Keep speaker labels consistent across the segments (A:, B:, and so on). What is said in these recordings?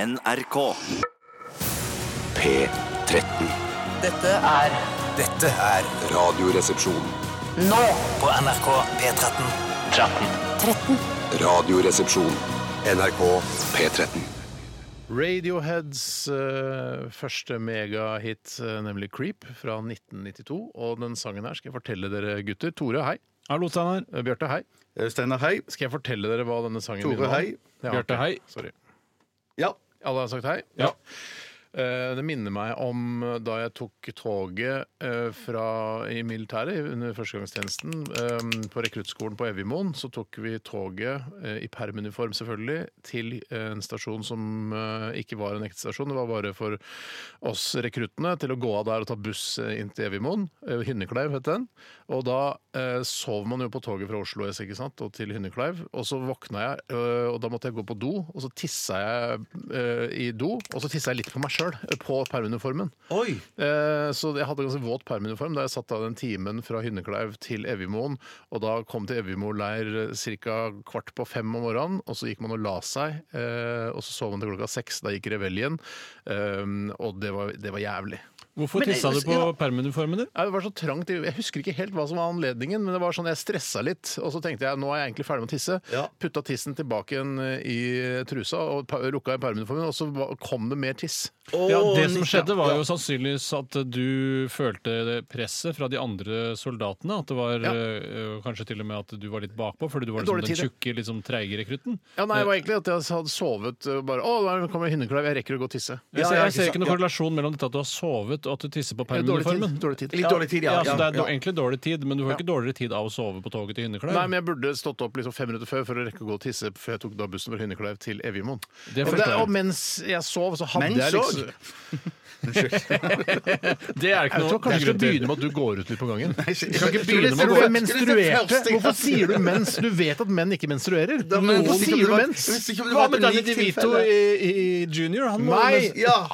A: NRK.
B: P13.
C: Dette er
D: Dette er
B: Radioresepsjon.
C: nå
D: på NRK P13.
B: Radioresepsjon. NRK P13.
E: Radioheads eh, første megahit, eh, nemlig 'Creep', fra 1992. Og den sangen her skal jeg fortelle dere, gutter. Tore, hei.
F: Hallo, Steinar.
E: Eh, Bjarte, hei.
G: Steinar, hei.
E: Skal jeg fortelle dere hva denne sangen
G: Tore,
E: inneholder?
G: hei.
E: Ja,
F: Bjarte,
E: ok.
F: hei.
E: Sorry.
G: Ja.
E: Alle har sagt hei?
F: Ja.
E: Eh, Det minner meg om eh, da jeg tok toget eh, fra, i militæret under førstegangstjenesten. eh, På rekruttskolen på Evjemoen så tok vi toget, eh, i permuniform selvfølgelig, til eh, en stasjon som eh, ikke var en ektestasjon. Det var bare for oss rekruttene til å gå av der og ta buss eh, inn til Evjemoen. Eh, Hynnekleiv het den. Og da eh, sov man jo på toget fra Oslo S ikke sant? og til Hynnekleiv. Og så våkna jeg, øh, og da måtte jeg gå på do. Og så tissa jeg øh, i do, og så tissa jeg litt på meg sjøl, på permuniformen.
G: Oi!
E: Eh, Så jeg hadde ganske våt permuniform da jeg satt av den timen fra Hynnekleiv til Evjemoen. Og da kom til Evjemo leir ca. kvart på fem om morgenen, og så gikk man og la seg. eh, Og så sov man til klokka seks. Da gikk reveljen, eh, og det var, det var jævlig.
F: Hvorfor
E: Men-
F: tissa du på
E: Ja.
F: permuniformen din?
E: Nei, Det var så trangt, jeg husker ikke helt hva som var anledningen, men det var sånn jeg stressa litt. Og så tenkte jeg nå er jeg egentlig ferdig med å tisse.
G: Ja.
E: Putta tissen tilbake igjen eh, i trusa og pa- lukka i permuniformen, og så va- kom det mer tiss.
F: Ja, det som skjedde, var jo sannsynligvis at du følte det presset fra de andre soldatene. At det var
E: Ja.
F: øh, kanskje til og med at du var litt bakpå, fordi du var liksom
E: Dårlig
F: den
E: tid,
F: tjukke, litt sånn treige rekrutten.
E: Ja, nei, det var egentlig at jeg hadde sovet og bare Å, der kommer Hynnekleiv, jeg rekker å gå og tisse.
F: Jeg,
G: Ja,
F: ser,
G: ja,
F: jeg ser
G: ikke
F: ikke noen
G: sant,
F: korrelasjon mellom dette at du har sovet og at du tisser
E: Dårlig
F: på
E: tid.
F: permuniformen.
E: Dårlig tid.
G: Litt dårlig tid, ja.
F: Ja, så det er
G: Ja.
F: do- egentlig dårlig tid, men du får ikke dårligere tid av å sove på toget til Hynnekleiv.
E: Nei, men jeg burde stått opp liksom fem minutter før for å rekke å gå og tisse, for jeg tok da bussen fra Hynnekleiv til Evjemoen.
F: Det
E: Og,
F: forstår
E: det-
F: jeg.
E: og mens jeg sov, så hadde
G: Mens
E: jeg liksom
G: òg?
F: Det er ikke
E: Jeg
F: noe
E: tror kanskje vi skal
F: det er ikke noe
E: begynne med at du går ut litt på gangen. Du skal ikke
G: tror det-
E: begynne med
G: tror
E: at
G: det
E: du menstruerte. Hvorfor sier du mens? Du vet at menn ikke menstruerer.
G: Da, men
E: Hvorfor
G: hvis ikke om
E: sier
G: det
E: du
G: var-
E: mens?
G: hvis ikke om det
F: Hva
G: var
F: med
G: et
F: Danny
G: unikt
F: DeVito
G: tilfelle?
F: i, i junior? Han må
E: Nei!
G: Ja.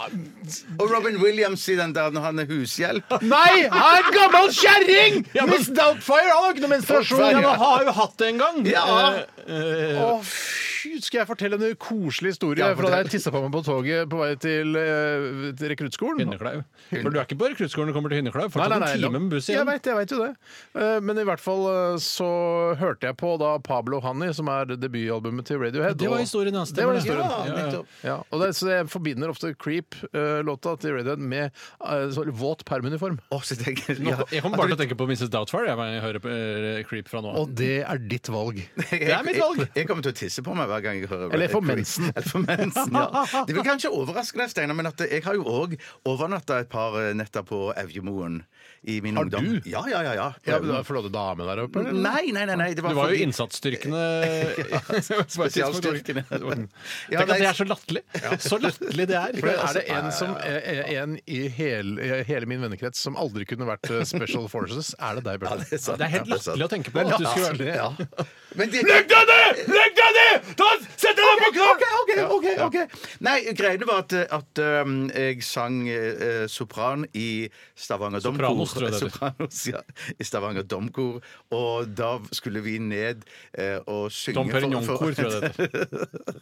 G: Og Robin Williams i den der når han er hushjelp.
E: Nei! Han er en gammel kjerring! Miss Doubtfire han har ikke noe menstruasjon.
F: Ja,
E: Han
F: men
E: har-
F: har jo hatt det en gang!
G: Ja.
F: Eh, eh,
E: Å, fy, Skal jeg fortelle en koselig historie
G: Ja,
E: fra da
G: fortell.
E: jeg tissa på meg på toget på vei til, eh, til rekruttskolen?
F: Hynnekleiv. For du er ikke på rekruttskolen når du kommer til Hynnekleiv.
E: Nei,
F: Fortsatt
E: nei, nei,
F: en time med buss
E: Jeg
F: igjen.
E: vet, jeg vet jo det. Eh, Men i hvert fall eh, så hørte jeg på da Pablo Honey, som er debutalbumet til Radiohead.
F: Det var
E: og-
F: historien, ja,
E: Det var
F: stemmer det.
E: historien.
F: Ja, ja, ja.
G: nettopp.
E: Ja, og det, så Jeg forbinder ofte Creep-låta til Radiohead med eh, så, våt permuniform.
G: Å, så tenker jeg-
F: Nå,
G: ja.
F: jeg kommer bare til å tenke på Mrs. Doubtfire jeg, når jeg hører på eh, Creep fra nå av.
E: Og det er ditt valg.
G: Jeg-
F: er mitt valg.
G: Jeg, jeg kommer til å tisse på meg hver gang jeg hører
E: Eller få mensen.
G: Eller få mensen, ja. Det vil kanskje overraske deg, Steinar, men at jeg har jo òg overnatta et par eh, netter på Evjemoen i min
E: Har
G: ungdom.
E: du?
G: Ja, ja, ja. ja.
E: Ja, men da- For du hadde dame der oppe? eller?
G: Nei, nei, nei. nei det var
F: Du var jo
G: fordi-
F: innsatsstyrkene
G: spesialstyrkene. Ja,
F: Tenk at
G: nei,
F: det er så latterlig! Så latterlig det er! Altså,
E: For det er det en, som, eh, en i hele, i hele min vennekrets som aldri kunne vært eh, Special Forces, er det deg,
G: Ja,
E: Bjarte.
G: det er sant.
F: Det er helt
G: Ja, sant.
F: latterlig å tenke på at du skulle
E: altså,
F: være-
G: Altså, Ja. Men det-
E: deg ned! Legg deg ned! Sett deg
G: Ok, ok, ok, ok, ok. Nei, greiene var at, at um, jeg sang eh, sopran i Stavanger Domkor.
F: Sopranos, tror jeg det heter.
G: Sopranos, ja. I Stavanger Domkor. Og da skulle vi ned eh, og synge
F: Dom Perignon-kor, tror jeg det heter.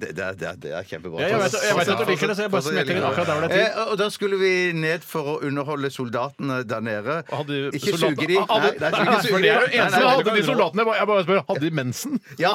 G: det, det, er- det, er- det er kjempebra.
F: Ja, jeg vet- jeg vet at du liker det, så jeg bare
G: Fortsatt-
F: smetter inn akkurat der hvor det er tid.
G: Eh, Og da skulle vi ned for å underholde soldatene der nede.
E: Og hadde
G: Ikke
E: soldater-
G: suge de. Nei,
E: Hadde- Nei,
G: nei, ikke
E: for
G: suge
E: det er
G: de.
E: jo
G: Nei,
E: eneste
G: nei,
E: jeg
G: nei,
E: hadde de
G: du kan-
E: soldatene. Jeg bare- Jeg bare spør, hadde de mensen?
G: ja!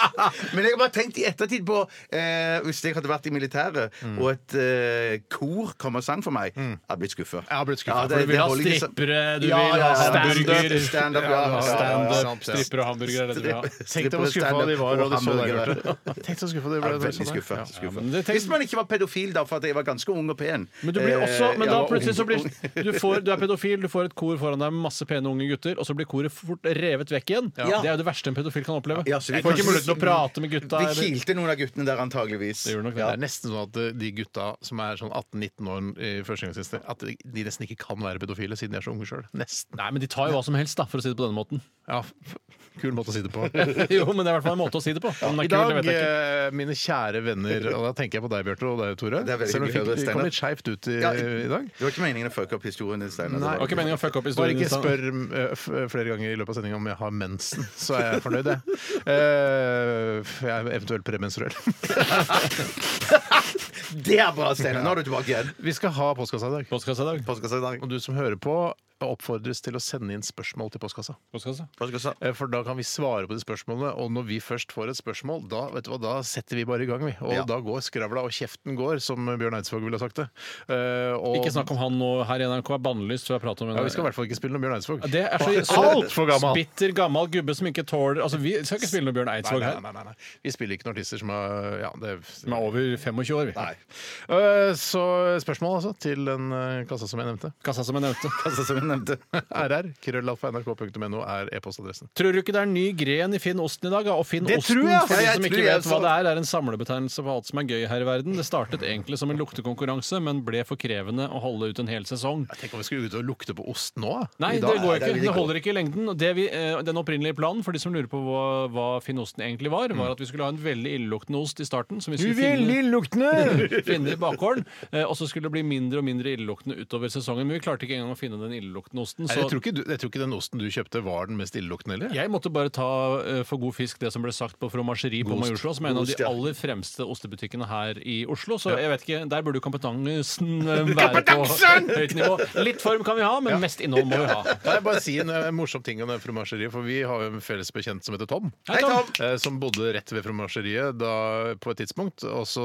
G: Men jeg har bare tenkt i ettertid på eh, Hvis jeg hadde vært i militæret,
F: Mm.
G: og et eh, kor kom og sang for meg, jeg hadde blitt skuffa.
E: Jeg hadde blitt skuffet,
F: For du vil ha strippere, du vil
G: Ja, ja,
F: ha
G: ja,
F: standup,
G: stand-up, stand-up, ja, ja, ja,
E: stand-up.
G: ja, ja.
F: standup, strippere og hamburgere er det du vil ha.
E: Tenk deg hvor skuffa de var. Og de så deg, Bjarte. Tenk så skuffa de ble.
G: Jeg er
E: da de så
G: Veldig
E: deg.
G: skuffa.
E: Ja.
G: skuffa.
F: sånn, men det tenk-
G: Hvis man ikke var pedofil, da, for at jeg var ganske ung og pen.
F: Men du blir
G: Eh,
F: også, men
G: jeg
F: da
G: var
F: plutselig så
G: ung.
F: blir du, får, du er pedofil, du får et kor foran deg med masse pene unge gutter, og så blir koret fort revet vekk igjen.
G: Ja.
F: Det er jo det verste en pedofil kan oppleve.
G: Ja, så vi
F: du får
G: kanskje-
F: ikke mulighet til å prate med gutta.
G: Vi
F: Eller.
G: kilte noen av guttene der, antageligvis.
F: Det gjør nok det.
E: Det er nesten sånn at eh, de gutta som er sånn 18-19 år i førstegangstjeneste, at de- de nesten ikke kan være pedofile siden de er så unge sjøl. Nesten.
F: Nei, men de tar jo hva som helst, da, for å si det på denne måten.
E: Ja, f- kul måte å si det på.
F: Jo, men det er i hvert fall en måte å si det på. Om
E: I
F: den er kul, det
E: dag,
F: vet jeg ikke.
E: eh, mine kjære venner, og da tenker jeg på deg, Bjarte, og deg, Tore.
G: Det er veldig
E: Selv om
G: hyggelig å
E: vi fikk-
G: høre,
E: vi
G: Steinar.
E: kom litt skeivt ut i,
G: Ja,
E: i dag.
G: Det var ikke meningen å fucke opp historien din, Steinar.
E: Nei.
F: Det var ikke meningen å fucke opp
E: Bare
F: historien.
E: ikke
F: din, Stan.
E: spør eh, f- flere ganger i løpet av sendinga om jeg har mensen, så er jeg fornøyd, jeg. Eh, Eh, f- jeg er eventuelt premenstruell.
G: Det er bra, Steinar. Nå er du tilbake igjen.
E: Vi skal ha postkassa i dag.
F: Postkassa i dag.
G: Postkassa i dag.
E: Og du som hører på, oppfordres til å sende inn spørsmål til postkassa.
F: Postkassa.
G: Postkassa.
E: Eh, For da kan vi svare på de spørsmålene. Og når vi først får et spørsmål, da, vet du hva, da setter vi bare i gang, vi. Og
G: Ja.
E: da går skravla, og kjeften går, som Bjørn Eidsvåg ville ha sagt det. Eh, og,
F: Ikke snakk om han nå her i NRK er bannlyst, for jeg prater om
E: ja, Vi skal i hvert fall ikke spille noe Bjørn Eidsvåg.
F: Det er så, så
E: Alt for gammel.
F: Bitter gammel gubbe som ikke tåler Altså, Vi skal ikke spille noe Bjørn
E: Nei,
F: Eidsvåg
E: nei,
F: her.
E: nei, nei, nei. Vi spiller ikke noen artister som er ja, det,
F: Vi er over 25 år, vi.
E: Nei. Eh, Så spørsmål altså til den eh, kassa som jeg nevnte.
F: Kassa som jeg nevnte.
G: Postkassa som jeg nevnte.
E: RR, krøllalfa.nrk.no er e-postadressen.
F: Tror du ikke det er en ny gren i Finn Osten i dag? ja? Og Finn
G: Det
F: Osten,
G: tror jeg,
F: for
G: ja,
F: de
G: jeg
F: som
G: tror
F: ikke
G: jeg
F: vet hva
G: så-
F: det er, er en samlebetegnelse for alt som er gøy her i verden. Det startet egentlig som en luktekonkurranse, men ble for krevende å holde ut en hel sesong.
E: Tenk om vi skulle ut og lukte på ost nå? da.
F: Nei,
E: I
F: det
E: dag.
F: går
G: det
F: ikke. Det
G: vil ikke
F: holder ikke i lengden. Og Det vi, eh, den opprinnelige planen for de som lurer på hva, hva Finn Osten egentlig var,
G: Mm.
F: var at vi skulle ha en veldig illeluktende ost i starten. Som vi skulle finne, finne i bakgården. eh, Og så skulle det bli mindre og mindre illeluktende utover sesongen. Men vi klarte ikke engang å finne den illeluktende osten.
E: Nei,
F: Så
E: jeg, tror ikke du, jeg tror ikke den osten du kjøpte, var den mest illeluktende heller.
F: jeg måtte bare ta eh, for god fisk det som ble sagt på Fromasseri på
E: ost.
F: Majorstua, som er en av
G: God
F: de
G: ost, ja.
F: aller fremste ostebutikkene her i Oslo. Så jeg vet ikke, der burde jo kompetansen eh, være på
G: Kompetansen!
F: høyt nivå. Litt form kan vi ha, men mest innhold må vi ha.
E: Kan jeg bare si en eh, morsom ting om det fromasseriet? For vi har jo en felles bekjent som heter Tom.
F: Hei, Tom.
E: eh, Som bodde rett ved fromasseriet da- på et tidspunkt. Og så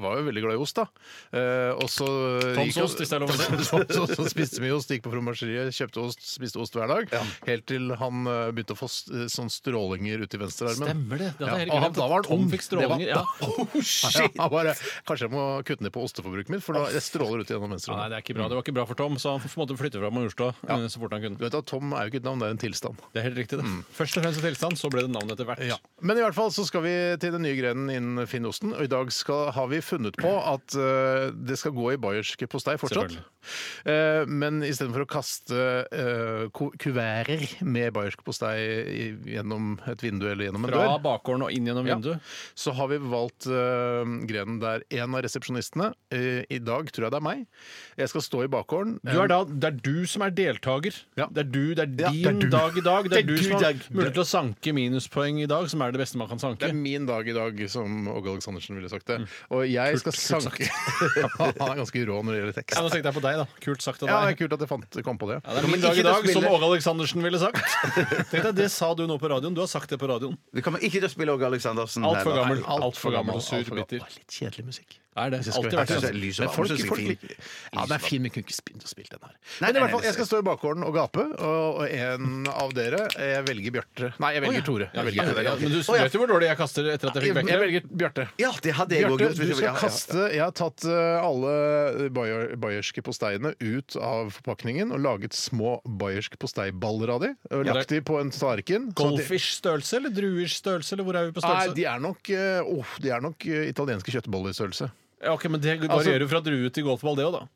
E: var jo veldig glad i ost, da. Eh, Og så
F: Toms
E: gikk-
F: ost, hvis det er lov å si.
E: Toms ost, og så spiste mye ost, gikk på fromasseriet, kjøpte ost, spiste ost hver dag. Helt til han eh, begynte å få s- eh, sånne strålinger ut i venstrearmen.
F: Stemmer det. Det hadde jeg helt
E: og han-
F: glemt.
E: Da var han
F: Tom
E: ung.
F: fikk
E: Det var-
F: strålinger, ja.
G: Oh,
E: Ja,
G: shit!
E: han bare, Kanskje jeg må kutte ned på osteforbruket mitt, for da det stråler ut gjennom
F: Ja,
E: venstrearmen.
F: nei, det er ikke bra. Det var ikke bra for Tom, så han måtte flytte fra Majorstua eh, så fort han
E: Du
F: kunne.
E: vet at Tom er jo ikke et navn, det er en tilstand.
F: Det er helt riktig. det.
E: Mm.
F: Først og fremst en tilstand, så ble det navn etter hvert.
E: Men i hvert fall så skal vi til den nye grenen innen finnosten. Og i dag skal, har vi funnet på at eh, det skal gå i bayersk postei fortsatt.
F: Selvfølgelig.
E: Uh, men istedenfor å kaste eh, ku- kuverter med bayersk postei i- gjennom et vindu eller gjennom en
F: Fra
E: dør
F: bakgården og inn gjennom
E: Ja.
F: vinduet.
E: Så har vi valgt eh, grenen der en av resepsjonistene eh, I dag tror jeg det er meg. Jeg skal stå i bakgården.
F: Du er da, det er du som er deltaker.
E: Ja.
F: Det er du, det er din
E: det er du.
F: dag i dag. Det er,
G: Det er
F: du,
G: du,
F: som har
G: Dag.
F: mulighet til å sanke minuspoeng i dag, som er det beste man kan
E: Det
F: sanke.
E: er min dag i dag, som Åge Aleksandersen ville sagt
F: Mm.
E: det. Og jeg skal sanke Han er ganske rå når det gjelder
F: Ja,
E: tekst.
F: nå tenkte jeg på deg, da. Kult sagt av
E: Ja, det er
F: deg.
E: kult at jeg fant, kom på det.
F: Ja, det er
G: Men
F: min dag
G: ikke
F: i dag,
G: til å
F: som
G: spille-
F: Åge Aleksandersen ville sagt. Tenkte jeg, Det sa du nå på radioen. Du har sagt det på radioen.
G: Vi kommer ikke til å spille Åge Aleksandersen.
F: Alt for
G: her, da.
F: gammel, alt for gammel og sur
E: alt for gammel.
F: bitter.
E: Det var Litt kjedelig musikk.
F: Er det?
E: Hvis jeg skal
F: Alltid
E: være
F: vært
E: helt
F: sånn.
E: ærlig.
G: Lys og
E: Men
G: varme,
E: folk,
G: synes jeg er
E: folk,
G: fin.
E: liker- ja, den er fin, men kunne ikke begynt å spille den her.
G: Nei,
E: Men i
G: nei,
E: hvert fall,
G: nei,
E: jeg skal stå i bakgården og gape, og og en av dere Jeg velger Bjarte. Nei, jeg velger Tore.
F: Ja,
E: Jeg velger
F: ja,
E: Tore.
F: men du vet jo hvor dårlig jeg kaster etter at jeg
E: Jeg,
F: fikk
E: jeg
F: Bechdel.
E: velger Bjarte.
G: Ja, det hadde jeg òg
E: Bjarte,
G: gjort. hvis
E: du
G: jeg-
E: skal
G: ja, ja, ja.
E: kaste Jeg har tatt eh, alle bayer- bayerske posteiene ut av forpakningen og laget små bayersk posteiballer av de. Og
F: Ja.
E: lagt de på en tallerken. sånn at de-
F: Goldfish-størrelse eller druers størrelse, eller hvor er vi på
E: Nei,
F: størrelse?
E: de er nok, eh, oh, de er nok eh, italienske kjøttbollerstørrelse.
F: Ja, ok, Men det
E: Altså-
F: varierer jo fra drue til golfball, det òg, da.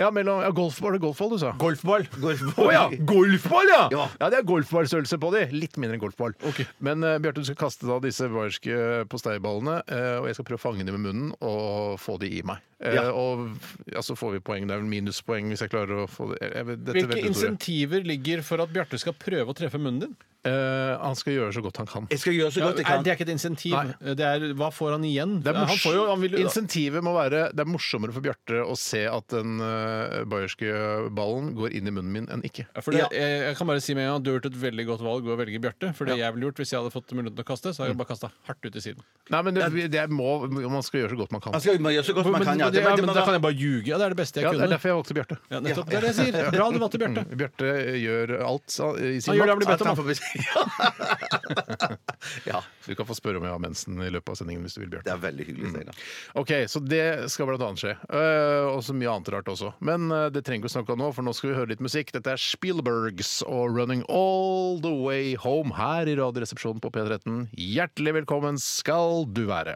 E: Ja, mellom, ja golf, Var det golfball du sa?
F: Golfball!
E: Å ja! Golfball, ja! ja!
G: Ja.
E: Det er golfballstørrelse på de. Litt mindre enn golfball. Men eh, Bjarte, du skal kaste da disse bayerske posteiballene, eh, og jeg skal prøve å fange dem med munnen og få de i meg. Eh,
G: Ja.
E: Og ja, så får vi poeng. Det er vel minuspoeng hvis jeg klarer å få det jeg, jeg, vet- dette
F: Hvilke
E: vet du, Tore.
F: insentiver ligger for at Bjarte skal prøve å treffe munnen din?
E: Eh, han skal gjøre så godt han kan.
G: Jeg skal gjøre så
F: Ja,
G: godt jeg kan.
F: er det er ikke et insentiv. Eh,
E: Nei.
F: Det er, hva får han igjen?
E: Det er,
F: han
E: mors
F: får jo, han vil,
E: Insentivet må være Det er morsommere for Bjarte å se at den eh, bayerske ballen går inn i munnen min enn ikke.
F: Ja, for det,
G: Ja.
F: jeg, jeg kan bare si med en gang Du har gjort et veldig godt valg å velge Bjarte. For det jeg ville gjort hvis jeg hadde fått muligheten til å kaste, så hadde jeg bare kasta hardt ut i siden.
E: Nei, men det, det må, Man skal gjøre så godt man kan.
G: Man skal gjøre så godt man kan.
F: men,
G: Ja, det, men, det,
F: da kan jeg bare ljuge. Ja, det er det beste Altså, jeg
E: Ja, Det er
F: kunne.
E: derfor jeg valgte Bjarte.
F: Ja, nettopp. Det er det jeg sier. Bra du valgte Bjarte.
E: Bjarte gjør alt sa- i sin
F: Han gjør det han
E: makt.
F: blir bedt om. da.
G: ja,
E: Du kan få spørre om jeg har mensen i løpet av sendingen hvis du vil,
G: det
E: Bjarte.
G: er veldig hyggelig, Steinar.
F: Mm.
E: Ok, Så det skal blant annet skje. Eh, og så mye annet rart også. Men eh, det trenger vi ikke å snakke om nå, for nå skal vi høre litt musikk. Dette er Spielbergs og 'Running All The Way Home' her i Radioresepsjonen på P13. Hjertelig velkommen skal du være.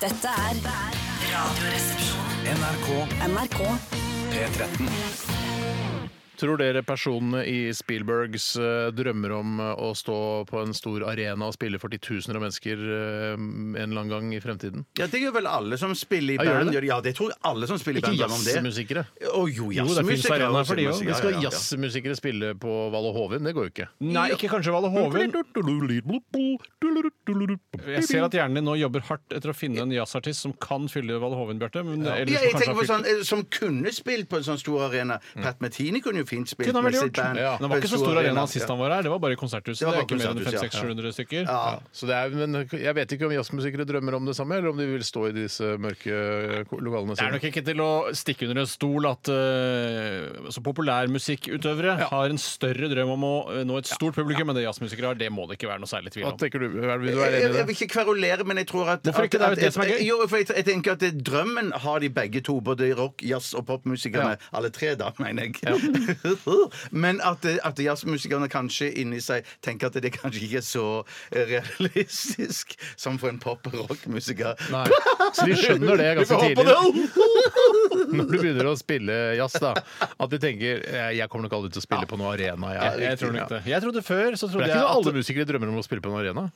A: Dette er Radioresepsjonen.
D: NRK
A: NRK
D: P13.
E: Tror dere personene i Spielbergs eh, drømmer om eh, å stå på en stor arena og spille for titusener av mennesker eh, en eller annen gang i fremtiden?
G: Ja, det gjør vel alle som spiller i
E: Ja, gjør
G: band.
E: det det?
G: gjør- Ja, det tror jeg alle som spiller i
E: Ikke
G: band. drømmer om det.
E: jazzmusikere.
G: Å, jo,
F: Jo, det finnes
G: jazzmusikere.
F: arenaer for de også.
E: Vi
G: Ja,
E: skal
G: ja, ja.
E: jazzmusikere spille på Valle Hovin? Det går jo ikke.
F: Nei, ikke kanskje Valle Hovin.
E: sånn
F: Jeg ser at hjernen din nå jobber hardt etter å finne en jazzartist som kan fylle Valle Hovin, Bjarte. Men eller
G: Ja,
F: som kanskje
G: jeg
F: har
G: tenker
F: Mm.
G: på
F: fylt-
G: sånn, eh, Som kunne spilt på en sånn stor arena. Pat Metini kunne jo fint spilt
F: Kunne han
G: med
F: vel
G: sitt
F: gjort.
G: band.
E: Ja.
G: på
F: Den var
G: en
F: ikke så stor arena sist
G: ja.
F: han var her. Det var bare i konserthuset.
G: Det var
F: Det er
G: bare
F: ikke mer enn
G: konserthuset,
F: 500-600 stykker.
G: Ja.
E: Så det er, men jeg vet ikke om jazzmusikere drømmer om det samme, eller om de vil stå i disse mørke lokalene
F: Det er nok
E: sine.
F: ikke til å stikke under en stol at eh, altså populærmusikkutøvere har en større drøm om å eh, nå et stort publikum enn det jazzmusikere har. Det må det ikke være noe særlig tvil
E: Hva
F: om.
E: tenker du? Er- Vil du
G: Jeg,
E: være
G: jeg,
E: enig i det?
G: jeg vil ikke kverulere, men jeg tror at
F: Hvorfor ikke? Det er jo
G: at-
F: det som er
G: at-
F: gøy.
G: Jo, for jeg, jeg tenker at det- drømmen har de begge to, både rock-, jazz- og popmusikerne. Alle tre, da, mener jeg. men at, eh, at jazzmusikerne kanskje inni seg tenker at det kanskje ikke er så eh, realistisk som for en pop- og rockmusiker.
E: Nei. Så de skjønner det ganske
G: Vi får håpe
E: tidlig. Når du begynner å spille jazz, da. At de tenker eh, jeg kommer nok aldri til å spille på noen arena.
F: Jeg, jeg tror nok det. Jeg trodde før så
E: For
F: trodde
E: det er
F: jeg
E: ikke noe alle
F: at
E: musikere drømmer om å spille på en arena.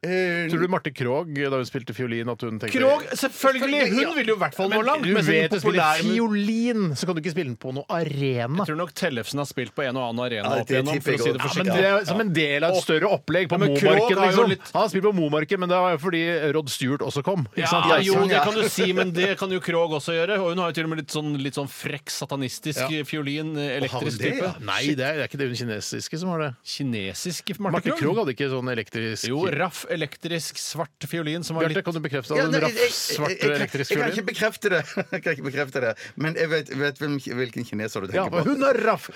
G: Eh,
E: Tror du Marte Krogh, da hun spilte fiolin, at hun tenkte
F: Krog, selvfølgelig! Hun ville jo i hvert fall nå
E: Men
F: langt.
E: du
F: mens
E: vet
F: den
E: å spille
F: populære-
E: fiolin, så kan du ikke spille den på noen arena.
F: Jeg tror nok Tellefsen har spilt på en og annen arena
G: Ja, det
F: opp igjennom,
G: tipper
F: for å
G: jeg
F: si det
G: også.
E: Ja,
F: forsiktig.
E: men det er Som en del av et større opplegg på
F: Ja, men Krogh
E: Momarken.
F: har jo
E: Liksom.
F: litt-
E: Han har spilt på Momarken, men det var jo fordi Rod Stewart også kom. Ikke
F: Ja,
E: sant?
G: Ja,
F: jo,
G: sånn,
F: det
G: ja.
F: kan du si, men det kan jo Krog også gjøre. Og hun har jo til og med litt sånn, litt sånn frekk, satanistisk
E: Ja.
F: fiolin,
G: har hun
F: elektrisk
G: det,
F: type.
G: ja?
E: Nei, det er, det er ikke det hun kinesiske som har det.
F: Kinesisk
E: Marte
F: Marte
E: Krogh
F: Krog?
E: hadde ikke sånn elektrisk
F: Jo, raff, elektrisk, svart fiolin som var
E: Bjarte,
F: litt
E: kan du bekrefte
G: Ja,
E: at
G: nei,
E: en
G: jeg- jeg-
E: raff, svart
G: jeg- jeg-
E: elektrisk
G: Jeg kan ikke
E: fiolin?
G: bekrefte det. Jeg kan ikke bekrefte det. Men jeg vet, vet hvem, hvilken kineser du
E: Ja,
G: tenker på.
E: hun har raff!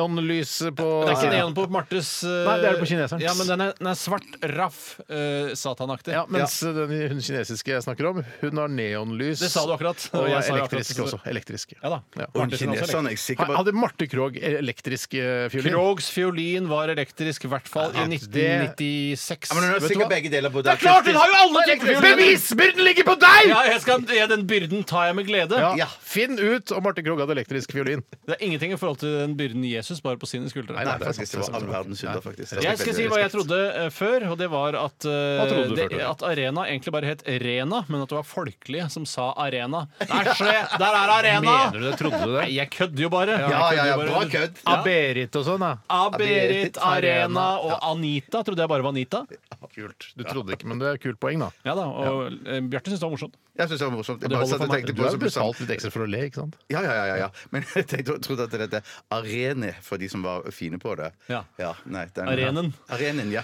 E: Neonlyset på
F: Det er ikke neon på Martes eh,
E: altså. Nei, det er det på kineseren.
F: Ja, men den er, den er svart, raff, eh, satanaktig.
E: Ja, mens den hun kinesiske jeg snakker om, hun har neonlys.
F: Det sa du akkurat, og
E: Og
F: jeg
E: er
F: sa jo
E: elektrisk
F: akkurat-
E: også. Elektrisk.
F: Ja da.
G: Og
F: Martinsen
G: hun
F: er også
G: kineseren er jeg sikker på.
E: Hadde Marte Krogh elektrisk eh, fiolin?
F: Krogs fiolin var elektrisk, i hvert fall i
E: Ja, det-
F: 1996.
G: Ja, men hun har
E: Vet du
G: sikkert
E: hva?
G: begge deler på
F: Det er klart, hun har jo alle typer fioliner!
E: Bevisbyrden ligger på deg!
F: Ja, jeg skal, ja, den byrden tar jeg med glede.
E: Ja.
G: Ja.
E: Finn ut om Marte Krogh hadde elektrisk fiolin.
F: Det er ingenting i forhold til den byrden Jesus bar på sine skuldre.
G: Nei,
E: det er
G: faktisk, det var
E: sant, det er
G: all
E: sant.
G: verdens synder, faktisk.
F: Jeg skal si hva jeg trodde eh, før, og det var at, eh,
E: Hva trodde du
F: det,
E: før, Tore?
F: at Arena egentlig bare het Rena, men at det var folkelige som sa Arena. Der, skje, der er Arena!
E: Mener du det? Trodde du det?
F: Nei, jeg kødder jo bare.
G: Ja, ja, ja,
F: Jeg kødder jo
G: bra
F: bare.
G: kødd.
E: Ja. Berit og sånn, da.
F: Aberit, Arena og Anita trodde jeg bare var Anita.
E: Kult. Du trodde ikke, men det er kult poeng, da.
F: Ja da, og eh, Bjarte syntes det var morsomt.
G: Jeg syns det var morsomt.
F: Det
G: Jeg bare
F: holder
G: satt
F: for
G: og
F: meg.
G: tenkte
E: Du
G: på det
E: har jo
G: som du sa.
E: betalt litt ekstra for å le, ikke sant?
G: Ja, ja, ja, ja, ja. Men jeg tenkte, jeg trodde at det het Arene for de som var fine på det.
F: Ja.
G: nei, den,
F: Arenen.
G: Arenen, ja.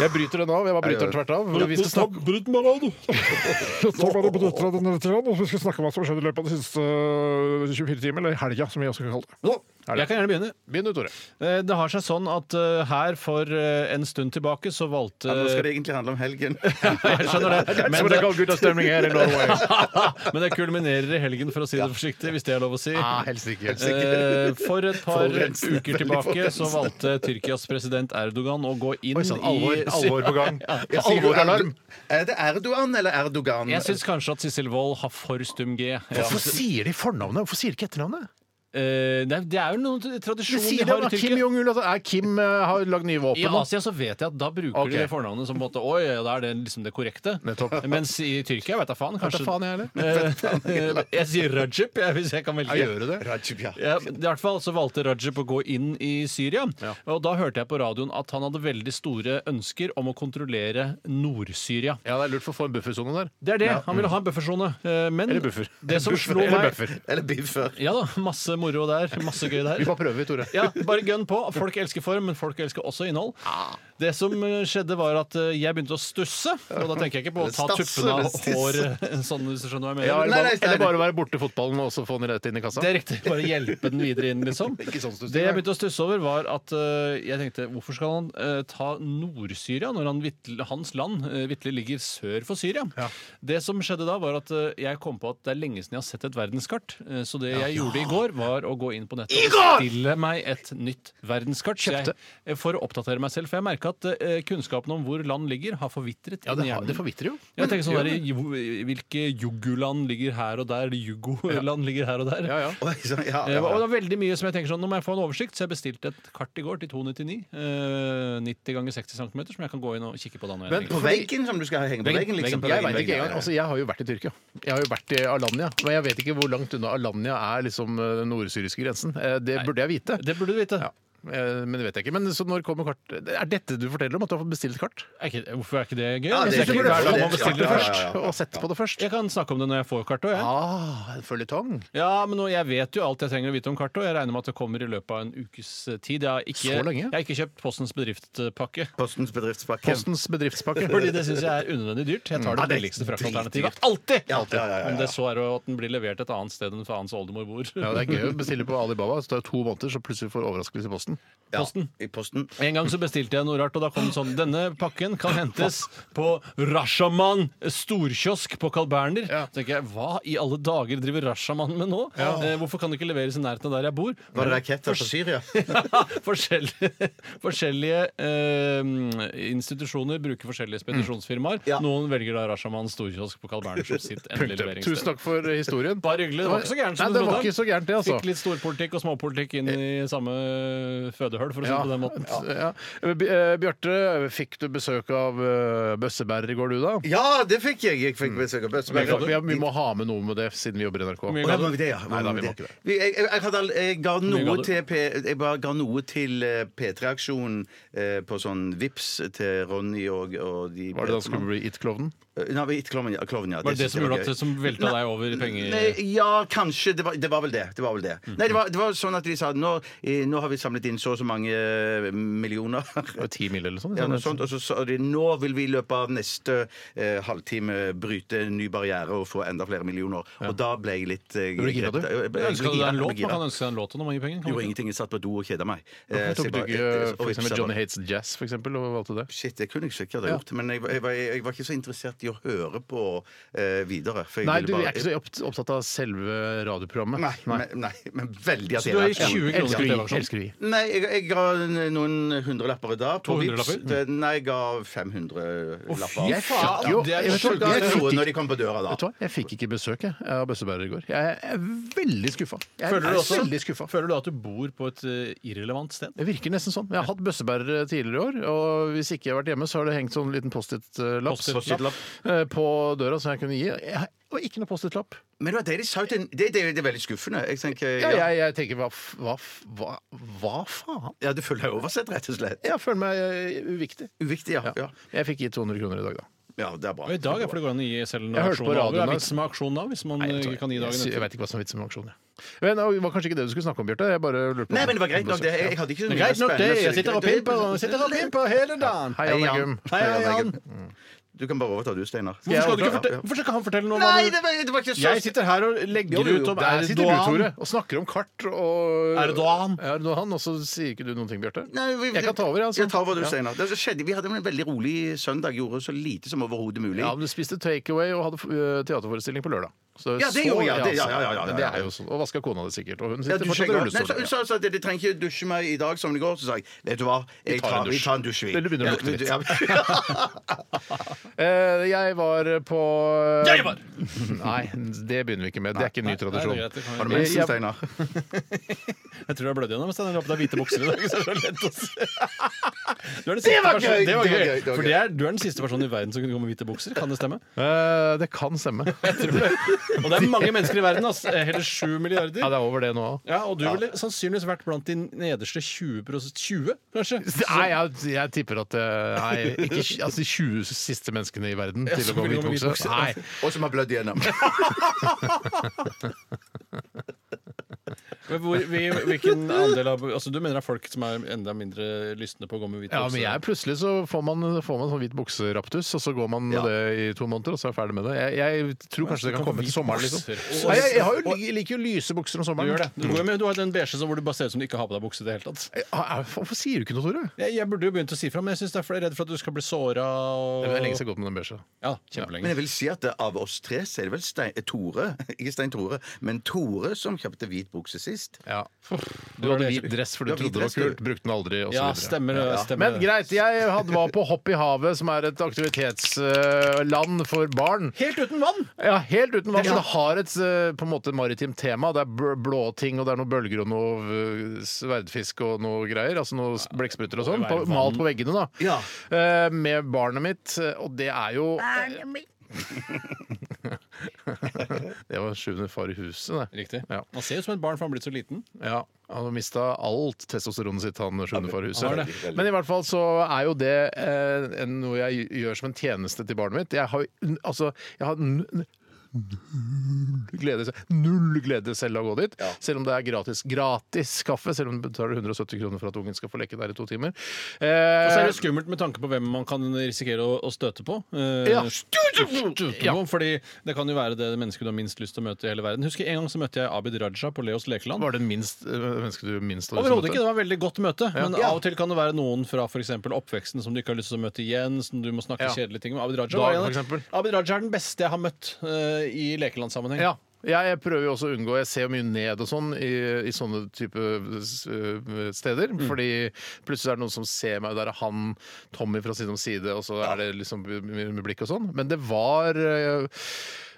E: Jeg bryter den av. Jeg bare bryter den tvert av. Vi skal snakke
A: Så bare benytter jeg denne tiden, og så skal vi snakke om hva som skjedde i løpet av de siste øh,
E: eh,
A: 24 timer, eller helga, som vi også kan kalle det.
F: Jeg kan gjerne begynne.
E: Begynn du, Tore.
F: Eh, Det har seg sånn at eh, her for eh, en stund tilbake så valgte
G: ja. Nå skal det egentlig handle om helgen.
F: Jeg skjønner det. Men
E: Så det
F: det,
E: er guttastemning her i Norway.
F: men det kulminerer i helgen, for å si det forsiktig, hvis det er lov å si.
E: Nei, Ah, helst ikke.
F: Eh, For et par
G: Forurensende,
F: uker
G: veldig
F: tilbake så
G: forurensende.
F: valgte Tyrkias president Erdogan å gå inn
E: Oi sann,
F: i
E: alvor, alvor på gang.
G: Jeg sier jo
E: Alvoralarm.
G: Erdo- Er det Erdogan eller Erdogan?
F: Jeg syns kanskje at Sissel Wold har for stum G. Jeg
E: Hvorfor
F: synes-
E: sier de fornavnet? Hvorfor sier de ikke etternavnet?
F: Eh, Det er det er jo noen t-
E: De
F: tradisjon
E: sier
F: de
E: det
F: har
E: om
F: i
E: Kim
F: Tyrkia.
E: Jong-un. altså, Er Kim eh, har lagd nye
F: I
E: våpen? nå?
F: Asia så vet jeg at da bruker
E: Ok.
F: de det fornavnet som på en måte Oi, ja, da er det liksom det korrekte.
E: Nettopp.
F: Mens i Tyrkia, vet da faen,
E: Vet
F: kanskje
E: da faen, jeg heller.
F: Eh, Jeg sier Rajib, jeg, hvis jeg kan velge.
E: Ja, gjør du det?
G: Rajib, ja.
F: Ja, I hvert fall så valgte Rajib å gå inn i Syria. Og da hørte jeg på radioen at han hadde veldig store ønsker om å kontrollere Nord-Syria.
E: Ja, det er lurt for å få en buffersone der.
F: Det er det. Han ville ha en buffersone. Eh, Men
E: Eller buffer.
F: det som
E: Buffer,
F: slo
E: eller
F: meg
E: buffer.
G: Eller Biffer.
F: Ja da, masse moro der. Masse gøy der.
E: Vi får prøve, Tore.
F: Ja, bare gønn på. Folk elsker form, men folk elsker også innhold. Det som eh, skjedde, var at eh, jeg begynte å stusse. Og da tenker jeg ikke på å ta
G: Stasse,
F: tuppene
G: eller
F: av
G: stisse.
F: håret, sånn hvis du skjønner hva jeg mener.
E: Ja, eller,
G: Nei,
E: bare,
G: nei, nei.
E: eller bare være borte i fotballen og så få den rett inn i kassa.
F: Det er riktig. Bare hjelpe den videre inn, liksom.
E: Ikke sånn stussing,
F: det jeg
E: nei.
F: begynte å stusse over, var at eh, jeg tenkte hvorfor skal han eh, ta Nord-Syria når han vitl- hans land uh, vitterlig ligger sør for Syria? Det som skjedde da, var at eh, jeg kom på at det er lenge siden jeg har sett et verdenskart. eh, så det jeg gjorde i går, var å gå inn på nettet og bestille meg et nytt verdenskart. Så jeg, eh, for å oppdatere meg selv. For jeg merka at eh, kunnskapen om hvor land ligger, har forvitret.
E: Ja,
F: inni
E: det, har,
F: hjernen.
E: det forvitrer jo.
F: Jeg tenker sånn der, jo- Hvilke juggoland ligger her og der? Juggoland ligger her og der.
E: Ja, ja.
G: Oi, så- ja,
F: Eh,
G: ja,
F: Og
G: ja.
F: det er veldig mye som jeg tenker sånn, Nå må jeg få en oversikt, så jeg bestilte et kart i går til 299. eh, 90 ganger 60 cm, som jeg kan gå inn og kikke på da. når jeg
E: Men-
F: trenger.
G: På veggen som du skal henge på veggen, liksom. På
E: jeg
G: veggen,
E: vet ikke
G: veggen,
E: engang.
G: ja.
E: Altså, jeg har jo vært i Tyrkia. Jeg har jo vært i Alanya. Men jeg vet ikke hvor langt unna Alanya er liksom eh, den nordsyriske grensen. Eh, Det burde jeg vite.
F: Det burde du vite.
E: Ja. Eh, Men det vet jeg ikke. Men så når kommer kart Er dette du forteller om? At du har bestilt kart?
F: Er ikke, hvorfor er ikke det gøy?
G: Ja, det
F: Jeg synes
G: er
F: ikke
G: gøy.
F: hver dag man
G: Det-
F: bestiller
G: ja, ja, ja.
F: først.
E: Og sett på det først?
F: Jeg kan snakke om det når jeg får kartet. Jeg.
E: Ah, en føljetong.
F: Ja, men nå, jeg vet jo alt jeg trenger å vite om kartet, og jeg regner med at det kommer i løpet av en ukes eh, tid. Jeg har ikke,
E: Så lenge?
F: Jeg har ikke kjøpt Postens bedriftpakke.
E: altså-
G: Postens bedriftspakke.
E: Postens bedriftspakke.
F: Fordi det syns jeg er unødvendig dyrt. Jeg tar det billigste fraktalternativet. Alltid!
G: Ja, ja, ja, ja, ja.
F: Om det så er at den blir levert et annet sted enn faens oldemor bor.
E: Ja, Det er gøy å bestille på Alibaba. Så tar det to måneder, så plutselig får overraskelse i posten.
F: Posten.
G: I posten.
F: En gang så bestilte jeg noe rart, og da kom det sånn Denne pakken kan hentes på Rashaman storkiosk på Carl Berner.
E: Ja.
F: Så tenker jeg, hva i alle dager driver Rashaman med nå? Eh, hvorfor kan det ikke leveres i nærheten av der jeg bor?
G: Var det raketter fra Syria?
F: forskjellige forskjellige eh, institusjoner bruker forskjellige spedisjonsfirmaer.
G: Ja.
F: Noen velger da Rashaman storkiosk på Carl Berner som sitt endelige
E: Mm. Punktum. Tusen
F: leveringssted.
E: takk for eh, historien.
F: Bare hyggelig. Det var ikke så gærent som
E: Nei,
F: du
E: det var
F: trodde.
E: ikke så gærent, det, altså.
F: Fikk litt storpolitikk og småpolitikk inn i samme fødehøl, for å si det på den måten.
E: Ja. Eh, Bi- eh, Bjarte, fikfikk du besøk av eh, bøssebærer i går, du da?
G: Ja, det fikk jeg! Jeg fikk besøk av
E: Vi,
G: bøssebærer.
E: Mm. vi- vi må ha med noe med det, siden vi jobber i NRK.
F: mye
G: Å, ja, var vi det, ja.
E: Nei, da,
G: Var
E: vi må
G: vi det?
E: ikke det.
G: Vi- Jeg, jeg, hadde all- jeg ga
F: ga
G: noe
F: du?
G: til P, Jeg bare ga noe til eh, P3-aksjonen eh, på sånn Vips til Ronny og, og de
E: Var det da det skulle bli It-klovnen?
G: Eh, Nei, vi- Klovn, ja, Klovn, ja.
F: Var det det
G: synes
F: som
G: jeg
F: gjorde at det som
G: gøy.
F: velta deg over i
G: Nei,
F: penger... Mm.
G: Nei, ja, kanskje. Det var, det var vel det. det, var vel det. Nei, det var, det var sånn at de sa nå, eh, nå har vi samlet inn så og så mange eh, millioner.
E: Det var Ti mil eller sånn?
G: Ja, noe sånt, og så sa de nå vil vi i løpet av neste eh, halvtime bryte en ny barriere og få enda flere millioner. Og da ble jeg litt eh,
E: ble gira, du?
G: grepet. Jeg ble- jeg
F: Ønska
G: ble
F: du deg
G: gira,
F: en
G: jeg ble
F: låt? Man
G: gira.
F: kan ønske seg en låt om man gir penger. kan man
G: Gjorde
F: ikke?
G: ingenting. Jeg satt på do og keda meg. Eh,
E: Hvorfor
G: så
E: tok
G: jeg
E: du ikke
G: bare- eh,
E: eh,
G: og
E: for
G: vipsa
E: eksempel Johnny
G: bare-
E: Hates Jazz, for eksempel, og valgte det?
G: Shit, det kunne jeg sikkert ha gjort. Men jeg, jeg, var- jeg var ikke så interessert i å høre på eh, videre. For jeg
E: Nei,
G: ville
E: du
G: bare-
E: er ikke så opp- opptatt av selve radioprogrammet.
G: Nei, men- nei, men veldig at
F: Så du har gitt 20 kroner
E: Elsker
F: til
E: vi.
F: TV-aksjonen?
E: Elsker vi.
G: Nei, jeg, jeg ga noen hundrelapper i dag. På
F: 200
G: Vipps.
F: lapper?
G: Det- Nei, jeg ga 500 lapper.
E: Jeg fikk jo
F: det er
E: jeg vet
G: Så
E: hva,
G: ga
E: jeg
G: jeg
E: fikk
G: noe
E: ikke-
G: når de kom på døra, da.
E: Vet du hva? Jeg fikk ikke besøk jeg, av bøssebærer i går. Jeg er veldig skuffa. Jeg
F: Føler du
E: er
F: også-
E: veldig skuffa.
F: Føler du at du bor på et eh, irrelevant sted?
E: Det virker nesten sånn. Jeg har hatt bøssebærere tidligere i år, og hvis ikke jeg har vært hjemme, så har det hengt sånn liten Post-It-lapp
F: Post-it-lapp.
E: eh, på døra som jeg kunne gi. Jeg har- Og ikke noe Post-It-lapp.
G: Men det var det de sa til Det, det, det er veldig skuffende. Jeg tenker,
E: Ja,
G: ja,
E: jeg, jeg tenker hva, f- hva, f- hva, hva faen?
G: ja, du føler deg oversett, rett og slett.
E: Jeg føler meg eh, uviktig.
G: Uviktig, ja. Ja,
E: Jeg fikk gitt 200 kroner i dag, da.
G: ja det er bra.
F: Og I dag er det fordi det går an å gi selv en
E: Jeg hørte
F: aksjon.
E: på
F: Hva
E: radioen
F: er
E: da.
F: vitsen med aksjon da, hvis man
E: Nei,
F: eh, kan gi
E: jeg,
F: dagen
E: sy- jeg
F: etter?
E: vet ikke hva som er vitsen med aksjon. jeg. Men Det var kanskje ikke det du skulle snakke om, Bjarte. Jeg bare lurte på
G: Nei, men det var greit nok. Det. Jeg hadde ikke så mye spennende, så
F: hele dagen.
E: Hei, Jan Eggum.
G: Hei,
F: Hei, Jan.
G: Jan. Du kan bare overta du, Steinar.
E: jeg
F: Hvorfor skal, du ikke
E: overta?
F: fortelle, hvorfor skal han fortelle noe om
G: Nei,
F: hva
G: det var, det var ikke
F: du
G: så
F: Jeg sitter her og legger
E: Jo, jo,
F: ut om
E: der sitter du,
F: Erdogan.
E: Tore, og snakker om kart og
F: Erdogan.
E: Erdogan, og så sier ikke du noen ting, Bjarte?
G: Nei, vi-
E: Jeg kan ta over, jeg, altså.
G: Jeg tar over du,
E: Ja.
G: Steinar. Det som skjedde, Vi hadde en veldig rolig søndag, gjorde så lite som overhodet mulig.
E: Ja, men du spiste takeaway og hadde øh, teaterforestilling på lørdag. Så, altså.
G: Ja, det gjorde jeg. Det- ja, ja, ja, ja, ja.
E: Det er jo sånn. Og vaska kona di sikkert. Og hun
G: Ja,
E: sitter
G: du
E: fortsatt i
G: skjegger. Nei, så-
E: rullestol.
G: Hun sa altså at de trenger ikke dusje meg i dag som i går. Så sa jeg vet du hva, jeg
E: tar en
G: tar, vi
E: dusj.
G: tar en dusj, vi.
E: Eller begynner å lukte litt.
G: Ja, ja.
E: Eh, jeg var på eh,
F: Jeg var!
E: Nei, det begynner vi ikke med. Det er ikke en ny tradisjon.
F: Nei, det er greit, det kan vi-
G: Har du
E: Eh,
G: mensen,
E: jeg-
G: Steinar?
F: Jeg tror jeg blødde gjennom. Steinar. Jeg håper det er hvite bukser i dag. Så det er så lett å se. Du er den
G: Det
F: siste
G: var
F: personen-
G: gøy,
F: Det var
G: det var
F: gøy!
G: gøy, det var
F: For det er, du er den siste personen i verden som kunne gå med hvite bukser. Kan det stemme?
E: Eh, det kan stemme.
F: Og det er mange mennesker i verden. Ass. Eh, Hele sju
E: Ja,
F: milliarder.
E: det er over det nå òg.
F: Ja, Og du ville sannsynligvis vært blant de nederste 20 20, kanskje?
E: Nei, jeg, jeg tipper at eh, Nei, ikke tj- altså, de 20 siste menneskene i verden til å
F: som
E: gå med
F: vil gå med
E: hvitbukse.
F: hvitbukse.
E: Nei.
G: Og som har blødd gjennom.
F: Men hvor, vi, hvilken andel av Altså Du mener det er folk som er enda mindre lystne på å gå med hvite
E: Ja,
F: bukser?
E: men jeg plutselig så får man, får man sånn hvit bukseraptus, og så går man med
G: Ja.
E: det i to måneder, og så er jeg ferdig med det. Jeg, jeg tror kanskje det kan komme til sommeren, liksom.
F: Bukser.
E: Nei, jeg, jeg, har jo, jeg liker jo lyse bukser om
F: Du
E: sommeren.
F: gjør det. Du, går jo med, du har den beige som hvor du bare ser ut som du ikke har på deg bukse i det Eh, hele tatt.
E: Jeg- jeg- Eh, ah, Hvorfor sier du ikke noe, Tore?
F: Jeg, jeg burde jo begynt å si fra, men jeg synes det er for- jeg er redd for at du skal bli såra. Og...
E: Det er lenge siden jeg har gått med den beige.
F: Ja,
G: Men
F: kjempelenge.
G: jeg vil si at det, av oss tre så er det vel Stein, Tore Ikke Stein Tore, men Tore som kjøpte hvit bukse sist. trist.
E: Ja. Du hadde hvit dress for du
G: Ja, hvit
E: trodde det var
G: dress, du.
E: kult, brukte den aldri og så
F: Ja,
E: videre.
F: stemmer det. Stemmer.
E: Men
F: det.
E: greit, jeg hadde- var på Hopp i havet, som er et aktivitetsland for barn.
F: Helt uten vann!
E: Ja, helt uten vann. Så det har et eh, på en måte maritimt tema. Det er bl- blå ting, og det er noen bølger og noe eh, sverdfisk og noe greier. Altså noe s- blekkspruter og sånn. på- Malt på veggene, da.
G: Ja.
E: Eh, Med barnet mitt, eh, og det er jo eh, Det var sjuende far i huset, det.
F: Riktig.
E: Ja.
F: Man ser ut som et barn, for han har blitt så liten.
E: Ja, han har mista alt testosteronet sitt, han skjønner for
F: har
E: huset.
F: det.
E: Men i hvert fall så er jo det eh, en- noe jeg gjør som en tjeneste til barnet mitt. Jeg har, jo- altså, jeg har n- n- null glede, null glede selv av å gå dit, selv om det er gratis, gratis kaffe. Selv om du betaler 170 kroner for at ungen skal få leke der i to timer. Eh,
F: Og så er det skummelt med tanke på hvem man kan risikere å, å støte på. Eh,
E: Ja.
F: Støte på! Fordi det kan jo være det mennesket du har minst lyst til å møte i hele verden. Husker En gang så møtte jeg Abid Raja på Leos lekeland.
E: var det minst, eh, mennesket du minst har lyst til å
F: Overhodet ikke.
E: møte?
F: Det var et veldig godt møte. Men av og til kan det være noen fra for eksempel oppveksten som du ikke har lyst til å møte igjen. Som du må snakke
E: Ja.
F: kjedelige ting med. Abid Raja,
E: Dag,
F: var
E: for
F: en-
E: eksempel.
F: Abid Raja er den beste jeg har møtt eh, i lekelandsammenheng.
E: Ja. Jeg, jeg prøver jo også å unngå Jeg ser jo mye ned og sånn i, i sånne type s- øh, steder.
F: Mm.
E: Fordi plutselig er det noen som ser meg, og der er han Tommy fra side om side, og så er det liksom med med blikk og sånn. Men det var øh,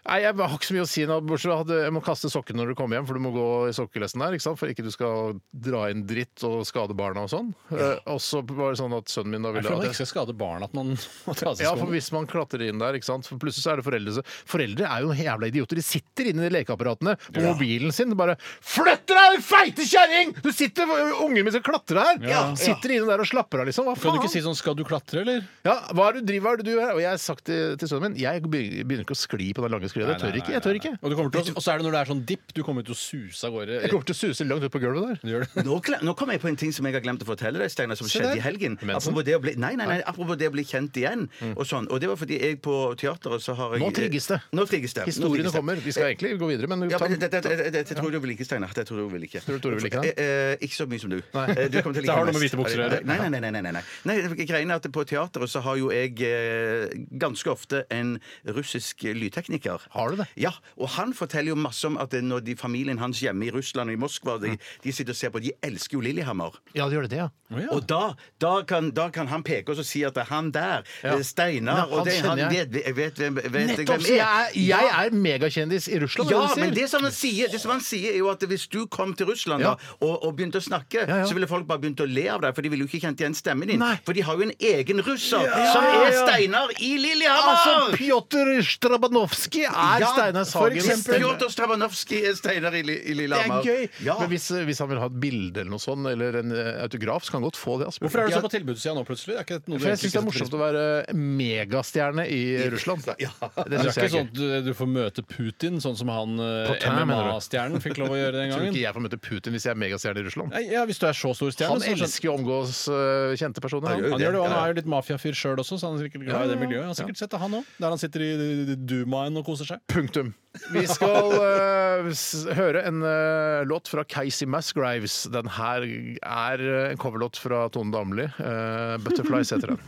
E: Nei, jeg har ikke så mye å si nå, bortsett fra at jeg må kaste sokkene når du kommer hjem, for du må gå i sokkelesten der, ikke sant? for ikke du skal dra inn dritt og skade barna og sånn. Eh, Og så var det sånn at sønnen min da
F: Jeg
E: ville
F: tror man
E: at
F: ikke skal skade barn at man må ta av seg
E: ja, for
F: skoene.
E: hvis man klatrer inn der, ikke sant? For plutselig så er det foreldre som- Foreldre er jo jævla idioter. De sitter inne i lekeapparatene på mobilen sin og bare 'Flytt deg, din feite kjerring! Du sitter Ungen min skal klatre her!'
F: Ja.
E: Sitter inne der og slapper av, liksom. Hva
F: Kan du ikke
E: faen?
F: si sånn 'skal du klatre', eller?
E: Ja, hva er det du driver hva er det du gjør? Og jeg har sagt til, til sønnen min Jeg begynner ikke å skli på den lange sklia. Jeg tør ikke. Jeg tør ikke.
F: Og, du kommer til å, og så er det når det er sånn dipp, du kommer til å suse av gårde.
E: Jeg kommer til å suse langt ut på gulvet der.
F: Gjør det.
G: Nå, kle- nå kom jeg på en ting som jeg har glemt å fortelle deg, Steinar, som skjedde i helgen. Apropos det, å bli, nei, nei, nei, apropos det å bli kjent igjen. Og, sånn. og det var fordi jeg på teateret så har jeg
E: Mm. Nå trigges det.
G: Nå trigges det. Nå
E: Historiene
G: trigges det.
E: kommer. Vi skal egentlig gå videre, men
G: Ja,
E: ta
G: men dette, dette, dette, dette tror jeg du vil like, Steinar. Dette tror jeg du vil like.
E: Tror du Tore vil like den?
G: Eh, eh, ikke så mye som du.
E: Nei.
G: Eh, du kommer til å like
F: Det har noe
G: mest.
F: med hvite bukser å gjøre.
G: Nei, nei, nei. nei, nei, nei, nei. nei det- greien er at På teateret så har jo jeg eh, ganske ofte en russisk lydtekniker.
E: Har du det?
G: Ja, og han forteller jo masse om at det når de, familien hans hjemme i Russland og i Moskva, de, de sitter og ser på, de elsker jo Lillehammer.
E: Ja, det gjør det, ja.
G: Og da, da, kan, da kan han peke og så si at det er han der, eh, Steinar
E: Men
G: og det,
E: han
G: han
E: kjenner jeg.
G: vet, vet, vet, hvem- vet jeg
E: Nettopp!
G: hvem
E: så Jeg er, jeg er megakjendis i Russland.
G: Ja,
E: det du sier.
G: men det som han sier, det som han sier er jo at hvis du kom til Russland
E: Ja.
G: da, og, og begynte å snakke,
E: Ja, ja.
G: så ville folk bare begynt å le av deg, for de ville jo ikke kjent igjen stemmen din.
E: Nei.
G: For de har jo en egen russer som er Steinar i
E: Altså,
G: Lillehammer!
E: Pjotr Strabanovskij er
G: Ja,
E: Steinar Sagens
G: For eksempel Pjotr Strabanovskij er Steinar i, Li- i
E: Det er
G: Lillehammer.
E: gøy!
G: Ja.
E: Men hvis, hvis han vil ha et bilde eller noe sånt, eller en eh, autograf, så kan han godt få det. Asbjørn.
F: Hvorfor er du så på tilbudssida nå, plutselig? Er ikke det noe du
E: For jeg syns
F: egentlig
E: det er
F: ikke setter
E: morsomt å være eh, megastjerne i Russland.
G: Ja.
E: Det
F: Det
E: syns
F: er
E: jeg
F: ikke
E: ikke.
F: sånn at du, du får møte Putin, sånn som han eh,
E: Potin, mener du?
F: MMA-stjernen fikk lov å gjøre den
E: Jeg tror
F: gangen.
E: ikke jeg får møte Putin hvis jeg er megastjerne i Russland.
F: Nei, ja, Hvis du er så stor stjerne,
E: Han
F: så skjønner-
E: elsker jo å omgås eh, kjente personer.
G: gjør
E: Han.
F: han gjør det, og han er jo litt mafiafyr sjøl også, så han er sikkert glad i det miljøet. Han har sikkert sett det, han òg. Der han sitter i Dumaen og koser seg.
E: Punktum. Vi skal eh, s høre en eh, låt fra Casey Musgraves. Den her er eh, en coverlåt fra Tone Damli. Eh, 'Butterflies' heter den.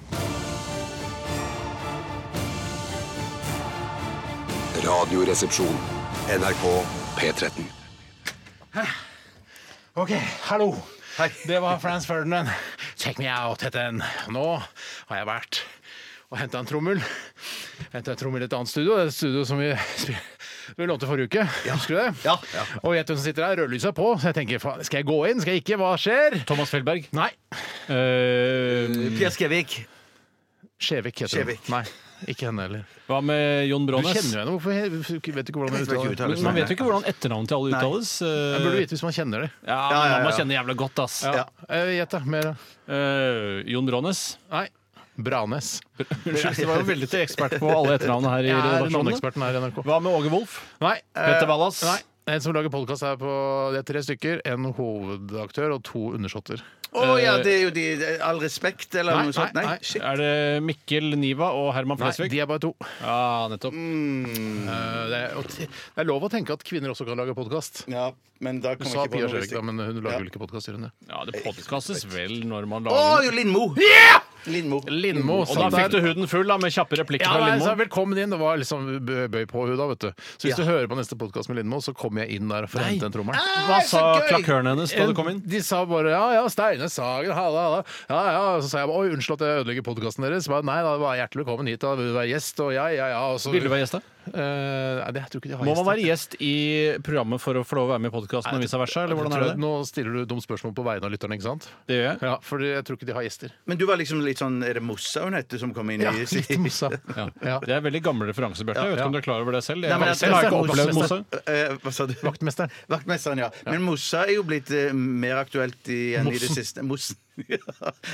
B: Radioresepsjon. NRK P13.
E: Ok, hallo. Det var Frans Ferdinand. Take me out, het den. Nå har jeg vært og henta en trommel. Henta en trommel i et annet studio. Det er et studio som vi, spil- vi lånte forrige uke. Husker du det?
G: Ja, ja.
E: Og gjett hvem som sitter her? Rødlyset er på. Så jeg tenker, faen, skal jeg gå inn? Skal jeg ikke? Hva skjer?
F: Thomas Feldberg. Eh,
E: Nei.
G: Pierre Skjevik.
E: Skjevik heter hun.
G: Skjevik.
E: Nei, ikke henne heller.
F: Hva med Jon
E: Du
F: Brånes?
E: kjenner jo henne. Hvorfor he- vet du ikke hvordan
G: Jeg vet ikke
E: hun
G: hvordan
E: uttaler
G: hun
E: det?
F: Men Man vet jo ikke hvordan etternavnet til alle uttales.
E: Jeg burde
F: Eh,
E: vite hvis man kjenner det.
F: Ja,
G: Ja, ja,
F: men
G: ja.
F: Man kjenner jævla godt, ass.
E: Ja. Eh, Gjett, da. Mer. da.
F: Eh, Jon Brånes.
E: Nei. Branes.
F: Unnskyld, du var jo veldig til ekspert på alle etternavnene her i
E: Jeg er
F: redaksjonen.
E: navneeksperten her i NRK.
F: Hva med Åge Wolff?
E: Nei.
F: Petter
E: eh,
F: Wallas?
E: Nei. En som lager podkast her på Det er tre stykker. En hovedaktør og to undersåtter.
G: Å ja, det er jo de All respekt, eller
E: Nei,
G: noe sånt?
E: nei,
G: Nei.
E: nei.
G: shit.
F: Er det Mikkel Niva og Herman
E: Nei,
F: Flesvig?
E: de er bare to.
F: Ja, nettopp.
E: Eh, Det er, og t- det er lov å tenke at kvinner også kan lage podkast.
G: Ja, men da
E: Du
G: kom
E: sa
G: jeg ikke
E: Pia
G: på noe.
E: Skjevik, da,
G: riktig.
E: men hun lager
G: Ja.
E: vel ikke podkast?
F: Ja, det podkastes vel når man
G: Å,
F: lager
G: jo, Lindmo! Lindmo.
E: Lindmo
F: Og da
E: satt
F: fikk du
E: der.
F: huden full da, med kjappe replikker
E: Ja,
F: fra
E: nei,
F: Lindmo.
E: så velkommen inn. Det var liksom bø- bøy på henne da, vet du. Så hvis
G: Ja.
E: du hører på neste podkast med Lindmo, så kommer jeg inn der for å
F: Nei.
E: hente den trommelen.
F: Hva sa
G: gøy!
F: klakøren hennes da du kom inn?
E: De sa bare 'ja ja, Steine Sagen, halla, halla'. Ja, ja. Så sa jeg 'oi, unnskyld at jeg ødelegger podkasten deres'. Så Bare, nei da, bare hjertelig velkommen hit, da vil du være gjest, og ja, ja, ja. Og så,
F: Ville du være gjest, da?
E: Eh, nei, det, jeg tror ikke de har
F: Må man
E: gjester.
F: være gjest i programmet for å få lov å være med i podkasten og vice versa? Eller hvordan er
E: Jeg tror at
F: det?
E: Nå stiller du dumme spørsmål på vegne av lytterne, ikke sant?
F: Det gjør jeg.
E: Ja, for jeg tror ikke de har gjester.
G: Men du var liksom litt sånn Er det Mossa hun heter som kom inn i
E: litt mossa. Ja. Ja.
F: Det er veldig gamle referanser, Bjarte. Jeg vet ikke om du er klar over det selv.
G: Nei,
F: Jeg,
G: men jeg-
F: selv har ikke
G: jeg-
F: opplevd Mosse.
G: Eh, Hva sa du?
E: Vaktmesteren.
G: Vaktmesteren, ja. Men Mossa er jo blitt eh, mer aktuelt igjen i det siste. Mossen. Ja.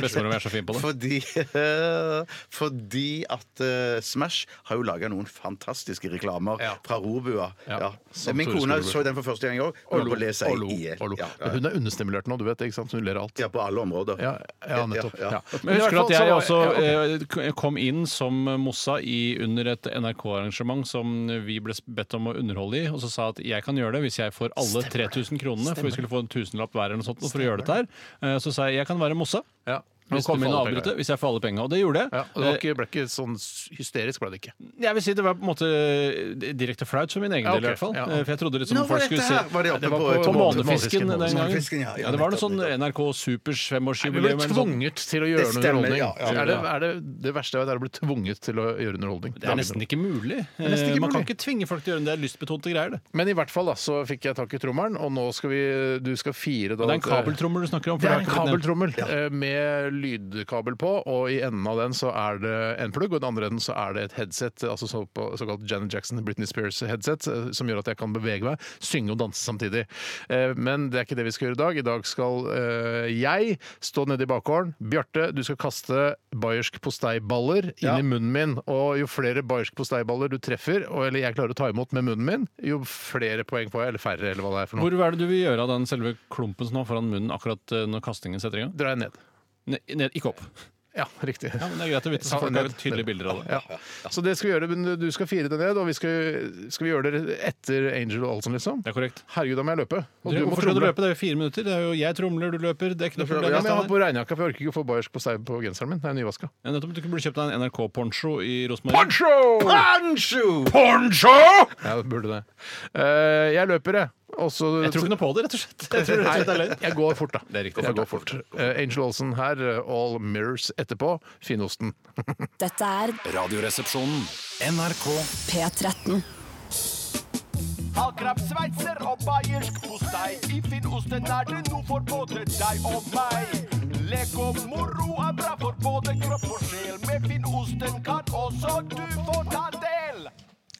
F: Bestemor mi er så fin på det.
G: Fordi, eh, fordi at eh, Smash har jo laga noen fantastiske reklamer
E: Ja.
G: fra robua.
E: Ja.
G: Ja.
E: Som
G: Min
E: Tore
G: kone
E: Skogbu.
G: så den for første gang i år. Og holdt på å le seg i hjel.
E: og lo.
G: Ja,
E: Men
G: ja.
E: Hun er understimulert nå, du vet det, ikke sant? Så hun ler av alt.
G: ja, på alle områder.
E: Ja, ja, nettopp.
G: Ja, ja.
E: Ja.
F: Men
E: i
F: husker du
E: hvert
F: at
E: fall
F: jeg
E: så
F: også
E: var- ja, ok.
F: eh, kom inn som Mossa i, under et NRK-arrangement som vi ble bedt om å underholde i, og så sa at jeg kan gjøre det hvis jeg får alle 3000 kronene, for vi skulle få en tusenlapp hver eller noe sånt for å gjøre dette her. Eh, Så sa jeg jeg kan være Mossa.
E: Ja.
F: Hvis du
E: Kom
F: får
E: inn og
F: alle
E: avbryte.
F: avbryte, hvis jeg får alle pengene. Og det gjorde
E: Ja,
F: jeg. Eh,
E: og det var ikke, ble ikke sånn hysterisk, ble det ikke.
F: Jeg vil si det var på en måte eh, direkte flaut for min egen
E: Ja,
F: del, i
E: ok.
F: hvert fall.
E: Ja.
F: Eh, For jeg trodde liksom
G: Nå var
F: folk skulle
G: dette
F: se
G: her, var det oppe
F: Det var
G: på-
F: på,
G: på
E: Månefisken
F: Månefisken den gangen.
G: Månefisken, ja, ja,
F: det var noe
G: nettopp,
F: sånn
G: nettopp.
F: NRK Supers
E: Vi ble
F: femårsjubileum. eller noe sånt.
E: tvunget til å gjøre
G: Det stemmer,
E: underholdning.
G: ja, ja,
E: Er, det, er det det verste jeg vet, er å bli tvunget til å gjøre underholdning.
F: Det er nesten ikke mulig.
E: nesten ikke
F: Eh, Man kan
E: mulig.
F: ikke tvinge folk til å gjøre det. Det er lystbetonte greier, det.
E: Men i hvert fall da, så fikk jeg tak i trommelen, og nå skal vi, du skal fire da,
F: Det er en kabeltrommel du snakker om. for
E: Det er en
F: har ikke blitt nevnt.
E: kabeltrommel eh, med lydkabel på, og i enden av den så er det en plugg, og i den andre enden så er det et headset, altså så på, såkalt Janet Jackson, Britney Spears headset, eh, som gjør at jeg kan bevege meg, synge og danse samtidig. Eh, Men det er ikke det vi skal gjøre i dag. I dag skal eh, jeg stå nede i bakgården. Bjarte, du skal kaste bayersk posteiballer inn i munnen min, og jo flere bayersk posteiballer du treffer, og, eller jeg klarer å ta imot med munnen min, jo flere poeng får jeg, eller færre, eller hva det er for noe.
F: Hvor hva er det du vil gjøre av den selve klumpen som er foran munnen akkurat eh, når kastingen setter i gang?
E: Dra ned.
F: Ne- Ned, ikke opp.
E: Ja, riktig.
F: Ja, men Det er greit å vite,
E: Ja,
F: så folk
E: ned.
F: har tydelige bilder av det.
E: Ja. Så det skal vi gjøre, men du skal fire det ned, og vi skal, skal vi gjøre det etter Angel og Olsen, liksom?
F: Det er korrekt.
E: Herregud, da må jeg løpe. Og du må
F: Hvorfor skal du
E: tromle.
F: løpe? Det er jo fire minutter. Det er jo jeg tromler, du løper. Det er ikke noe problem.
E: Ja, men jeg har på regnjakka, for jeg orker ikke å få bayersk på, stein på genseren min. Det er nyvaska.
F: Ja, nettopp. Du burde kjøpt deg en NRK-poncho i Rosenborg.
E: Poncho!
G: Pancho!
E: Poncho! Ja, det burde det. Eh, jeg løper, jeg. Og så-
F: Jeg tror ikke noe på det, rett og slett. Jeg tror rett og slett det er løgn.
E: Nei, jeg går fort, da.
F: Det er riktig.
E: Jeg går fort. Eh, Angel Olsen her, eh, All Mirrors etterpå. Finosten.
H: Dette er
B: Radioresepsjonen.
D: NRK
H: P13.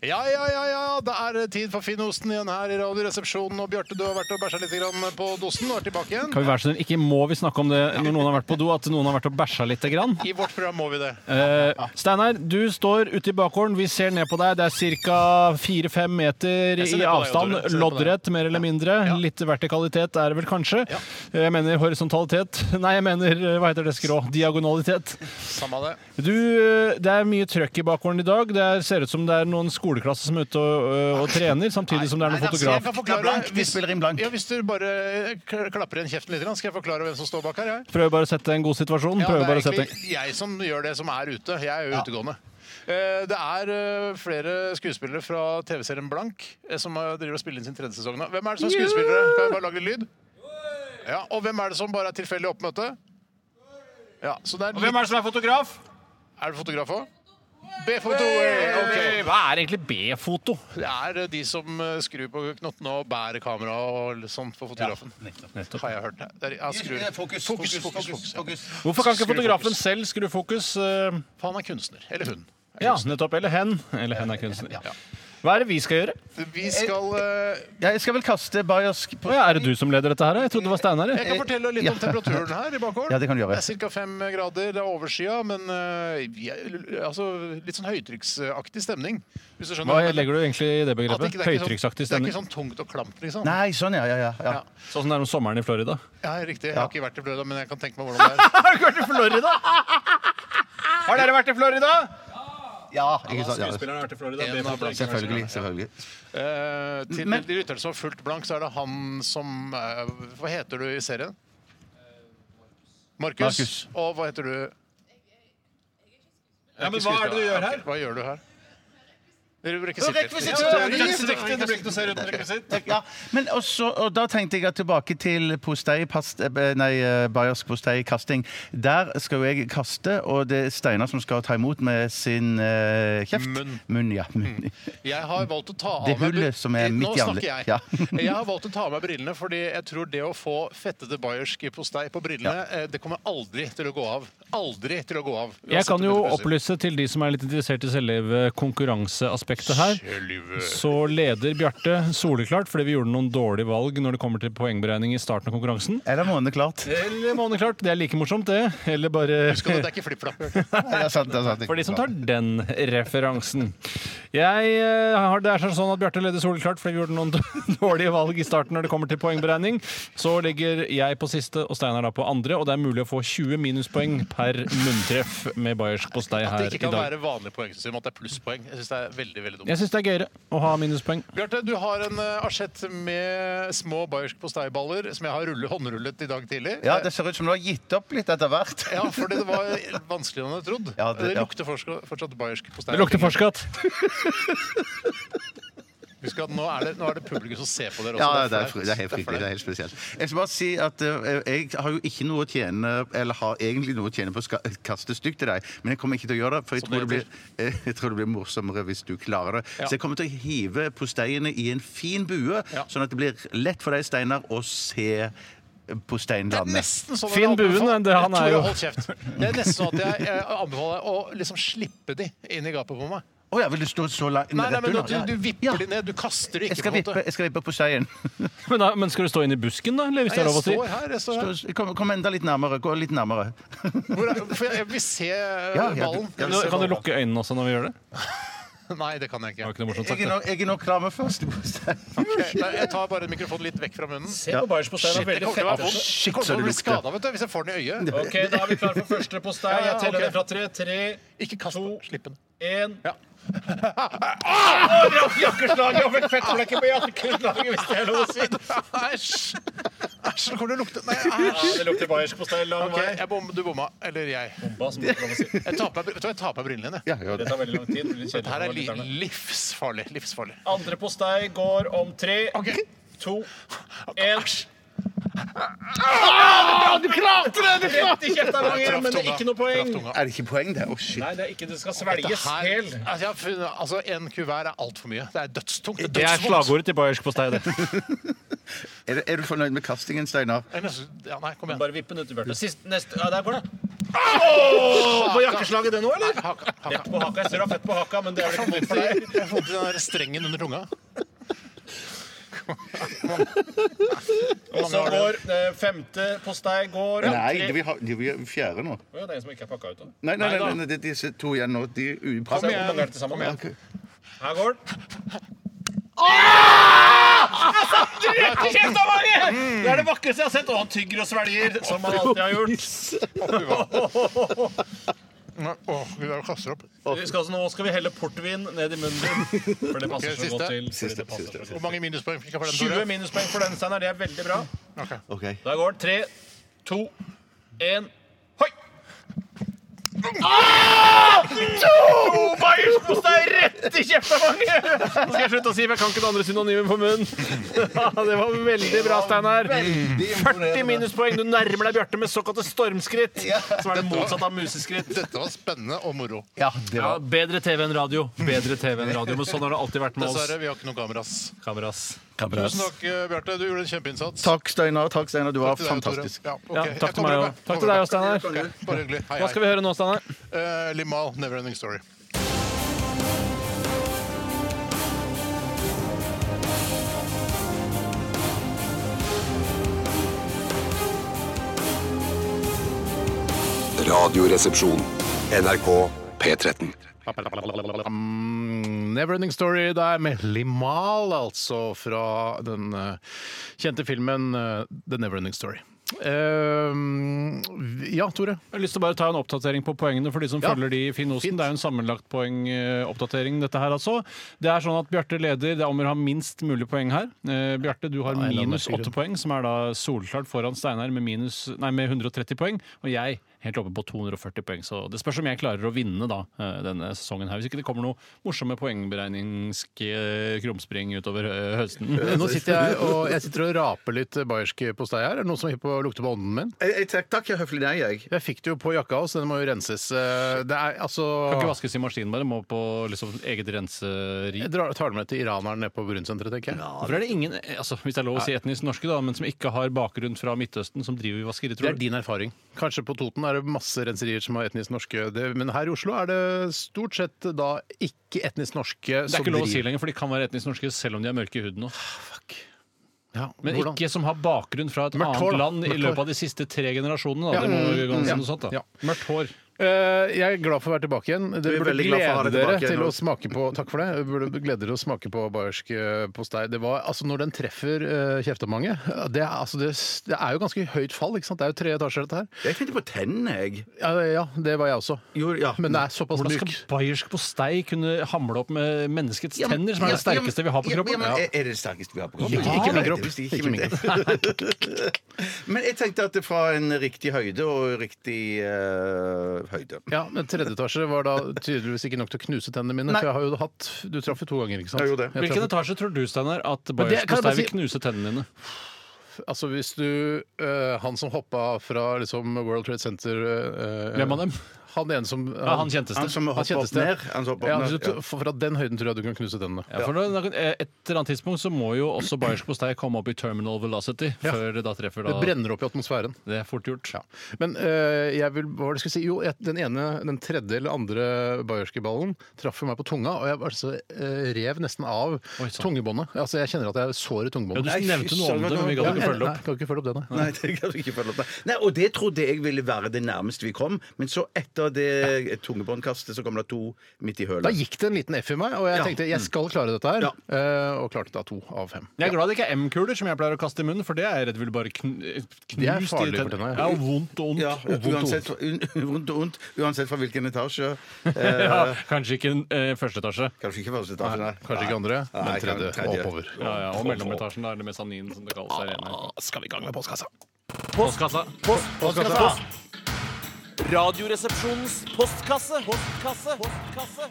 E: Ja, ja, ja, ja, det er tid for Finosten igjen her i Radioresepsjonen. Og Bjarte, du har vært og bæsja litt grann på dosen og er tilbake igjen.
F: Kan vi være så snill, ikke må vi snakke om det når noen har vært på do, at noen har vært og bæsja lite grann?
E: I vårt program må vi det.
F: Eh, Steinar, du står ute i bakgården, vi ser ned på deg. Det er ca. fire-fem meter
E: Jeg ser ned
F: i
E: på deg,
F: avstand.
E: Tore. Jeg ser ned på deg.
F: Loddrett, mer eller mindre. Litt vertikalitet er det vel kanskje. Eh, Jeg mener horisontalitet. Nei, jeg mener eh, hva heter det, skrå? Diagonalitet.
E: Samme det.
F: Du, eh, det er mye trøkk i bakgården i dag. Det er, ser ut som det er noen skoleklasse som er ute og, øh, og trener, samtidig som det er noen
E: altså, Jeg
F: fotograf.
E: kan forklare,
G: Det er blankt. Vi
E: hvis-
G: spiller inn blankt.
E: Ja, hvis du bare k- klapper igjen kjeften litt, skal jeg forklare hvem som står bak her. Jeg.
F: Prøver bare å sette en god situasjon.
E: Ja,
F: Prøver bare å
E: det er
F: sette
E: egentlig jeg som gjør det som er ute. Jeg er jo utegående. Eh, Det er eh, flere skuespillere fra TV-serien Blank eh, som eh, driver og spiller inn sin tredje sesong nå. Hvem er det som er skuespillere? Kan vi bare lage litt lyd? Ja, og hvem er det som bare er tilfeldig oppmøte? Ja, så det er litt...
F: er det som er fotograf?
E: Er det fotograf òg? B-foto! ok.
F: Hva er egentlig B-foto?
E: Det er eh, de som eh, skrur på knottene og bærer kameraet og litt sånn for fotografen. Har jeg hørt. Det er, ja, skrur.
G: Fokus,
E: fokus, fokus, fokus, ja.
F: Hvorfor kan ikke
E: Skru
F: fotografen
E: fokus.
F: selv skru fokus? eh,
E: For han er kunstner. Eller hun. er
F: Ja,
E: kunstner.
F: nettopp. Eller hen. Eller hen er kunstner. Hva er det vi skal gjøre?
E: Vi skal eh,
G: Jeg skal vel kaste bayersk
F: Å, ja, er det du som leder dette her? Jeg trodde det var Steinar.
E: Jeg
F: jeg.
E: kan fortelle litt om temperaturen her i bakgården.
G: Ja, det kan du gjøre.
E: er ca. fem grader. Det er overskya, men eh, vi er- altså, litt sånn høytrykksaktig stemning. Hvis du skjønner
F: Hva
E: hva jeg mener.
F: legger du egentlig i det
E: At ikke- det er
F: begrepet?
E: ikke sånn- Det
F: Høytrykksaktig
E: er
F: stemning?
E: ikke sånn tungt og klamt, liksom.
G: Nei, sånn, ja. ja, ja, ja.
F: Sånn som det er om sommeren i Florida?
E: Ja, riktig. Jeg har ikke vært i Florida, men jeg kan tenke meg hvordan det er.
F: Har du vært i Florida? Har dere vært i Florida?
G: ja ikke sant, ja.
F: Skuespilleren har vært i Florida.
E: En av blant-
G: Selvfølgelig. selvfølgelig.
E: Eh, til
G: Men-
E: de lyttere som har fulgt blank, så er det han som eh, Hva heter du i serien? Markus.
G: Markus.
E: Og hva heter du? Ja,
I: men hva er det du gjør her?
E: Hva gjør du her?
I: Rekvisitør! Det blir ikke noe seriøst med rekvisitt.
G: Ja, men også, og da tenkte jeg at tilbake til postei, past, eh, nei, eh, bayersk posteikasting. Der skal jo jeg kaste, og det er Steinar som skal ta imot med sin eh, kjeft.
E: Munn.
G: ja. Munn.
E: Jeg har valgt å ta av
G: Det
E: meg br-
G: hullet som er midt
E: Nå
G: i
E: snakker
G: anle-
E: jeg.
G: Ja.
E: jeg har valgt å ta av meg brillene, fordi jeg tror det å få fettete bayersk postei på brillene, eh, det kommer aldri til å gå av. Aldri til å gå av.
F: Jeg kan jo
E: Uansett om det
F: opplyse til de som er litt interessert i selve konkurranseaspektet her.
E: Selve.
F: Så leder Bjarte soleklart fordi vi gjorde noen dårlige valg når det kommer til poengberegning i starten av konkurransen.
G: Eller måned klart.
F: Eller måneklart. Det er like morsomt, det.
E: Husk at
F: Eller bare
E: det er ikke flipp-flapp.
G: Ja, sant, det er sant.
F: for de som tar den referansen. Jeg eh, har, det er sånn at Bjarte leder soleklart fordi vi gjorde noen dårlige valg i starten når det kommer til poengberegning. Så ligger jeg på siste og Steinar da på andre, og det er mulig å få 20 minuspoeng per munntreff med bayersk postei
E: At
F: her
E: det
F: i
E: ikke kan
F: dag.
E: være vanlig poengsystem, at det er plusspoeng. Jeg syns det er veldig, veldig dumt.
F: Jeg syns det er gøyere å ha minuspoeng.
E: Bjarte, du har en eh, asjett med små bayersk posteiballer som jeg har rulle, håndrullet i dag tidlig. Eh,
G: Ja, det ser ut som du har gitt opp litt etter hvert.
E: Ja, for det var vanskeligere enn jeg trodde.
G: Ja,
E: det,
G: det- ja.
E: lukter fortsatt, fortsatt bayersk postei.
F: Det lukter fortsatt.
E: Husk at nå er, det, nå er det publikum som ser på dere også.
G: Ja, det er,
E: flaut.
G: fri- det er helt
E: Det er
G: frivillig. Det er
E: flaut.
G: helt spesielt. Jeg skal bare si at eh, jeg har jo ikke noe å tjene Eller har egentlig noe å tjene på å ska- kaste stygt til deg, men jeg kommer ikke til å gjøre det, for jeg
E: Som
G: tror det,
E: det
G: blir, eh, jeg tror det blir morsommere hvis du klarer det. Så jeg kommer til å hive posteiene i en fin bue,
E: Ja.
G: sånn at det blir lett for deg, Steinar, å se posteien
E: Det er
G: lande.
E: nesten sånn at
F: Finn
E: jeg anbefaler-
F: buen, det han er
E: Tore,
F: jo-
E: Hold kjeft. Det er nesten sånn at jeg, jeg anbefaler deg å liksom slippe de inn i gapet på meg.
G: Å ja, vil du stå så langt
E: Nei, nei, men du, du vipper
G: Ja.
E: de ned. Du kaster de
G: Jeg
E: ikke.
G: skal
E: på en måte.
G: vippe, jeg skal vippe posteien.
F: Men, da, men skal du stå inn i busken, da? Eller hvis
E: Nei,
F: det er
E: jeg
F: lov å si?
E: står her. Jeg står her.
G: Kom, kom enda litt nærmere. Gå litt nærmere.
E: Hvor er, for jeg, jeg vil se eh,
G: Ja, ja, du-
E: ballen. Jeg
F: Kan
E: vil
F: du-
E: se
F: Kan du
E: ballen.
F: lukke øynene også når vi gjør det?
E: Nei, det kan jeg
F: Det var
E: ikke.
F: ikke noe morsomt sagt.
G: Jeg er
F: det.
G: nå, jeg er nå klar med første postei.
E: Ok, Eh, nei, Jeg tar bare mikrofonen litt vekk fra munnen.
F: Se på Bayers postei.
E: Jeg
F: det er veldig
E: kommer til å være vond.
F: fett.
E: Jeg kommer til å bli skadet, vet du, hvis jeg får den i øyet.
F: Ok, da er vi klar for første postei.
E: Ja, ja,
F: Jeg teller
E: ok.
F: ned fra tre. Tre,
E: Ikke kast den. Slipp den.
F: én
E: Ja.
F: Jakkeslaget! Jeg fikk fettflekker på jakkeslaget, hvis det er lov å si.
E: Æsj! Æsj, nå kommer det å lukte Nei, æsj!
F: Det lukter bayersk postei lang
E: Ok, jeg bom, du bomma. Eller jeg.
F: Bomba, som det er lov å si.
E: Jeg tar på meg, vet du hva, jeg tar på meg brillene dine.
F: Det tar veldig lang tid. det blir kjedelig
E: Dette her
F: for
E: er li
F: lytterne.
E: livsfarlig. Livsfarlig.
F: Andre postei går om tre,
E: OK.
F: to, én.
E: Ah, du klarte det! Du
F: Rett i kjefta lang igjen, men det er ikke noe poeng.
G: Er det ikke poeng, det? Å, shit.
F: Nei, det er ikke det skal svelges hel.
E: altså, jeg har funnet, altså, En kuvert er altfor mye. Det er dødstungt. Det er
F: Det er
E: dødsvondt.
F: slagordet til bayersk postei. det.
G: Er, du- er du fornøyd med kastingen, Steinar?
E: Jeg er nesten- Ja, nei, kom igjen.
F: Bare vipp den uti Bjarte. Sist- neste- Ja, der går det. Åh, På jakkeslaget det nå, eller?
E: Haka, haka.
F: Fett på haka. Jeg ser du har fett på haka, men det er vel ikke nytt for deg.
E: Jeg får vondt i den der strengen under tunga.
F: Og så går eh, femte postei går
G: Nei,
F: tre-
G: det vi har, det vi har fjerde nå.
F: Å, ja, det er en som ikke er pakka ut. da.
G: Nei, nei, nei,
F: da.
G: nei, nei det er disse to igjen nå. De er
F: Se,
G: upresentable.
F: hvor mange er det til sammen? Her går den. Rett Ah! i kjefta, Mange! Det er det vakreste jeg har sett. Og han tygger og svelger, som han alltid har gjort.
E: Nei, Åh, Gud, jeg kaster opp.
F: Vi skal, altså- nå skal vi helle portvin ned i munnen din. For det passer
E: Ok, siste.
F: så godt til. Fordi det passer så godt.
E: Hvor mange minuspoeng fikk jeg for den?
F: 20
E: Tore?
F: minuspoeng for den, Steinar. Det er veldig bra.
G: Ok.
F: Da går den. Tre, to, én Hoi! To bayerspostei rett i kjefta, Mange! Nå skal jeg slutte å si, for jeg kan ikke det andre synonymet på munnen. Det var veldig bra, Steinar. 40 minuspoeng. Du nærmer deg Bjarte med såkalte stormskritt, som er det motsatte av museskritt.
E: Dette var spennende og moro.
G: Ja, det
F: Ja,
G: var
F: bedre TV enn radio. Bedre TV enn radio, Men sånn har det alltid vært med oss.
E: Dessverre, vi har ikke noen kameras.
F: Kameras.
E: Tusen takk, eh, Bjarte. Du gjorde en kjempeinnsats.
G: Takk, Steinar. Takk, Steinar. Du var
E: til deg, Tore.
G: fantastisk.
E: Ja, ok.
F: Ja,
E: Jeg
F: takk til
E: kommer
F: meg
E: over.
F: også. Takk til deg òg, Steinar.
E: Ok, Bare hyggelig. Hei,
F: Hva skal
E: hei.
F: vi høre nå, Steinar?
E: Eh, Limal, Neverending Story.
B: Radioresepsjon. NRK P13.
E: Neverending Mm, Story der med Limal, altså, fra den eh, kjente filmen eh, The Neverending Story. Eh, ja, Tore.
F: Jeg har lyst til å bare ta en oppdatering på poengene for de som
E: Ja.
F: følger de i Finn Osen. Det er jo en sammenlagtpoengoppdatering, dette her altså. Det er sånn at Bjarte leder. Det er om å ha minst mulig poeng her. Eh, Bjarte, du har
E: Nei, la meg
F: minus
E: fyre.
F: åtte poeng, som er da solklart foran Steinar med, minus, nei, med 130 poeng. Og jeg helt oppe på 240 poeng. Så det spørs om jeg klarer å vinne da, eh, denne sesongen her, hvis ikke det kommer noe morsomme poengberegningske krumspring utover eh, høsten.
E: Nå sitter jeg og, jeg sitter og raper litt bayersk postei her. Er det noen som er hypp på å lukte på ånden min?
G: Jeg, jeg, takk, takk, jeg er høflig nei, jeg.
E: Jeg fikk det jo på jakka også, den må jo renses. Eh, Det er altså
F: Kan ikke vaskes i maskinen, bare. Må på liksom, eget renseri.
E: Jeg drar, tar det med til iraneren nede på Brunsenteret, tenker jeg.
F: Hvorfor er det ingen, eh, altså, hvis det er lov å si etnisk norske, da, men som ikke har bakgrunn fra Midtøsten, som driver i vaskeri,
E: Det er
F: tror
E: din erfaring. Kanskje på Toten er det masse renserier som er etnisk norske, det, men her i Oslo er det stort sett da ikke etnisk norske
F: Det er
E: som
F: ikke lov å si
E: driver.
F: lenger, for de kan være etnisk norske selv om de er mørke i huden. nå.
E: Ja,
F: Men
E: hvordan?
F: ikke som har bakgrunn fra et
E: Mørkt hår, da.
F: annet land i
E: Mørkt
F: løpet
E: hår.
F: av de siste tre generasjonene. Da.
E: Ja,
F: Det må jo gå an å si
E: mm,
F: noe sånt, da.
E: ja.
F: Mørkt hår.
E: Eh, jeg er glad for å være tilbake igjen. Dere
G: er
E: burde
G: veldig glad for å ha
E: glede
G: deg
E: dere
G: tilbake igjen,
E: til å
G: Olav.
E: smake på Takk for det. Dere burde glede dere å smake på bayersk eh, postei. Det var, altså, når den treffer uh, kjeftemanget det, er- altså, det, det er jo ganske høyt fall. Ikke sant? Det er jo tre etasjer, dette her.
G: Jeg tenkte på tennene, jeg.
E: Ja, ja, det var jeg også.
G: Jo, ja.
E: Men det er såpass
F: Hvordan skal
E: myk.
F: bayersk postei kunne hamle opp med menneskets tenner, som er det sterkeste vi har på
E: eh,
F: kroppen?
G: Ja, men, er- er det det sterkeste vi har på kroppen?
E: Ikke- ikke min kropp.
G: det visste jeg
E: Ikke min
G: men jeg tenkte at det fra en riktig høyde og riktig eh, høyde.
E: Ja, men tredje etasje var da tydeligvis ikke nok til å knuse tennene mine. For jeg har jo hatt Du traff jo to ganger, ikke sant?
G: Jeg gjorde det.
E: Jeg
F: Hvilken
E: traff-
F: etasje tror du, Steinar, at
E: det-
F: bayersk
E: kan jeg bare
F: postei vil
E: si-
F: knuse tennene dine?
E: altså, hvis du eh, Han som hoppa fra liksom World Trade Center eh,
F: Hvem av dem?
E: Han ene som eh,
F: Ja, han kjenteste.
G: Han som hopper opp
E: kjenteste.
G: ned. Han som hopper
E: Ja,
G: opp
E: du,
G: ned. Ja.
E: for Fra den høyden tror jeg du kan knuse tennene.
F: Ja, for da- da kan- eh, Et eller annet tidspunkt så må jo også bayersk postei komme opp i terminal velocity
E: Ja.
F: før det da treffer
E: Det
F: da
E: brenner opp i atmosfæren.
F: Det er fort gjort.
E: Men eh, jeg vil, hva var det jeg skulle si? Jo, jeg, den ene, den tredje eller andre bayerske ballen traff jo meg på tunga, og jeg var så, eh, rev nesten av
F: sann.
G: sånn.
E: tungebåndet. Altså, jeg kjenner at jeg har sår i
F: Ja, du
E: tungebåndet.
F: nevnte noe om det, men vi
E: Ja,
F: gadd ikke
E: jeg-
F: følge
E: nei,
F: opp.
E: jeg kan ikke følge opp det, nei.
G: Nei, det kan du ikke følge opp med. Nei, og det trodde jeg ville være det nærmeste vi kom, men så etter det tungebåndkastet så kom det to midt i hølet.
E: Da gikk det en liten F i meg, og jeg
G: Ja.
E: tenkte jeg skal klare dette her.
G: Ja.
E: eh, og klarte da to av fem.
F: Jeg er glad det ikke er M-kuler, som jeg pleier å kaste i munnen, for det er jeg redd vil bare kn eh,
E: Det er
F: knuse
E: farlig for tennene.
F: Ja, og vondt og ondt.
G: Ja,
F: og vondt, og
G: uansett, fra- un, vondt og ondt, uansett fra hvilken etasje.
F: ondt.
G: Eh,
F: Ja, kanskje ikke en, eh, første etasje.
G: kanskje ikke første etasje, nei.
E: Kanskje ikke andre,
G: Nei,
E: men tredje,
G: kan- tredje.
E: og oppover.
F: Ja, ja, og mellometasjen, da er det mesanin, som det kalles her inne.
E: Skal vi i gang med postkassa?
F: Postkassa.
J: Radioresepsjonens postkasse. Postkasse. Postkasse.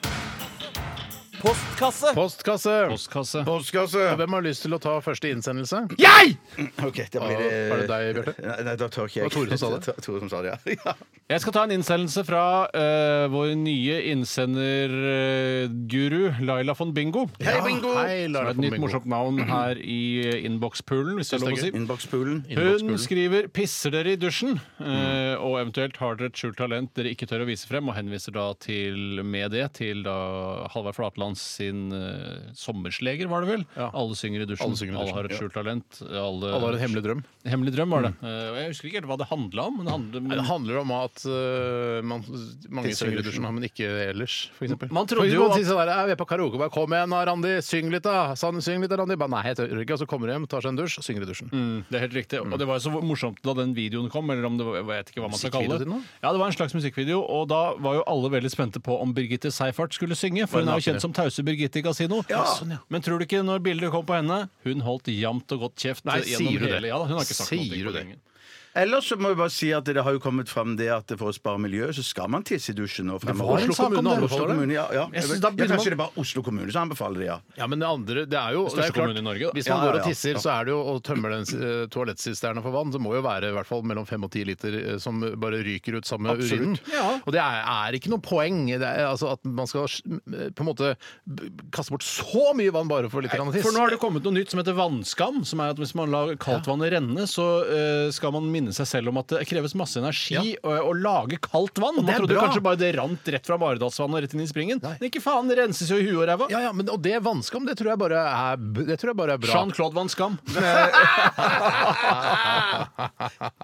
J: Postkasse.
E: Postkasse!
F: Postkasse.
G: Postkasse!
E: Hvem har lyst til å ta første innsendelse?
G: Ok, da blir det
E: Var det deg, Bjarte?
G: Nei, nei, da tør ikke jeg.
E: Det var Tore som sa det.
G: var Tore som sa det, ja. ja.
F: Jeg skal ta en innsendelse fra eh, vår nye innsenderguru, Laila von Bingo.
G: Hei, bingo!
E: Ah, Hei,
F: Som er
E: Lara
F: et nytt
E: Bingo.
F: morsomt navn her i eh, innbokspoolen, hvis det er lov å si.
G: Innbokspoolen.
F: Hun skriver 'pisser dere i dusjen',
E: Mm.
F: eh, og eventuelt har dere et skjult talent dere ikke tør å vise frem, og henviser da til, med det til da Halvard Flatland sin eh, 'Sommersleger', var det vel? Alle synger i dusjen.
E: Alle
F: Alle,
E: synger i dusjen,
F: har et
E: ja.
F: skjult talent. Alle,
E: Alle har en hemmelig drøm.
F: Hemmelig drøm, var det. Eh, og jeg husker ikke helt hva det handla om, men det handler
E: Det
F: om
E: handler om at øh, man, mange synger i dusjen, men ikke ellers, for eksempel.
F: Man trodde
E: For
F: jo
E: man
F: at-
E: sier sånn der, «Jeg vil på karaoke, bare kom igjen, da, Randi, syng litt da! Sann, Syng litt da, Randi! Bare, nei, jeg tør ikke. Og så kommer de hjem, tar seg en dusj, og synger i dusjen.
F: Mm, det er helt riktig.
E: Mm.
F: Og det var jo så morsomt da den videoen kom. eller om det var, jeg vet ikke hva man skal kalle det.
E: Musikkvideo til den,
F: Ja, Det var en slags musikkvideo, og da var jo alle veldig spente på om Birgitte Seifert skulle synge. For hun er jo kjent som tause Birgitte i Casino. Men tror du ikke når bildet kom på henne Hun holdt jevnt og godt kjeft
E: Nei,
F: gjennom
E: sier du det?
F: hele Ja, da, hun har ikke sagt noe
E: Sier du
F: på
E: det?
F: lenge.
G: Ellers så må jeg bare si at det har jo kommet fram det at for å spare miljøet, så skal man tisse i dusjen. Og fremover.
E: var en sak om det.
G: Oslo kommune, ja, ja.
F: Jeg
G: Jeg
F: synes da
G: vet- ja,
F: begynner man-
G: kanskje det er bare Oslo kommune som anbefaler det, ja.
E: Ja, men det andre, det er jo det
F: største
E: er klart,
F: kommunen i Norge, da.
E: Hvis man
G: Ja, ja,
E: går og
G: ja.
E: tisser, så er det jo å tømme den eh, toalettsisterne for vann. Det må jo være i hvert fall mellom fem og ti liter eh, som bare ryker ut sammen med urinen. Og det er, er ikke noe poeng det er, altså, at man skal eh, på en måte b- kaste bort så mye vann bare for litt grann tiss.
F: For nå har det kommet noe nytt som heter vannskam. Som er at Hvis man lar kaldtvannet renne, så eh, skal man minne seg selv om at det kreves masse energi å, å lage kaldt vann. Man
E: det er
F: trodde
E: bra.
F: kanskje bare det rant rett fra Maridalsvannet og rett inn i springen. Men ikke faen, det renses jo i huet og ræva.
E: Ja, ja, men, og det vannskam, det tror jeg bare er, b- det tror jeg bare er bra.
F: Jean-Claude Vannskam.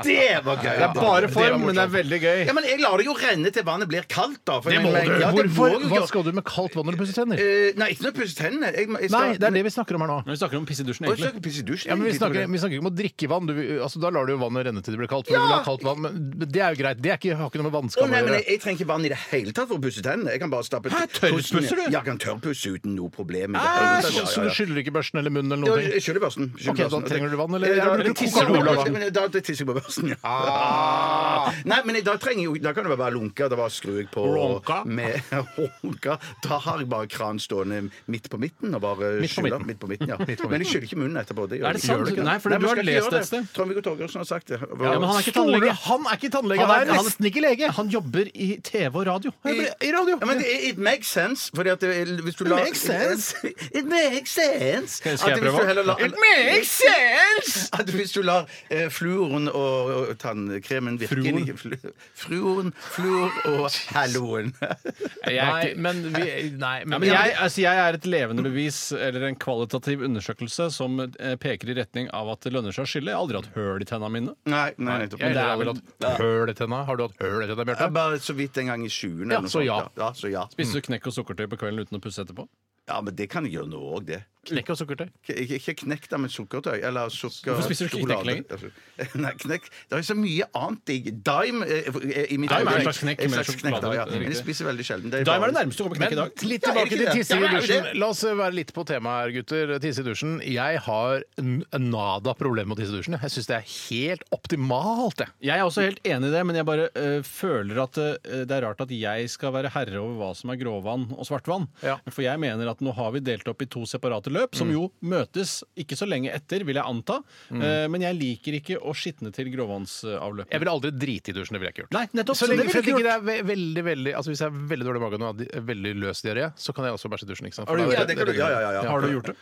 G: Det var gøy!
E: Det er bare form, men det er
F: veldig gøy.
G: Ja, men jeg lar det jo renne til vannet blir kaldt, da. for
E: Det
G: jeg
E: må
G: mener-
E: du!
G: Ja, det må
E: Hvorfor?
G: jeg
E: Hva
G: gjøre.
E: skal du med kaldt vann når du pusser tenner?
G: Eh, Nei, ikke når jeg pusser tennene. Jeg, jeg skal,
E: Nei, det er det vi snakker om her nå.
F: Når vi snakker om piss i dusjen,
G: Å, jeg
F: egentlig.
G: skal ikke pisse i dusjen.
E: Ja, men vi
G: egentlig, tror
E: snakker,
G: jeg.
E: vi snakker ikke om å drikke vann. Du, altså, da lar du jo vannet vann og rennetid blir kaldt. For du vil ha kaldt vann, men det er jo greit. Det er ikke, har ikke noe med
G: Å,
E: vannskade
G: nei,
E: å
G: men jeg,
E: gjøre.
G: jeg trenger ikke vann i det hele tatt for å pusse tennene. Jeg kan bare stappe
E: Hæ, tørrpusser
G: pussen
E: du?
G: i- Ja, jeg kan tørrpusse uten noe problem. i det hele
E: Æsj!
G: tatt. Ja, ja,
E: Så
G: ja.
E: du skyller ikke børsten eller munnen eller
G: Ja,
E: noen ting?
G: jeg skyller børsten. Skyller
E: Ok, da
G: børsten.
E: trenger du vann, eller?
G: Eh, da-
E: Eller
G: tisser jeg på
E: Coca-Cola?
G: børsten. Men Da da tisser jeg på børsten, ja. Nei, men da trenger jeg jo Da kan det være lunka. Da bare skrur jeg på
E: Runka?
G: Med, runka. Da har jeg bare kran stående midt på midten og bare
E: Midt på
G: skyller.
E: midten.
G: Midt på midten. Ja. Men jeg skyller ikke munnen etterpå. Det gjør
F: Er det
G: jeg ikke.
F: sant?
G: Gjør jeg ikke.
F: Nei, for du
G: men
F: har
G: skal ikke
F: lest
G: gjøre
F: det et sted.
G: Trond-Viggo Torgersen har sagt det.
F: Ja, men han er ikke
E: Store,
F: tannlege.
E: Han er ikke tannlege,
F: Han er-
E: han er
F: han-
E: nesten ikke lege.
F: Han jobber i TV og radio.
G: I,
E: radio.
G: Ja, men det, it makes sense. Fordi at det, hvis du
E: It
G: lar,
E: makes sense.
G: It makes sense.
F: Skal- skal jeg
G: At hvis
F: prøve?
G: du heller lar-
E: It makes sense!
G: At hvis du lar eh, fluoren og, og tannkremen virke inn i flu, Fruoren, fluor og halloen.
F: Jeg er
E: Nei,
F: ikke-
E: men, vi, nei,
F: Ja,
E: men,
F: men jeg, altså jeg er et levende bevis, eller en kvalitativ undersøkelse, som eh, peker i retning av at det lønner seg å skille. Jeg har aldri hatt høl i tennene mine.
G: Nei, nei, nettopp.
E: Jeg har vel
G: vel
E: hatt høl i tenna. Har du hatt høl i tenna, Bjarte?
G: bare så vidt en gang i sjuende.
E: Ja,
G: eller noe
E: så
G: sånt,
E: ja.
G: Ja, så ja.
F: Spiser du knekk og sukkertøy på kvelden uten å pusse etterpå?
G: ja, men det kan jeg gjøre nå òg, det.
E: Knekk og sukkertøy.
G: K- Ikke, ikke knekk da, men sukkertøy. Eller sukker
F: Hvorfor spiser du ikke
G: sjokolade. Nei, knekk Det er så mye annet digg. Dime eh, i
F: Dime er en
G: mitt øyeblikk.
F: slags knekk
G: En
F: med
G: slags knekk, da,
F: sjokolade,
G: ja.
F: det er
G: Men jeg
F: riktig.
G: spiser veldig sjelden. Det
F: Dime er
G: bare-
F: det nærmeste å komme
E: Men
F: knekk i dag.
E: litt
G: Ja, er
E: tilbake
G: det
E: til
G: ikke det?
E: tisse i
G: Ja, er det
E: dusjen.
G: det?
E: La oss være litt på temaet her, gutter. Tisse i dusjen. Jeg har n- nada problem med å tisse i dusjen. Jeg syns det er helt optimalt, jeg.
F: Jeg er også helt enig i det, men jeg bare eh, føler at eh, det er rart at jeg skal være herre over hva som er gråvann og svartvann.
E: Ja. Mm.
F: For jeg mener at nå har vi delt opp i to separate løp, som jo møtes ikke så lenge etter, vil jeg anta. Eh, men jeg liker ikke å skitne til gråvannsavløpet.
E: Jeg ville aldri drite i dusjen. Det ville jeg ikke gjort.
F: Nei, nettopp,
E: Så
F: så
E: lenge
F: det ville
E: for at
F: jeg ikke
E: ikke det er ve- veldig, veldig, altså hvis jeg har veldig dårlig mage nå, og har veldig løs diaré, så kan jeg også bæsje i dusjen. Ikke sant? For
F: Har du
E: da-
G: Ja, det kan du- ja, ja, ja, ja.
F: Har du gjort det?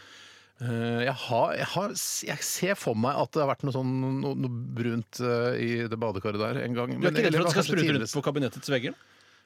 E: Eh, Jeg, har, jeg, har, jeg ser for meg at det har vært noe, sånn, noe, noe brunt eh, i det badekaret der en gang.
F: Du er ikke redd
E: eller
F: for at det skal
E: kanskje
F: sprute
E: tidligere.
F: rundt på kabinettets vegger?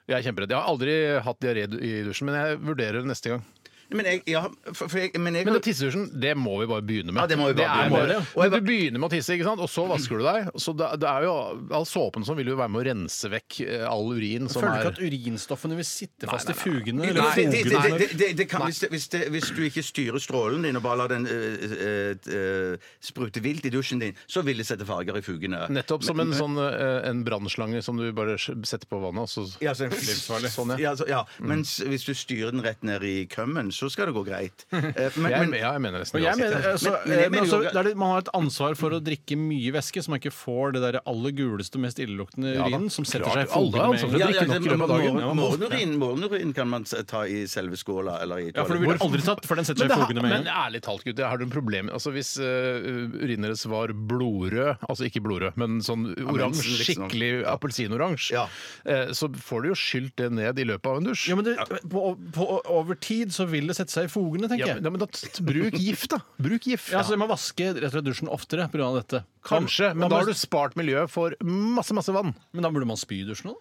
E: Jeg er kjemperedd. Jeg har aldri hatt diaré i dusjen, men jeg vurderer det neste gang.
G: Men jeg, ja, for, for jeg, men jeg
E: Men det tissedusjen, det må vi bare begynne med.
G: Ja, det må vi bare
E: er
G: begynne med.
E: bare-
G: Og jeg
E: Men Du begynner med å tisse, ikke sant? og så vasker du deg. Så det, det er jo, All såpen som vil jo være med å rense vekk eh, all urin som
F: Føler du
E: er
F: ikke at urinstoffene vil sitte fast i fugene?
G: Det-
F: eller
G: det- det-
F: fungene?
G: det- det- det kan- Hvis det- hvis det- hvis du ikke styrer strålen din og bare lar den eh, eh, eh, sprute vilt i dusjen din, så vil det sette farger i fugene.
E: Nettopp som en, sånn, eh, en brannslange som du bare setter på vannet, og så
G: Ja, så,
E: Sånn, ja.
G: ja, så, ja.
F: Mm.
G: Mens hvis du styrer den rett ned i kømmen, så skal det gå greit. Eh, Men,
E: Jeg,
G: men,
E: ja, jeg mener nesten
F: Men jeg
E: uansett.
F: mener, altså,
G: Men- men jeg
F: eh, men
G: mener jo
F: altså,
G: at-
F: det er det- Man har et ansvar for å drikke mye væske, så man ikke får det der aller guleste, mest illeluktende
E: Ja da.
F: urinen som setter
E: Klart,
F: seg i
E: alle har
F: fugene.
E: ansvar
F: med en
E: for å
F: gang.
E: drikke
F: Drikke nok i løpet av dagen.
G: morgen-
F: Ja,
G: morgenurin, morgenurin kan man s- ta i selve skåla eller i
F: Ja, for du ville
G: toalettet.
F: aldri tatt, for den setter
E: Men,
F: seg i
E: det,
F: fugene
E: har-
F: med
E: men
F: en gang.
E: ærlig talt, gutter, har du en problem altså, Hvis uh, urinen deres var blodrød, altså ikke blodrød, men sånn oransje,
G: liksom.
E: skikkelig appelsinoransje,
G: Ja.
E: eh, så får du jo skylt det ned i løpet av en dusj.
F: Ja, men det, på, på, over tid så vil det sette seg i fugene,
E: Ja,
F: tenker jeg.
E: men- ja, men da t- t- bruk gift, da. Bruk gift.
F: Ja, så Jeg må vaske rett og slett dusjen oftere pga. dette.
E: Kanskje, men
F: Man
E: da
F: må-
E: har du spart miljøet for masse, masse vann.
F: men da burde man spy i dusjen òg?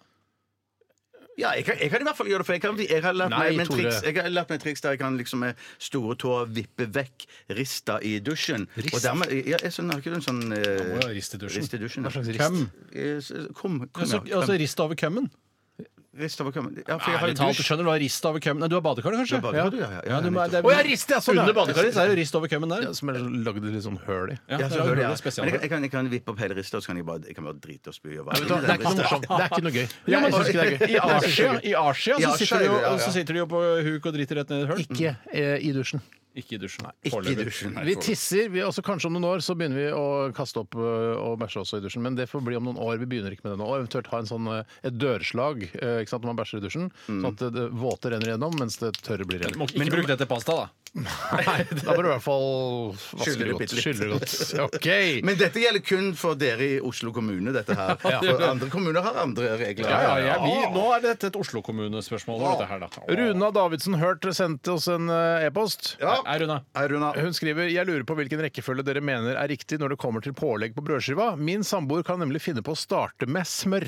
G: Ja, jeg kan, jeg kan i hvert fall gjøre det, for jeg, kan, jeg har lært
E: Nei,
G: meg med
E: Tore.
G: triks, jeg har lært meg et triks der jeg kan liksom med store tåer vippe vekk rista i dusjen. Rist? Og dermed, ja, jeg sånn, har ikke du en sånn
F: må jo
G: eh,
F: ha rist i dusjen.
G: Rist i dusjen ja.
E: Hva slags rist?
F: Køm.
G: Eh, s- Kom, kom,
F: Altså,
G: ja.
F: altså rist over kømmen.
G: Rist over kømmen. Ja, for jeg har
F: Ærlig
G: jo
F: talt, du
G: dusj.
F: skjønner du har rist over kømmen. Nei, du har badekar, kanskje?
G: Ja, badekar, ja, ja, ja,
F: du må-
G: nettopp.
F: det er-
E: Å, ja, rist, ja, sånn, ja.
F: Under badekaret så er det jo rist over kømmen der.
E: Ja, som er lagd litt sånn høl i.
F: Ja,
G: Ja,
F: det
G: så
F: er jo hullet
G: hører jeg. Men jeg,
F: spesial.
G: kan- jeg, kan, jeg kan vippe opp hele rista, og så kan jeg bare, jeg kan bare drite og spy. Og
E: Vet du hva,
G: bare,
E: Det er ikke noe morsomt. Det er ikke noe gøy.
F: Ja, men
E: Jeg synes ikke det er gøy.
F: I Asia, i Asia
G: I
F: så,
G: Asia,
F: sitter de jo,
G: ja, ja.
F: så sitter de jo på huk og driter rett ned i et hull.
E: Ikke eh, i dusjen.
F: Ikke i dusjen.
G: ikke i
F: Foreløpig.
G: dusjen.
E: Vi tisser. Vi, altså kanskje om noen år så begynner vi å kaste opp ø, og bæsje også i dusjen. Men det får bli om noen år. Vi begynner ikke med det nå. Og eventuelt ha en sånn, ø, et dørslag ø, ikke sant, når man bæsjer i dusjen.
G: Mm.
E: Sånn at det, det våte renner gjennom, mens det tørre blir igjen.
F: Må ikke bruk det til pasta, da.
E: Da bør du i hvert fall vaske
G: Skylle det
E: det
G: bitte
E: godt.
G: litt.
E: Skylle det godt. OK.
G: Men dette gjelder kun for dere i Oslo kommune, dette her. For andre kommuner har andre regler.
F: Ja, ja, jeg, vi, nå er dette et Oslo kommunespørsmål. dette Her, da.
E: Runa Davidsen Hurt sendte oss en ø, e-post.
F: Nei, Runa.
G: Hei, Runa.
E: Hun skriver jeg lurer på hvilken rekkefølge dere mener er riktig når det kommer til pålegg på brødskiva. Min samboer kan nemlig finne på å starte med smør.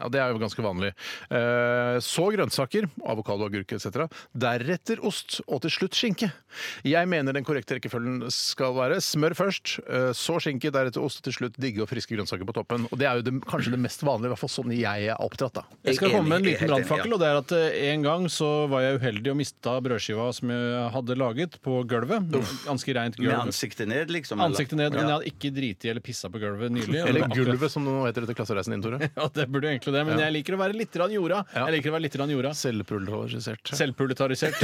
E: Ja, Det er jo ganske vanlig. Eh, Så grønnsaker, avokado, agurk etc. Deretter ost, og til slutt skinke. Jeg mener den korrekte rekkefølgen skal være smør først, eh, så skinke, deretter ost, og til slutt digge og friske grønnsaker på toppen. Og Det er jo det, kanskje det mest vanlige, i hvert fall sånn jeg er oppdratt. da.
F: Jeg skal
G: Jeg er
F: komme med en
G: enig,
F: liten
G: jeg er helt enig,
F: brannfakkel. Og det er at eh, En gang så var jeg uheldig og mista brødskiva som jeg hadde laget, på gulvet. Ganske reint
G: Med
F: gulv.
G: ansiktet ned, liksom? eller?
F: Ansiktet ned. Men jeg
G: Ja.
F: hadde ikke driti eller pissa på gulvet nylig. og det
E: Eller
F: var akkurat-
E: gulvet, som det nå heter etter klassereisen din, Tore.
F: Ja, det burde jo egentlig det, men jeg liker å være litt grann jorda.
E: Ja.
F: Jeg liker å være litt grann jorda.
E: Selvpulverisert.
F: Selvproletarisert.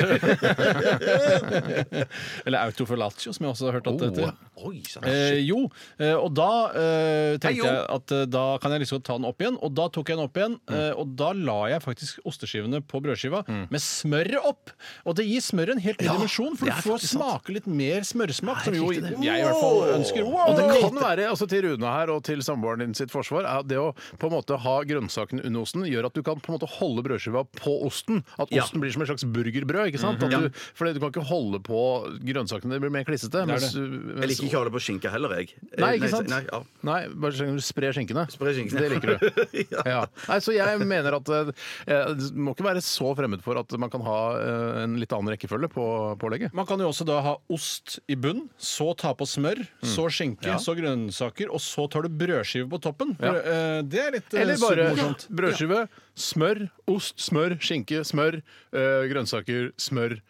F: Eller autofellatio, som jeg også har hørt at det
E: Oh.
F: heter.
G: Oi, sant.
F: Eh, jo, eh, og da eh,
G: Hei,
F: tenkte
G: jo.
F: jeg at eh, da kan jeg liksom ta den opp igjen. Og da tok jeg den opp
E: Mm.
F: igjen, eh, og da la jeg faktisk osteskivene på brødskiva med smøret opp. Og det gir smøret en helt ny dimensjon, for
E: det er
F: du får
E: faktisk sant.
F: smake litt mer smørsmak, som jo
E: riktig
F: jeg
E: det.
F: i hvert fall ønsker. Wow!
E: Og det kan være, altså til Rune her og til samboeren din sitt forsvar, er at det å på en måte ha grønnsakene under osten gjør at du kan på en måte holde brødskiva på osten. At
G: Ja.
E: osten blir som et slags burgerbrød. ikke sant? At du, fordi du kan ikke holde på grønnsakene, det blir mer klissete. mens- mens-
G: Jeg liker ikke å holde på skinke heller, jeg. Eh,
E: Nei, ikke sant?
G: Nei, ja.
E: Nei, bare så lenge du sprer skinkene.
G: Sprer skinkene.
E: Det liker du.
G: Ja.
E: Ja. Nei, så jeg mener at eh, jeg må ikke være så fremmed for at man kan ha eh, en litt annen rekkefølge på pålegget.
F: Man kan jo også da ha ost i bunn, så ta på smør,
E: Mm.
F: så skinke, så grønnsaker, og så tar du brødskive på toppen.
E: Ja.
F: For, eh, det er litt eh,
E: Eller bare
F: supermorsomt.
E: brødskive, smør, ost, smør, skinke, smør, eh, grønnsaker, smør.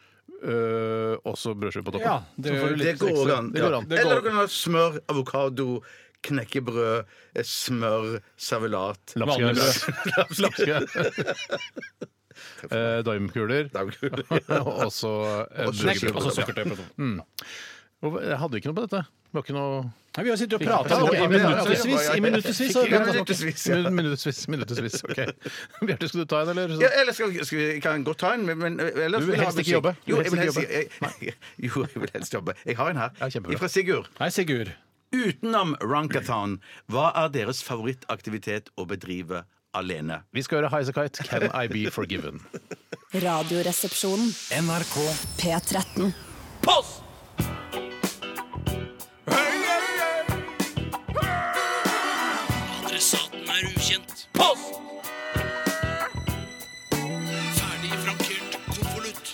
E: eh, også brødskive på toppen.
F: Ja, det
E: Så får
F: gjør
E: du
F: det
E: litt
G: Det går
E: ekstra.
G: an.
E: Det går an.
G: Ja. Eller du kan ha smør, avokado, knekkebrød, eh, smør, servelat
F: Vanlig
E: Lapskaus. Eh, Daimkuler. Og også eh,
F: Nei,
E: brødskive på
F: altså
E: toppen.
F: sukkertøy på toppen.
E: Hvorfor- Jeg hadde ikke noe på dette. Det var ikke noe
F: Nei, vi har sittet og
E: Ja,
F: prata
E: ok,
F: i
E: men-
F: minuttevis. I minuttevis så-
G: Ja, minuttevis, ja.
E: Min- Minuttevis. Minuttevis. OK. Bjarte, skal du ta en, eller?
G: Ja, eller skal, skal vi, kan jeg godt ta en, men, men ellers
E: Du vil
G: jeg ha
E: helst ikke
G: musikk.
E: jobbe. Du
G: Jo,
E: vil
G: jeg vil
E: helst
G: helst,
E: ikke
G: jeg, jo, jeg vil helst jobbe. Jeg har en her.
E: Ja, kjempebra.
G: Fra Sigurd.
F: Hei, Sigurd.
G: Utenom Runkathon, hva er deres favorittaktivitet å bedrive alene?
E: Vi skal høre Highasakite, Can I Be Forgiven?
H: Radioresepsjonen.
D: NRK
H: P13.
J: Post! Adressaten er ukjent. Post! Ferdig frankert konvolutt.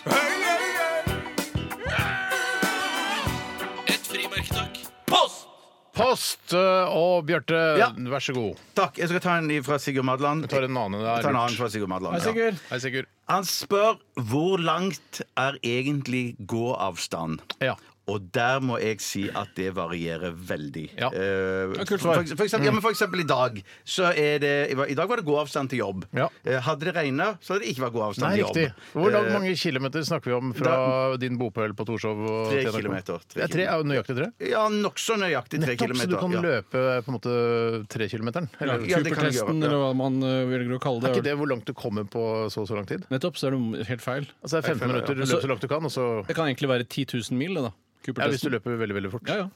J: Et frimerke, takk. Post!
E: Post! eh, Og Bjarte,
G: Ja.
E: vær så god.
G: Takk. Jeg skal ta en fra Sigurd Madland.
E: Jeg tar en annen. det er
G: Jeg tar en
E: lurt.
G: annen fra Sigurd Madland. ja.
E: Hei, Sigurd.
G: Han spør hvor langt er egentlig gåavstand?
E: Ja.
G: Og der må jeg si at det varierer veldig.
E: Ja.
G: Eh,
E: kult svar.
G: for,
E: Mm.
G: for, eksempel, ja, men for eksempel i dag så er det, I dag var det god avstand til jobb.
E: Ja.
G: Eh, Hadde det regna, så hadde det ikke vært god avstand
E: Nei,
G: til jobb.
E: riktig. Hvor langt,
G: Eh,
E: mange kilometer snakker vi om fra din bopel på Torshov? og
G: Tre
E: Tjenerkollen?
G: kilometer, tre
E: Det er tre, er jo nøyaktig tre?
G: Eh, Ja, nokså nøyaktig tre
E: Nettopp, så
G: kilometer.
E: du kan
G: ja.
E: løpe på en måte trekilometeren? Eller
G: Ja, det kan jeg
F: Supertesten,
G: gjøre, ja.
F: eller hva man eh, velger å kalle
E: er ikke
F: det.
E: det hvor langt du kommer på så og så lang tid?
F: Nettopp, så er det helt feil.
E: Altså det er 15 minutter, du
F: Altså-
E: løper så langt du kan, og så
F: Det kan egentlig være 10 000 mil, det da.
E: ja, hvis du
F: Cooper-testen.
E: løper veldig veldig fort.
F: Ja, ja.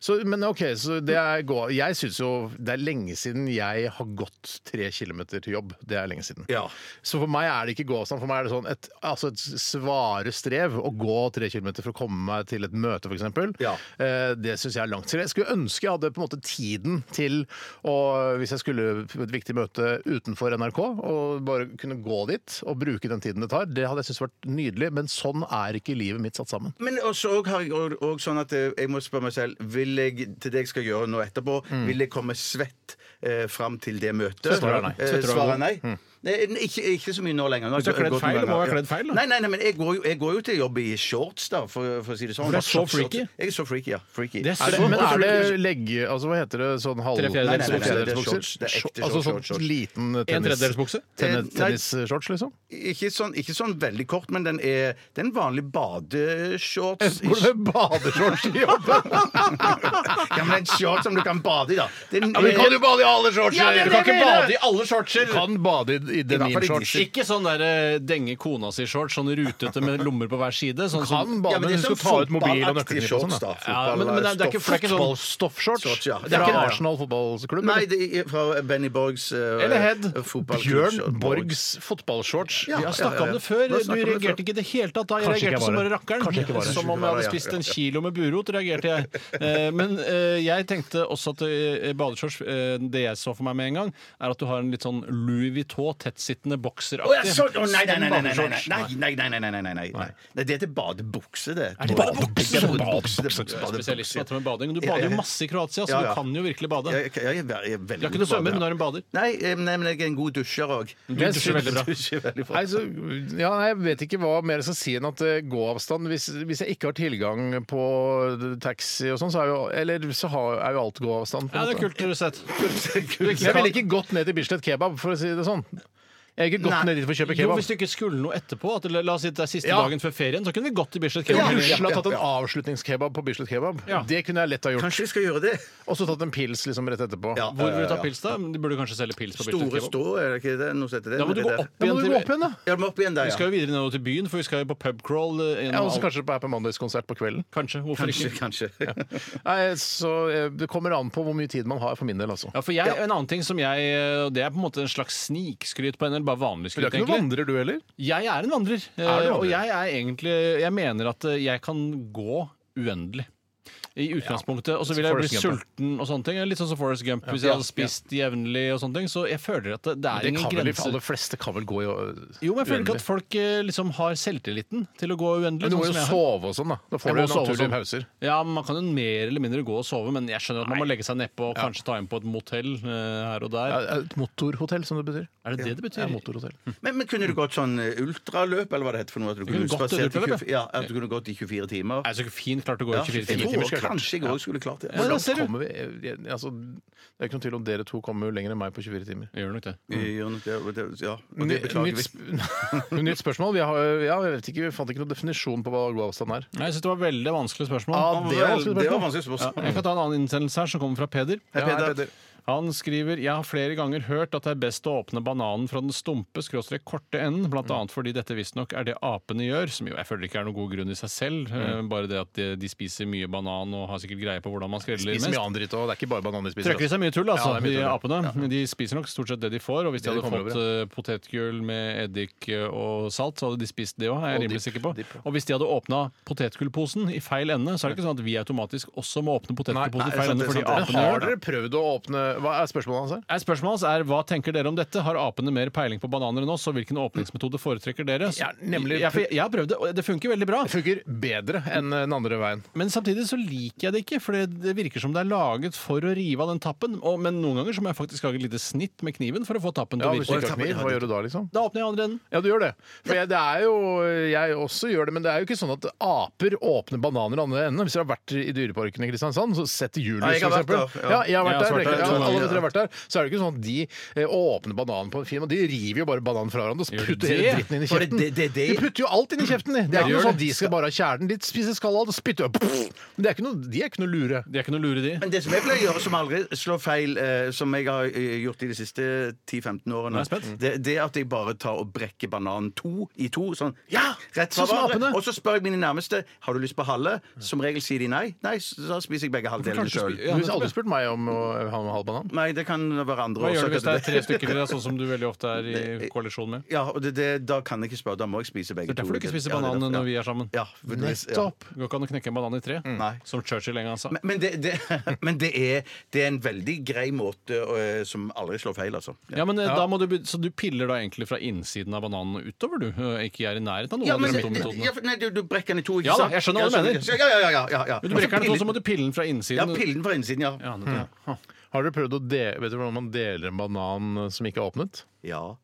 E: Så, men OK, så det er gå... Jeg syns jo det er lenge siden jeg har gått tre kilometer til jobb. Det er lenge siden.
G: Ja.
E: Så for meg er det ikke gåavstand. For meg er det sånn et, altså et svare strev å gå tre kilometer for å komme meg til et møte, f.eks.
G: Ja.
E: Eh, det syns jeg er langt. Så jeg skulle ønske jeg hadde på en måte tiden til å, hvis jeg skulle på et viktig møte utenfor NRK, og bare kunne gå dit og bruke den tiden det tar. Det hadde jeg syntes vært nydelig, men sånn er ikke livet mitt satt sammen.
G: Men også og har jeg og- og sånn at eh, jeg må spørre meg selv Vil jeg, til det jeg skal gjøre nå etterpå,
F: Mm.
G: vil jeg komme svett eh, fram til det møtet?
E: Så svarer jeg nei.
G: Eh,
E: Så tror jeg
G: svarer jeg nei. Nei, ikke, ikke så mye nå lenger. Nå
F: Mm. Hvis du har
G: jeg
F: kledd
G: gått noen
F: feil, du må
G: ganger.
F: ha kledd feil, da.
G: Nei, nei, nei, men jeg går, jo, jeg går jo til jobb i shorts, da, for, for å si det sånn.
F: For du er så freaky.
G: Jeg er sånn? så freaky, ja. Freaky. Altså,
F: Det er så-
E: Er det, men er det legge... Altså hva heter det? Sånn halv...
F: Tre fjerdedels-
E: Nei, nei, nei,
F: tre
G: fjerdedels-
E: bukser?
G: shorts. Det er ekte
E: Altså
G: shorts,
E: sånn
G: shorts, shorts.
E: liten
F: En
E: tennis...
F: tredjedelsbukse?
E: tennis-
G: Eh, nei.
E: Tennisshorts, liksom?
G: ikke, sånn, ikke sånn veldig kort, men den er, det er en vanlig badeshorts.
E: Går det med badeshorts i jobben?
G: Ja, men en shorts som du kan bade i, da. Den
E: Ja, men
G: er-
E: kan du bade i alle shorts?
G: Ja, men
E: du kan
G: jeg
E: ikke
G: mener-
E: bade i alle shortser! Du kan bade i, i denim-shorts.
F: Ikke sånn der eh, denge kona si-shorts, sånn rutete med lommer på hver side. Sånn som
E: Kan bane,
G: Ja, men
E: men
G: det
E: du skal
G: er sånn
E: ta ut mobil og
G: fotballaktig
E: nøkkelknipp og sånn.
G: shorts, da.
E: da.
F: ja, men, men det, er- det er ikke, for det er ikke sånn
G: Shorts,
F: stoffshorts.
G: ja.
E: Fra
G: Det er ikke-
E: Arsenal fotballklubb?
G: Nei,
E: eller?
G: det er fra Benny Borgs eh,
E: Eller Head.
G: fotballklubb.
E: Bjørn Borgs fotballshorts.
G: Ja,
F: Vi
G: ja,
F: har snakka
G: ja, ja.
F: om det før.
G: Vi har
F: Du
G: snakket om det
F: reagerte
G: før.
F: ikke i det hele tatt da. Jeg
E: Kanskje ikke jeg
F: reagerte som
E: var
F: bare
E: det. Kanskje jeg ikke
F: rakkeren.
E: var det.
F: Som om jeg hadde spist en kilo med burot, reagerte jeg. Eh, Men eh, jeg tenkte også at eh, badeshorts eh, Det jeg så for meg med en gang, er at du har en litt sånn Louis Vuitton tettsittende
G: Å, ja,
F: bokseraktig.
G: sånn! Å, nei, nei, nei, nei, nei, nei,
F: badeshorts.
G: nei, nei, nei, nei, nei, nei, nei, nei. Nei, Det heter badebukse, det.
F: Er det badebukse?
G: Det er badebukse, det er
F: Du er spesialist på
G: badebukse.
F: dette med bading. Du bader jo masse i Kroatia, så
G: Ja,
F: du
G: ja.
F: kan jo virkelig
G: Ja,
F: bade.
G: Jeg, jeg, jeg, er- jeg er veldig
F: Du er ikke noe
G: god på
F: svømmer,
G: bader.
F: men du Mm. er en bader.
G: Nei, eh, nei, men jeg er en god dusjer òg.
F: Du dusjer veldig bra.
E: Nei, så, ja, nei, jeg vet ikke hva mer jeg skal si enn at eh, gåavstand hvis, hvis jeg ikke har tilgang på taxi og sånn, så er jo, eller, så har, er jo alt gåavstand. på en
F: Ja, det er
E: måte.
F: kult sett.
E: Jeg ville ikke gått ned til Bislett Kebab, for å si det sånn. Jeg har ikke gått
G: Nei.
E: ned dit for å kjøpe
F: Jo,
E: kebab.
F: hvis du ikke skulle noe etterpå, at la la oss si det er siste
E: Ja.
F: dagen før ferien, så kunne vi gått til Bislett
E: Jeg
F: Kebab.
E: kunne
G: ja,
E: Rusla
G: ja,
E: tatt en
G: ja.
E: avslutningskebab på Bislett Kebab.
F: Ja.
E: Det kunne jeg lett ha gjort.
G: Kanskje vi skal gjøre det?
E: Og så tatt en pils liksom rett etterpå.
G: Ja.
F: Hvor
E: Eh,
F: vil du ta pils, da? De burde kanskje selge pils på Bislett
G: Store
F: Kebab.
G: strå, er det ikke det? Noe som heter det?
F: Da må du
G: Det
F: gå
G: der.
F: opp
E: Da må
F: igjen
E: du
F: til
E: gå opp igjen, da.
G: Ja, du må opp igjen der,
F: Vi
G: ja.
F: skal jo videre nedover til byen, for vi skal jo på pubcrawl.
E: Ja,
F: eh,
E: og
F: gjennom
E: så
F: alle-
E: kanskje på Happy Mondays-konsert på kvelden.
F: Kanskje. Hvorfor
G: Kanskje,
F: ikke?
G: kanskje.
E: Nei, så eh, Det kommer an på hvor mye tid man har, for min del, altså.
F: Ja, for jeg, En annen ting som jeg eh, Det er på en måte en slags snikskryt på en eller bare vanlig
E: Du
F: skryt.
E: er ikke noen
F: egentlig.
E: vandrer, du heller?
F: Jeg er en vandrer. eh,
E: Er du vandrer?
F: Og jeg er egentlig Jeg mener at eh, jeg kan gå uendelig. I utgangspunktet. Og så vil jeg bli
E: Forrest Gump,
F: sulten og sånne ting. Litt sånn som Forrest Gump. Hvis jeg hadde spist jevnlig og sånne ting. Så jeg føler at det, det er
E: Det
F: ingen
E: kan vel de
F: grenser.
E: aller fleste kan vel gå i øh,
F: Jo, men jeg føler
E: uendelig.
F: ikke at folk eh, liksom har selvtilliten til å gå
E: Men
F: uendelig.
E: du må jo
F: sånn som jeg har.
E: sove og sånn, da. Da
F: Jeg
E: får
F: må
E: du
F: sove og
E: naturlige
F: sånn.
E: pauser.
F: Ja, men Man kan jo mer eller mindre gå og sove, men jeg skjønner at man må legge seg nedpå og kanskje ta inn på et motell eh, her og der.
E: Ja, Et motorhotell, som det betyr.
F: Er det det det
E: Ja,
F: betyr?
E: motorhotell.
G: Men, men kunne du gått sånn eh, ultraløp, eller hva det heter for noe? At du
F: kunne
G: kunne
F: gått et
G: spasert i
F: ultraløp,
G: 24 ja, at du kunne gått i 24 timer?
F: Er det så fint klart å gå i
G: Ja,
F: 24
G: jeg
F: timer?
G: tror
E: skulle jeg klart.
G: Kanskje jeg òg skulle klart det.
F: Ja, da ser du.
E: Kommer vi, eh, altså, det er ikke noen tvil om dere to kommer jo lenger enn meg på 24 timer.
F: Jeg Gjør nok det.
G: Vi gjør nok det, og det- Ja, og det
E: Nytt,
G: beklager vi.
E: sp- nytt spørsmål. Vi, har, ja, jeg vet ikke, vi fant ikke noen definisjon på hva god avstand er.
F: Nei, jeg synes det var veldig vanskelig spørsmål.
E: Ja, det var vanskelig
G: Det var
E: spørsmål.
G: vanskelig
F: Ja,
G: spørsmål.
F: jeg kan ta en annen innsendelse her, som kommer fra Peder.
G: Hei,
E: Ja,
G: Peder.
E: Peder.
F: Han skriver Jeg har flere ganger hørt at det er best å åpne bananen fra den stumpe, skråstrek korte enden,
E: Mm.
F: blant annet fordi dette visstnok er det apene gjør, som jo jeg føler ikke er noen god grunn i seg selv. eh,
E: Mm.
F: Bare det at de, de spiser mye banan og har sikkert greie på hvordan man skreller
E: Spiser
F: mest.
E: mye annen dritt òg. Det er ikke bare banan de spiser.
F: Trøkker i
E: altså.
F: seg mye tull, altså,
E: Ja, det er mye tull,
F: de
E: ja.
F: apene. Men De spiser nok stort sett det de får. Og hvis de
E: Det de
F: hadde
E: kommer
F: fått eh, potetgull med eddik eh, og salt, så hadde de spist det òg, er jeg rimelig sikker på.
E: dipp, ja.
F: Og hvis de hadde åpna potetgullposen i feil ende, så er det ikke sånn at vi automatisk også må åpne
E: Nei,
F: potetgullposen
E: nei,
F: i feil
E: sant,
F: ende fordi
E: sant. Men
F: apene
E: har
F: gjør det.
E: dere prøvd å åpne Hva er spørsmålet hans her?
F: Nei, Spørsmålet hans er hva tenker dere om dette? Har apene mer peiling på bananer enn oss, og hvilken åpningsmetode foretrekker dere? Så-
E: Ja, nemlig-
F: jeg, for jeg- jeg har prøvd det, og det funker veldig bra.
E: Det funker bedre enn den andre veien.
F: Men samtidig så liker jeg det ikke, for det det virker som det er laget for å rive av den tappen. Og, men noen ganger så må jeg faktisk lage et lite snitt med kniven for å få tappen til
E: Ja,
F: å
E: hvis du
F: virke.
E: ikke har kniv, hva gjør du da, liksom?
F: Da åpner jeg andre enden.
E: Ja, du gjør det. For jeg, det er jo, jeg også gjør det, men det er jo ikke sånn at aper åpner bananer i andre enden. Hvis dere har vært i Dyreparken i Kristiansand, så sett til Julius,
G: Nei, jeg har
E: for
G: vært
E: eksempel.
G: der,
E: Ja,
G: ja.
E: jeg har
F: Jeg
E: vært
F: har også
E: der.
F: vært der,
E: Ja,
F: to ganger,
E: alle
F: ja.
E: dere har vært der. Så er det ikke sånn at de eh, åpner bananen på en film, og de river jo bare bananen fra hverandre og så
F: Gjør de
E: putter hele
F: det?
E: dritten inn i
G: For det-
E: kjeften.
G: det- det- det-
E: De putter jo alt inn i kjeften, de. Det er
F: Ja,
E: ikke
F: gjør
E: noe sånn de skal bare ha kjernen. De spiser skallet, og spytter opp. Men det er ikke noe, de er ikke noe lure.
F: De er ikke noe lure, de.
G: Men det som jeg pleier å gjøre, som aldri slår feil, eh, som jeg har eh, gjort i de siste 10-15 årene,
F: jeg spent.
G: det, det er at jeg bare tar og brekker bananen to i to. Sånn ja! rett fra
F: Sånn som
G: hverandre.
F: apene.
G: Og så spør jeg mine nærmeste har du lyst på halve. Som regel sier de nei. Nei, så da spiser jeg begge halvdelene
F: Kanskje
G: sjøl.
F: spi-
E: Du
F: ja,
E: har
F: nettopp,
E: aldri
F: ja.
E: spurt meg om å ha med halv banan.
G: Nei, det kan være andre
F: Hva gjør du
G: årsaker
F: hvis det er
G: til
F: tre stykker til deg, sånn som du veldig ofte er i koalisjon med?
G: Ja, og det, det, da kan jeg ikke spørre. Da må jeg spise begge
F: Det er derfor du ikke spiser
G: Ja, det er
F: banan
G: derfor, ja.
F: når vi er sammen.
G: Ja, for det- ja.
F: Nettopp! Det Går ikke an å knekke en banan i tre,
G: Nei.
F: som Churchill en gang sa.
G: Men- Men, det, det, men det, er, det er en veldig grei måte eh, som aldri slår feil, altså.
F: Ja,
G: Ja.
F: men eh, da må du, be- Så du piller da egentlig fra innsiden av bananen og utover, du? Eh, Ikke er i nærheten av noen
G: Ja,
F: av
G: men,
F: de to
G: ja,
F: metodene?
G: for- nei, du, du brekker den i to, ikke
F: Ja da,
G: sant?
F: jeg skjønner hva du mener.
G: skjønner. Ja, ja, ja, ja, ja.
F: Men du brekker den i to, så må du pille den fra
G: Ja,
F: innsiden.
G: pillen fra innsiden, ja.
F: Ja, nettopp.
E: Har dere prøvd å dele, vet du hvordan man deler en banan som ikke er åpnet?
G: Ja.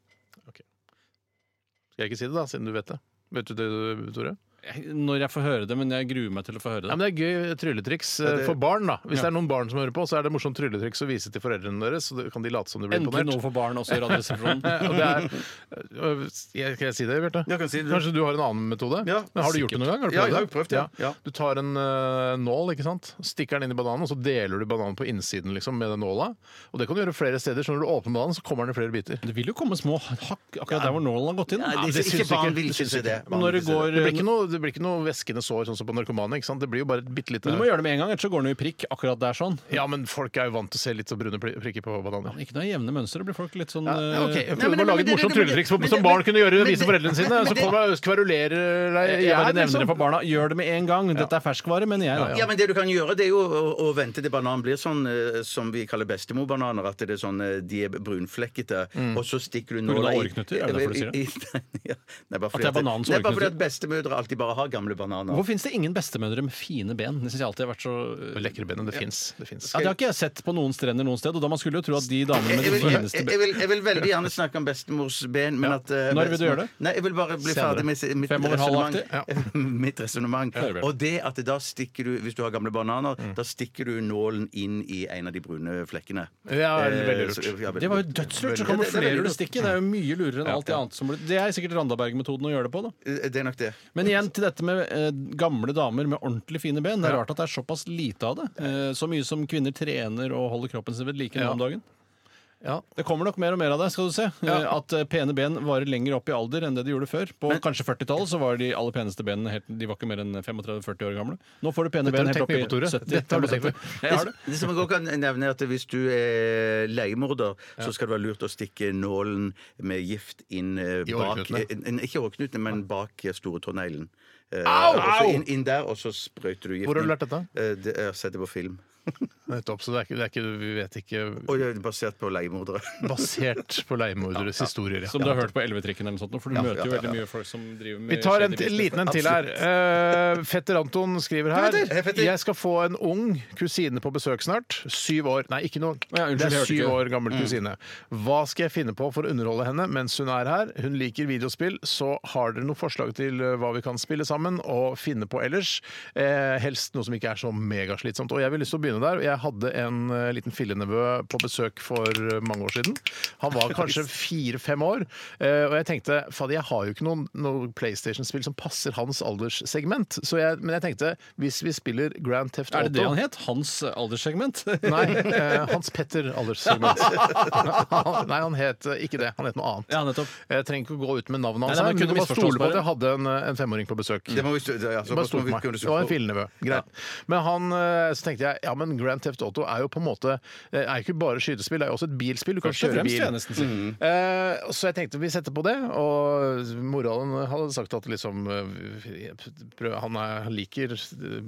E: Skal jeg ikke si det, da, siden du vet det? Vet du det, Tore?
F: Jeg- Når jeg får høre det, men jeg gruer meg til å få høre
E: Ja,
F: det.
E: men Det er gøy trylletriks eh, for barn. da Hvis det er noen barn som hører på, så er det morsomt trylletriks å vise til foreldrene deres. Så det- kan de late som de blir
F: Endelig noe
E: imponert. Eh,
F: for barn også i Radioresepsjonen.
E: og det er, øh, jeg, kan jeg si det, Bjarte?
G: Jeg kan si det.
E: Kanskje du har en annen metode?
G: Ja,
E: Men har du gjort det noen gang? Har du
G: Ja, jeg har
E: det?
G: prøvd det, ja. Ja.
E: Du tar en øh, nål, ikke sant? stikker den inn i bananen, og så deler du bananen på innsiden liksom, med den nåla. Og det kan du gjøre flere steder, så når du åpner bananen, så kommer den i flere biter.
F: Det vil jo komme små hakk akkurat der hvor nålen har gått inn.
G: Nei,
F: Ja,
G: det,
E: det
G: ikke
E: syns
G: barn
E: ikke-
G: vil
E: det
G: ikke
E: syns
G: se det.
F: men Når det går
E: Det blir ikke noe, det blir ikke noe væskende sår, sånn som på narkomane. ikke sant? Det blir jo bare et bitte
F: Men
E: lite
F: Du må gjøre det med en gang, ellers så går den jo i prikk akkurat der sånn.
E: Ja, men folk er jo vant til å se litt så brune pli- prikker på bananer.
F: Ikke noe jevne mønstre, blir folk litt sånn
E: Ja, ok, Jeg
F: eh,
E: prøvde
G: men-
E: å lage et
G: men-
E: morsomt
G: men-
E: trylletriks
G: men-
E: som barn kunne gjøre.
G: men-
E: Vise foreldrene sine.
G: men-
E: Så
G: men-
E: kommer jeg og kverulerer deg i
F: Jeg har
E: hjel,
F: en evne
E: liksom.
F: for barna. Gjør det med en gang. Dette er ferskvare, mener jeg. da.
G: Ja, men det du kan gjøre, det er jo å, å vente til bananen blir sånn eh, som vi kaller bestemor-bananer. At det er sånn, eh, de er brunflekkete, og så stikker du
F: Mm. grunn av
G: nåla i-
F: åreknuter? Er det derfor du sier det?
G: i- i- ja, Nei,
F: det
G: bare fordi
F: er
G: at,
F: bananens
G: nei, bare fordi
F: åreknuter?
G: at bestemødre alltid bare har gamle bananer.
F: Hvorfor fins det ingen bestemødre med fine ben? Det synes jeg alltid har vært så
E: Men Lekre ben, det fins. Det fins.
F: ja, Det har ikke jeg sett på noen strender noen sted, og da man skulle jo tro at de damene
G: Jeg
F: med
G: jeg
F: de
G: vil, jeg,
F: fineste
G: jeg, vil, jeg vil veldig gjerne snakke om bestemors ben, men
F: Ja.
G: at eh,
F: Når vil du
G: bestemor-
F: gjøre det?
G: Nei, Jeg vil bare bli
F: Senere.
G: ferdig med si- mitt
F: Fem over
G: resonnement.
F: halvaktig?
G: mitt resonnement.
F: Hører vi. Mm.
G: Og det at da stikker du, hvis du har gamle bananer, da stikker du nålen inn i en av de brune flekkene.
E: Ja, veldig
G: Eh, så-
E: lurt.
G: ja, veldig
F: Det var jo
G: lurt.
F: dødslurt! Så
G: Ja, det- det er
F: kamuflerer
G: veldig
F: du
G: lurt.
F: stikket. Det er jo mye lurere enn alt det annet som blir Det er sikkert Randaberg-metoden å gjøre det på, da.
G: Eh, Det er nok det.
F: Men igjen til dette med eh, gamle damer med ordentlig fine ben. Det er
E: Ja.
F: rart at det er såpass lite av det. Eh, så mye som kvinner trener og holder kroppen sin ved like nå
E: Ja.
F: om dagen.
E: Ja.
F: Det kommer nok mer og mer av det, skal du se. Eh,
E: Ja.
F: At eh, pene ben varer lenger opp i alder enn det de gjorde før. På kanskje 40-tallet så var de aller peneste benene helt, de var ikke mer enn 35-40 år gamle. Nå får du pene
E: Dette har du
F: ben helt
E: tenkt
F: opp i
E: mye på, Tore.
F: 70.
E: Dette har du tenkt mye på.
F: Jeg har det.
G: Det som jeg også kan nevne er at Hvis du er leiemorder, så skal det være lurt å stikke nålen med gift inn eh,
E: I
G: bak
E: åreknutene.
G: eh, n- Ikke åreknutene, men bak eh, store tåneglen. Eh,
E: Au!
G: og så
E: Au!
G: Inn, inn der, og så sprøyter du gift
E: Hvor har du
G: inn.
E: lært dette?
G: Eh, Det er sett det på film.
E: Nettopp, så det er ikke, det er ikke Vi vet ikke
G: Og det er basert på leiemordere.
E: Basert på leiemorderes historier. ja.
F: Som du har hørt på 11-trikken eller noe sånt, nå, for du møter jo
G: ja,
F: veldig mye folk som driver med
E: Vi tar en
F: shady
E: t-
F: business.
E: liten en til her. Eh, fetter Anton skriver her
G: Hei, fetter.
E: Jeg skal få en ung kusine på besøk snart. Syv år. Nei, ikke noe.
F: Ja, unnskyld,
E: det
F: jeg
E: er
F: hørte
E: syv
F: ikke.
E: år gammel kusine. Hva skal jeg finne på for å underholde henne mens hun er her? Hun liker videospill, så har dere noen forslag til eh, hva vi kan spille sammen og finne på ellers? Eh, helst noe som ikke er så megaslitsomt. Og jeg vil lyst til å begynne der. Jeg hadde en eh, liten fillenevø på besøk for eh, mange år siden. Han var kanskje fire-fem år. eh, og jeg tenkte fader, jeg har jo ikke noen, noen PlayStation-spill som passer hans alderssegment. Så jeg, men jeg tenkte hvis vi spiller Grand Theft Auto
F: Er det det han het? Hans alderssegment?
E: Nei, eh, Hans Petter alderssegment. Nei, han het eh, ikke det. Han het noe annet.
F: Ja, nettopp.
E: Jeg trenger ikke å gå ut med navnet hans,
F: Nei, nei,
E: her,
F: men
E: men
F: kunne
E: du må
F: misforstått
E: stole på
F: bare.
E: at jeg hadde en, eh, en femåring på besøk.
G: Det må vi stå- ja, så
E: Bare
G: må
E: stole
G: vi
E: på meg.
G: kunne
E: Det
G: stå
E: var en
G: på.
E: fillenevø. Greit. Men han, eh, så tenkte jeg ja, men Grand Theft Auto er jo på en måte eh, er ikke bare skytespill, det er jo også et bilspill. Du kan
F: Først og
E: kjøre
F: fremst, vil jeg
E: bil.
F: nesten si.
E: Eh, så jeg tenkte vi setter på det, og moralen hadde sagt at liksom eh, prøv, han, er, han liker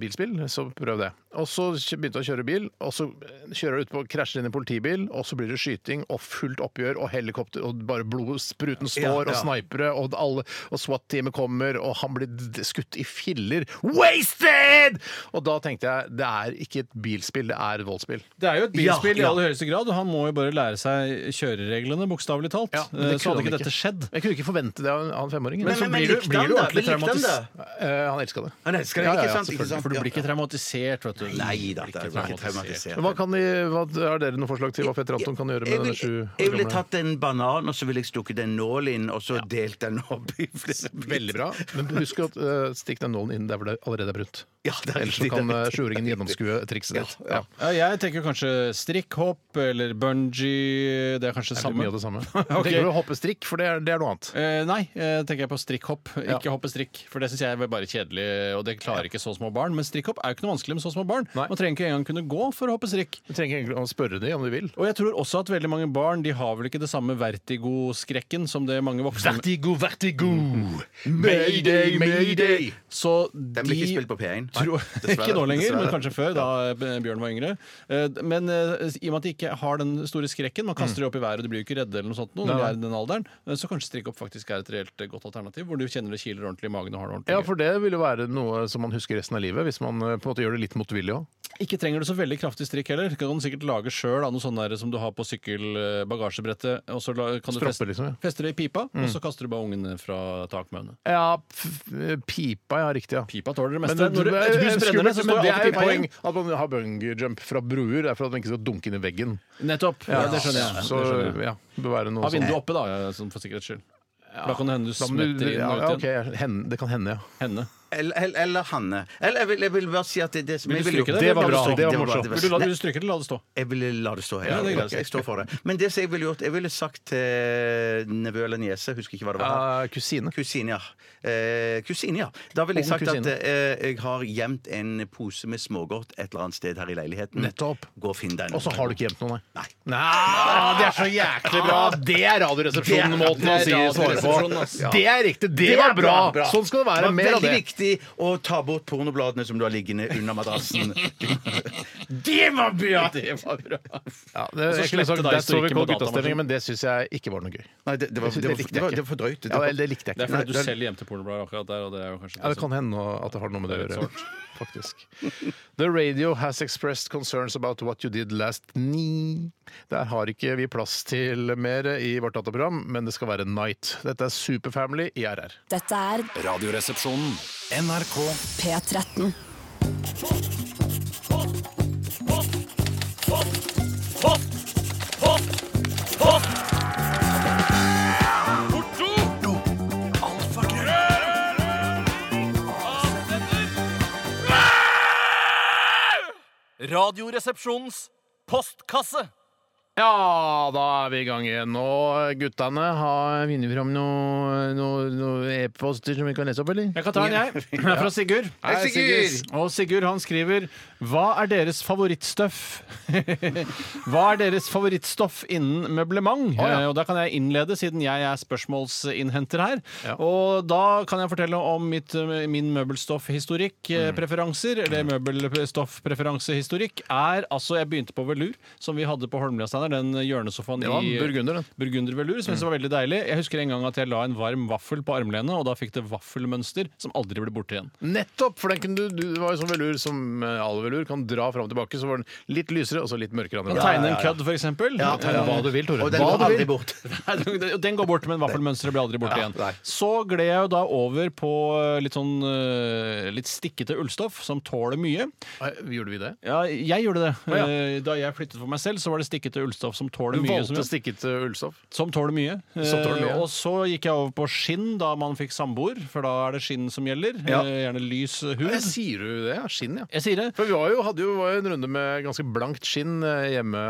E: bilspill, så prøv det. Og så kjø- begynte han å kjøre bil, og så eh, kjører han utpå, krasjer inn i politibil, og så blir det skyting og fullt oppgjør og helikopter, og bare blodspruten står,
G: Ja, ja.
E: og snipere, og, alle- og SWAT-teamet kommer, og han blir d- skutt i filler. Wasted! Og da tenkte jeg det er ikke et bilspill, det er et voldsspill.
F: Det er jo et bilspill
G: Ja, ja.
F: i aller høyeste grad, og han må jo bare lære seg kjørereglene, bokstavelig talt.
E: Ja, men
F: Eh,
E: det
F: så hadde
E: kunne
F: ikke
E: han
F: dette skjedd.
E: Jeg kunne ikke forvente det av en- av en femåring.
F: Men
E: så
F: så
G: men
F: blir du,
G: likte han
F: blir du
G: det?
F: ordentlig
G: Men likte han
F: traumatisert.
E: Eh, han elska det.
G: Han elsker det,
E: Ja, ja, ja,
G: ikke sant? Ikke
E: selvfølgelig.
G: sant?
F: For du blir ikke
G: Ja.
F: traumatisert, vet du.
G: Nei da, det er ikke traumatisert.
E: Men Hva, kan de, hva har dere noen forslag til hva fetter Anton kan gjøre med
G: Jeg
E: denne
G: vil-
E: sju
G: Jeg ville tatt en banan, og så ville jeg stukket en nål inn, og så delt den opp i flere
E: Veldig bra. Men husk at eh, stikk den nålen inn der hvor det allerede er brunt.
G: Ja, det er
E: Ellers så
G: riktig,
E: kan
G: det er
E: eh,
G: riktig.
E: sjuåringen gjennomskue trikset ditt. Ja,
F: Ja, jeg tenker kanskje strikkhopp eller bungee. Det er kanskje
E: Det er
F: samme.
E: mye av det samme.
F: Ok.
E: Tenker du å hoppe strikk, for det er, det er noe annet.
F: Eh, nei, eh, tenker jeg på strikkhopp.
E: Ja.
F: Ikke hoppe strikk, for det syns jeg er bare kjedelig. Og det klarer ikke så små barn. Men strikkhopp er jo ikke noe vanskelig med så små barn.
E: Nei.
F: Man trenger ikke engang kunne gå for å hoppe strikk.
E: Du trenger egentlig å spørre dem om de vil.
F: Og jeg tror også at veldig mange barn De har vel ikke det samme vertigoskrekken som det mange voksne
E: Vertigo, vertigo! Mm. Mayday, mayday!
F: Så
G: Den ble ikke
F: de
G: spilt på P1.
F: Tro,
G: dessverre.
F: ikke nå lenger, men
G: Dessverre.
F: kanskje før, da eh, Bjørn var yngre. Eh, Men eh, i og med at de ikke har den store skrekken, man kaster de opp i været og de blir jo ikke redde, eller noe sånt, nå, når de er i den alderen, eh, så kanskje strikkhopp faktisk er et reelt eh, godt alternativ, hvor du kjenner det kiler ordentlig i magen og har det ordentlig.
E: Ja, for det vil jo være noe som man husker resten av livet, hvis man eh, på en måte gjør det litt motvillig òg.
F: gøy. ikke trenger du så veldig kraftig strikk heller. Du kan sikkert lage sjøl noe sånn der som du har på sykkelbagasjebrettet. Og så la- kan du
E: Stroppe,
F: feste,
E: liksom, ja.
F: feste det i pipa, og så kaster du bare ungene fra takmønet.
E: Ja, f- pipa, ja. Riktig, ja.
F: Pipa tåler det
E: Men
F: meste.
E: det,
F: Når du- et hus brenner ned, så
E: men
F: står
E: det er
F: alltid
E: jo
F: pipa
E: poeng
F: igjen.
E: at man har bungee jump fra bruer. Det er for at man ikke skal dunke inn i veggen.
F: Nettopp. Ja, det skjønner jeg.
E: Så
F: det skjønner jeg.
E: ja, det bør være noe
F: Ha vinduet
E: sånn.
F: oppe, da, ja, sånn for sikkerhets skyld. For Da kan det hende du
E: Da må du-
F: smetter inn
E: ja,
F: og
E: ja,
F: ut
E: ok,
F: igjen.
E: hen- Det kan hende, ja.
F: Henne.
G: Eller, eller, eller Hanne. Eller jeg vil, jeg vil bare si at det, det som
F: Vil
G: jeg
F: du
G: ville
F: stryke
G: gjort-
F: det? Det var
G: jeg ville
E: bra,
G: stryke-
E: det var
G: var-
E: morsomt.
G: det var-
F: Vil du, la,
G: Nei,
F: vil du stryke det, eller la det stå?
G: Jeg ville la det stå her.
F: Ja, det er greit.
G: jeg står for det. Men det som jeg ville gjort Jeg ville sagt til nevø eller niese, husker ikke hva det var
E: Eh, kusine.
G: Kusine, ja. Eh, kusine, ja. Da ville jeg
E: Ung
G: sagt at
E: kusine.
G: eh, jeg har gjemt en pose med smågodt et eller annet sted her i leiligheten.
E: Nettopp.
G: Gå og finn den.
E: Og så har du ikke gjemt noe, nei.
G: Nei.
E: Nei, det er så jæklig bra! Det er Radioresepsjonen-måten å si svare på. Det er riktig! Det, var bra. Sånn skal det være.
G: var
E: Mer av det.
G: Veldig viktig å ta bort pornobladene som du har liggende under madrassen. det var bra! Det var bra.
E: Ja, det,
F: så
E: jeg kunne
F: slette
E: sagt,
F: da i
E: der står vi
F: stryket
E: på
F: på datamaskinen.
E: guttastemningen, men det syns jeg ikke var noe gøy.
G: Nei, det, det, var,
E: Jeg synes
G: det, var,
E: det likte
G: det, var,
E: jeg
G: det var for drøyt.
E: Ja, det, det likte jeg
F: Det er
E: ikke.
F: fordi du
G: det-
F: selv gjemte pornoblader akkurat der, og det er jo kanskje sånn.
E: Ja, det kan hende at det har noe med det å gjøre. Faktisk. The radio has expressed concerns about what you did last ni. Der har ikke vi plass til mer i vårt dataprogram, men det skal være Night. Dette er Superfamily i RR.
H: Dette er
B: Radioresepsjonen.
D: NRK
H: P13.
J: Radioresepsjonens postkasse.
E: Ja, da er vi i gang igjen. Og guttene har vunnet fram noen noe, noe e-poster som vi kan lese opp, eller?
F: Jeg kan ta en, jeg. Den er fra Sigurd.
E: Hei, Sigurd!
F: Og Sigurd han skriver Hva er deres favorittstøff? Hva er deres favorittstoff innen møblement?
E: ja.
F: Eh, Og da kan jeg innlede, siden jeg er spørsmålsinnhenter her.
E: Ja.
F: Og da kan jeg fortelle om mitt, eh, min møbelstoffhistorikk, eh, preferanser. Eller møbelstoffpreferansehistorikk er altså Jeg begynte på velur, som vi hadde på Holmlia, Steinar. Den hjørnesofaen
E: Det var
F: i eh,
E: burgunder, den.
F: burgundervelur, som jeg syntes var veldig deilig. Jeg husker en gang at jeg la en varm vaffel på armlenet, og da fikk det vaffelmønster som aldri ble borte igjen.
E: Nettopp! For den kunne du, du det var jo sånn velur som eh, all velur kan dra fram og tilbake. Så var den litt lysere, og så litt mørkere. andre
F: Kan
E: veien.
F: tegne en kødd, for eksempel.
E: Ja, tegne hva du vil, Tore.
G: Og den
E: Hva
G: går
E: du
G: aldri
E: vil.
G: bort.
F: Nei, den- Den går bort, men vaffelmønsteret blir aldri borte igjen.
E: nei.
F: Så gled jeg jo da over på eh, litt sånn eh, litt stikkete ullstoff som tåler mye.
E: Nei, Gjorde vi det?
F: Ja, jeg gjorde det.
E: Å, ja.
F: Eh, Da jeg flyttet for meg selv, så var det stikkete ullstoff som tåler
E: Du
F: mye. som-
E: valgte stikket eh, ullstoff?
F: Som tåler mye.
E: Som tåler mye.
F: Eh, Og så gikk jeg over på skinn da man fikk samboer, for da er det skinn som gjelder.
E: Ja.
F: Eh, Gjerne lys hud.
E: Ja, sier du det? Ja, Skinn, ja.
F: Jeg sier det.
E: For vi var jo, hadde jo, var jo en runde med ganske blankt skinn eh, hjemme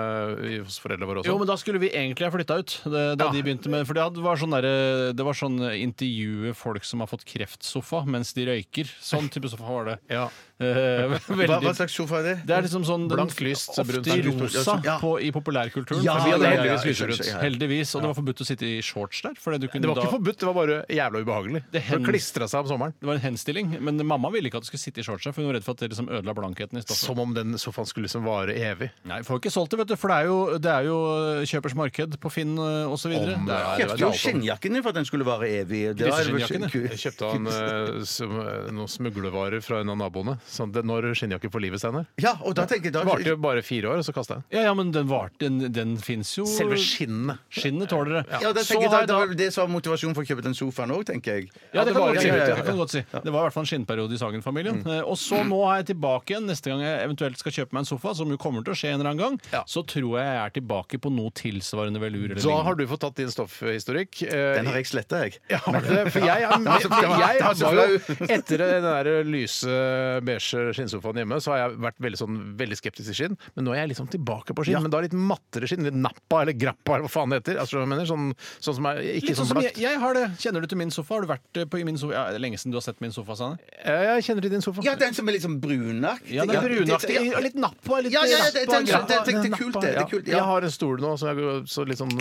E: i- hos foreldrene våre også.
F: Jo, men da skulle vi egentlig ha flytta ut. Det, da
E: Ja.
F: de begynte med For det hadde- var sånn derre- det var sånn intervjue folk som har fått kreftsofa mens de røyker. Sånn type sofa var det.
E: Ja.
F: Eh,
G: Hva, hva
F: veldig
G: slags sofa er det?
F: det er liksom sånn den-
E: Blankt lyst,
F: ofte
E: brunt.
F: i
E: Blankt lyst,
F: rosa
G: ja.
F: på, i populærkulturen.
G: Ja,
F: for vi hadde
G: ja, ja,
F: heldigvis
G: ja,
F: lyset
G: jeg
F: rundt.
G: skjønner, ja, ja.
F: Heldigvis. Og det var forbudt å sitte i shorts der. For det, du kunne
E: Det var
F: da,
E: ikke forbudt, det var bare jævla ubehagelig.
F: Det
E: Det
F: hen-
E: klistra seg om sommeren.
F: det var en henstilling. Men mamma ville ikke at du skulle sitte i shorts der, for hun var redd for at det liksom ødela blankheten i stoffet.
E: Som om den sofaen skulle liksom vare evig.
F: Nei, vi får ikke solgt det, vet du, for det er jo, det er jo eh, kjøpers marked på Finn eh, osv.
E: Om det er-
G: Kjøpte jo skinnjakkene for at den skulle vare evig. Det var-
F: Griseskinnjakkene.
E: Jeg kjøpte han eh, som, eh, noen smuglevarer fra en av naboene. Sånn, det, når skinnjakke får livet, Steinar?
G: Ja, og da tenker jeg da,
E: Varte jo bare fire år, og så kasta jeg den.
F: Ja, ja, men den, var, den, den fins jo.
E: Selve skinnet.
F: Skinnet tåler det.
G: ja, da
F: Så
G: tenker jeg,
F: har
G: da,
F: jeg
G: da var det som var motivasjonen for å kjøpe den sofaen òg, tenker jeg.
F: Ja, det kan
E: var
F: du godt
E: det
F: si.
E: jeg
F: Det
E: mente,
F: kan du godt si. Det var i hvert fall en skinnperiode i Sagen-familien. Eh, Og så nå er jeg tilbake igjen neste gang jeg eventuelt skal kjøpe meg en sofa, som jo kommer til å skje en eller annen gang,
E: Ja.
F: så tror jeg jeg er tilbake på noe tilsvarende velur eller
E: Da
F: lignende.
E: har du fått tatt din stoffhistorikk. Eh,
G: Den har jeg sletta, jeg.
E: Ja, har du det? For jeg, er, jeg,
G: var så
E: var jo
G: flau.
E: Etter den der lyse, beige skinnsofaen hjemme, så har jeg vært veldig, sånn, veldig skeptisk til skinn. Men nå er jeg liksom tilbake på skinn, men da litt mattere skinn. Litt nappa eller grappa eller hva faen det heter. Altså, hva jeg mener, sånn, sånn som er ikke
F: Litt sånn
E: sånn
F: som jeg,
E: blakt. Jeg,
F: jeg har det. Kjenner du til min sofa? Har du vært eh, på i min sofa? Ja, det er lenge siden du har sett min sofa, Sanne?
E: jeg kjenner til din sofa.
G: Ja, den som er liksom brunaktig.
F: Ja, den er brunaktig.
G: Ja,
F: Litt nappa. Litt
G: Ja, ja, ja, det-
F: nappa,
G: det-
F: grappa.
G: det- det- det- det er kult, det. det er kult, ja.
E: Jeg har en stol nå som er så litt sånn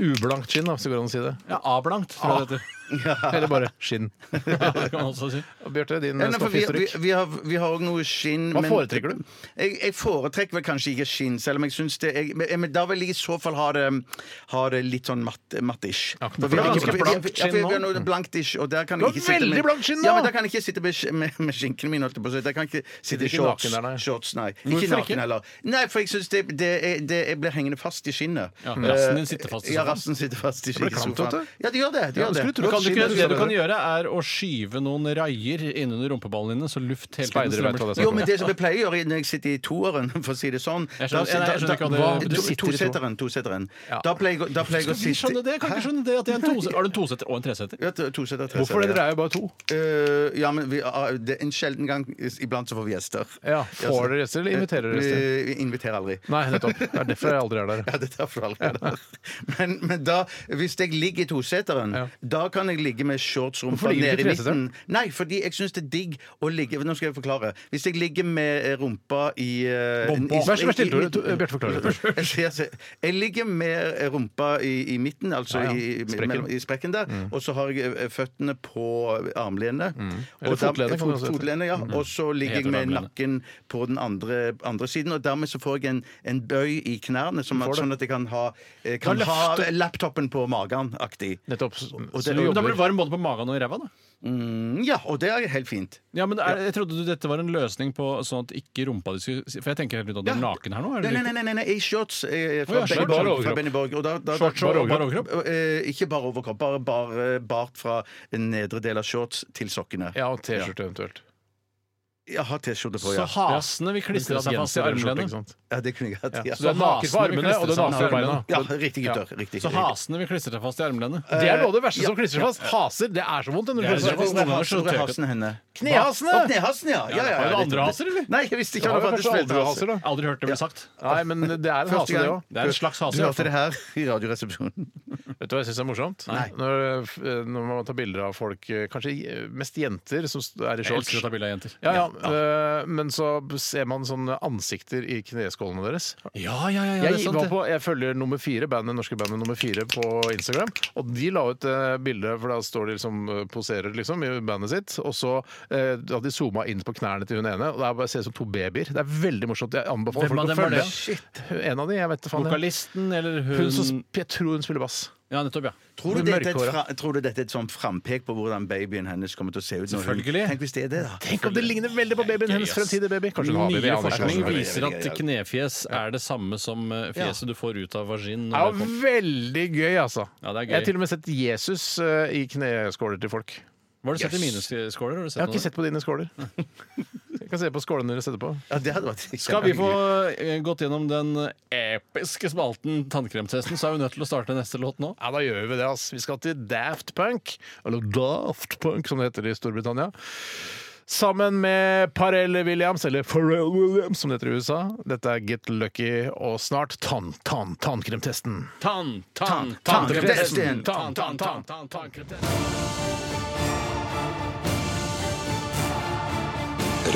E: ublankt skinn, da, hvis det går an å si det.
F: Ja, A-blankt, tror jeg Ah. det heter.
E: Eller bare skinn.
F: Det kan man også si.
E: Og Bjarte, din
G: Ja, nei, for vi, vi,
E: stoffhistorikk.
G: vi har vi har også noe skinn
E: Hva
G: men-
E: foretrekker du?
G: Jeg, jeg foretrekker vel kanskje ikke skinn, selv om jeg syns det jeg, men, men Da vil jeg i så fall ha det, ha det litt sånn matt, mattish.
E: Ja,
G: For
E: for det er ganske
G: vi- vi-
E: blankt
G: ja, for
E: skinn
G: vi har
E: nå.
G: noe Blankt-ish. Og der
E: Det
G: kan jeg
E: var
G: ikke sitte
E: veldig blankt skinn nå!
G: Ja, men der kan jeg ikke sitte med, sk- med, med skinkene mine, holdt jeg på å si. Der kan jeg ikke sitte i
E: ikke
G: shorts.
E: naken der, nei.
G: shorts nei.
E: Hvorfor
G: Ikke naken
E: ikke?
G: heller. Nei, for jeg syns det, det, er- det Jeg blir hengende fast i skinnet.
F: Ja,
G: Eh,
F: rassen din sitter fast i
G: Ja,
F: sofaen.
G: rassen sitter fast i
E: blir klamt, vet du.
G: sofaen. Ja, det gjør det. Det,
E: Ja,
G: gjør
E: skulle
G: det.
E: tro
F: Du kan
E: Skinn
F: ikke,
E: er
F: det du
E: større.
F: kan gjøre, er å skyve noen raier innunder rumpeballene dine, så luft hele tiden
E: Speidere vet hva det
F: strømmer
E: er.
F: til.
G: Jo, men det som jeg pleier å gjøre når jeg sitter i toeren, for å si det sånn
F: Jeg skjønner- jeg- jeg skjønner ikke hva det- du
G: da-
F: sitter i to-
G: Toseteren. toseteren.
E: Ja.
G: Da pleier jeg, å- da pleier jeg å
F: Skal vi
G: sitte
F: skjønne det? Kan ikke skjønne det at det er en tose- Har du en tosetter og en tresetter?
G: Ja, to- toseter, treseter,
E: Hvorfor det?
G: ja.
E: Dere er jo bare to.
G: Eh, ja, men vi, ah, det er En sjelden gang iblant så får vi gjester.
E: Ja,
G: Ja, så-
E: Får dere gjester, eller inviterer dere gjester?
G: Vi, vi inviterer aldri.
E: Nei, nettopp. Det er derfor jeg aldri er der.
G: Ja, det tar for aldri der. Men, men da, hvis jeg ligger i toseteren,
E: Ja.
G: da kan jeg ligge med shortsrumpa
E: Hvorfor ligger du
G: nede i
E: ikke i treseteren?
G: midten. Nei, fordi jeg syns det er digg å ligge Nå skal jeg forklare. Hvis jeg ligger med eh, rumpa i eh, i-
E: Vær så vær
G: i- i-
E: stille, Tore. Bjarte forklarer det.
G: Jeg, sier- jeg sier- jeg ligger med eh, rumpa i, i midten, altså
E: Ja, ja.
G: i- i-
E: Sprekken. Mm.
G: mellom- i sprekken der. Og så har jeg eh, føttene på armlenet.
E: Eller
G: Og da-
E: fotlene, kan Mm.
G: fot-
E: du også hete.
G: fotlene, ja. Og så ligger jeg
F: Heter
G: med
F: armlenet.
G: nakken på den andre, andre siden, og dermed så får jeg en, en bøy i knærne, som at, sånn at jeg kan ha, eh, kan
E: Da
G: ha
E: løfter-
G: laptopen på magen-aktig.
E: Nettopp. Så
F: Så
E: du
F: men Da blir
E: jobber
F: du varm både på magen og i ræva, da.
G: Mm, Ja, og det er helt fint.
F: Ja, men det er, Jeg trodde du dette var en løsning på sånn at ikke rumpa di skulle For jeg tenker helt ut at du er
G: Ja.
F: naken her nå. Er
G: Nei,
F: det
G: nei, nei, nei, nei, i shorts eh,
F: Å
G: fra,
F: ja,
G: Benny
F: shorts,
G: Borg,
E: bare overkropp.
G: fra Benny Borg. Og da, da,
E: Shorts, bare overkropp.
F: Bare overkropp?
G: Eh, ikke bare overkropp, bare, bare eh, bart fra nedre del av shorts til sokkene.
E: Ja, og T-skjorte eventuelt.
G: Jeg har T-skjorte på,
F: Så
G: ja.
F: hasene vil klistre seg fast i armlenet.
G: ja. Det kunne jeg hatt. Ja.
E: Så du er naken på
F: hasene vil
E: armene, og du er naken på
F: klistre seg fast i
E: beina.
F: armene.
G: Ja, riktig, gutter. Riktig.
F: Så hasene vil klistre seg fast i armlenet.
E: Det er noe av det verste som klistrer seg fast. Haser. Det er så vondt. det, når du
F: Ja, det er
E: klistrer seg
F: så vondt.
E: fast.
F: noen ganger så
G: Hvor
F: tør
G: er
F: jeg
G: hasen henne?
E: Knehasene!
G: Å, knehasene, ja! ja, ja,
F: Er det
G: ja.
F: andre haser, eller?
G: Nei, jeg visste
E: Det
G: ikke
E: har
G: at
E: jo
G: det
E: kanskje
G: fantes
E: aldri haser, da.
F: Aldri hørt det bli sagt.
E: Nei, men det er en hase, det òg.
F: Det er en slags hase.
G: Du
F: i hvert
G: hørte
F: fall.
G: det her i Radioresepsjonen.
E: Vet du hva jeg syns er morsomt?
G: Nei.
E: Når, f- når man tar bilder av folk, eh, kanskje eh, mest jenter, som st- er i
F: Jeg
E: shorts.
F: elsker å ta bilde av jenter.
E: Ja, ja, eh, Men så ser man sånne ansikter i kneskålene deres.
F: Ja, ja, ja, ja, det
E: Jeg,
F: er sant,
E: var
F: det.
E: på, jeg følger nummer fire, bandet, norske bandet nummer fire på Instagram. Og de la ut eh, bilde, for da står de liksom eh, poserer liksom, i bandet sitt. Og så eh, hadde de zooma inn på knærne til hun ene. Og det er bare ser ut som to babyer. Det er veldig morsomt. Jeg anbefaler
F: Hvem
E: folk å
F: av dem var
E: følge
F: det?
E: en av de. Jeg vet faen, jeg.
F: Vokalisten eller
E: Hun som,
F: hun
E: sp- jeg tror hun spiller bass.
F: Ja, nettopp, ja.
G: Tror du,
E: Hun
G: dette er et
E: mørkhåra.
G: fra, tror du dette er et sånn frampek på hvordan babyen hennes kommer til å se ut? når hun-
F: Selvfølgelig.
G: Tenk hvis det er det, da.
E: Tenk om det ligner veldig på babyen hennes
F: Gøy, ass.
E: fremtidige baby. Kanskje hun har baby.
F: Mye
E: jeg aner ikke.
F: forskning
G: kanskje.
F: viser at knefjes er det samme som eh, fjeset du får ut av vagin.
E: Det er
F: når det
E: jo
F: kom-
E: veldig gøy, altså.
F: Ja, det er gøy.
E: Jeg har til og med sett Jesus eh, i kneskåler til folk.
F: Hva har du sett i mine skåler? Har du
E: Jeg
F: sett
E: har
F: noe?
E: ikke sett på dine skåler. Jeg kan se på skålene deres etterpå.
G: Ja, det hadde vært
F: Skal vi få eh, gått gjennom den episke spalten tannkremtesten, så er vi nødt til å starte neste låt nå.
E: Ja, da gjør vi det, ass. Vi skal til Daft Punk, eller Daft Punk som det heter i Storbritannia. Sammen med Parell Williams, eller Pharrell Williams som det heter i USA. Dette er Get Lucky og snart Tann, Tann, Tannkremtesten.
F: Tann, tann,
G: Tann-
F: tannkremtesten!
G: tannkremtesten.
F: Tann, tann, tann, tann, tannkremtesten.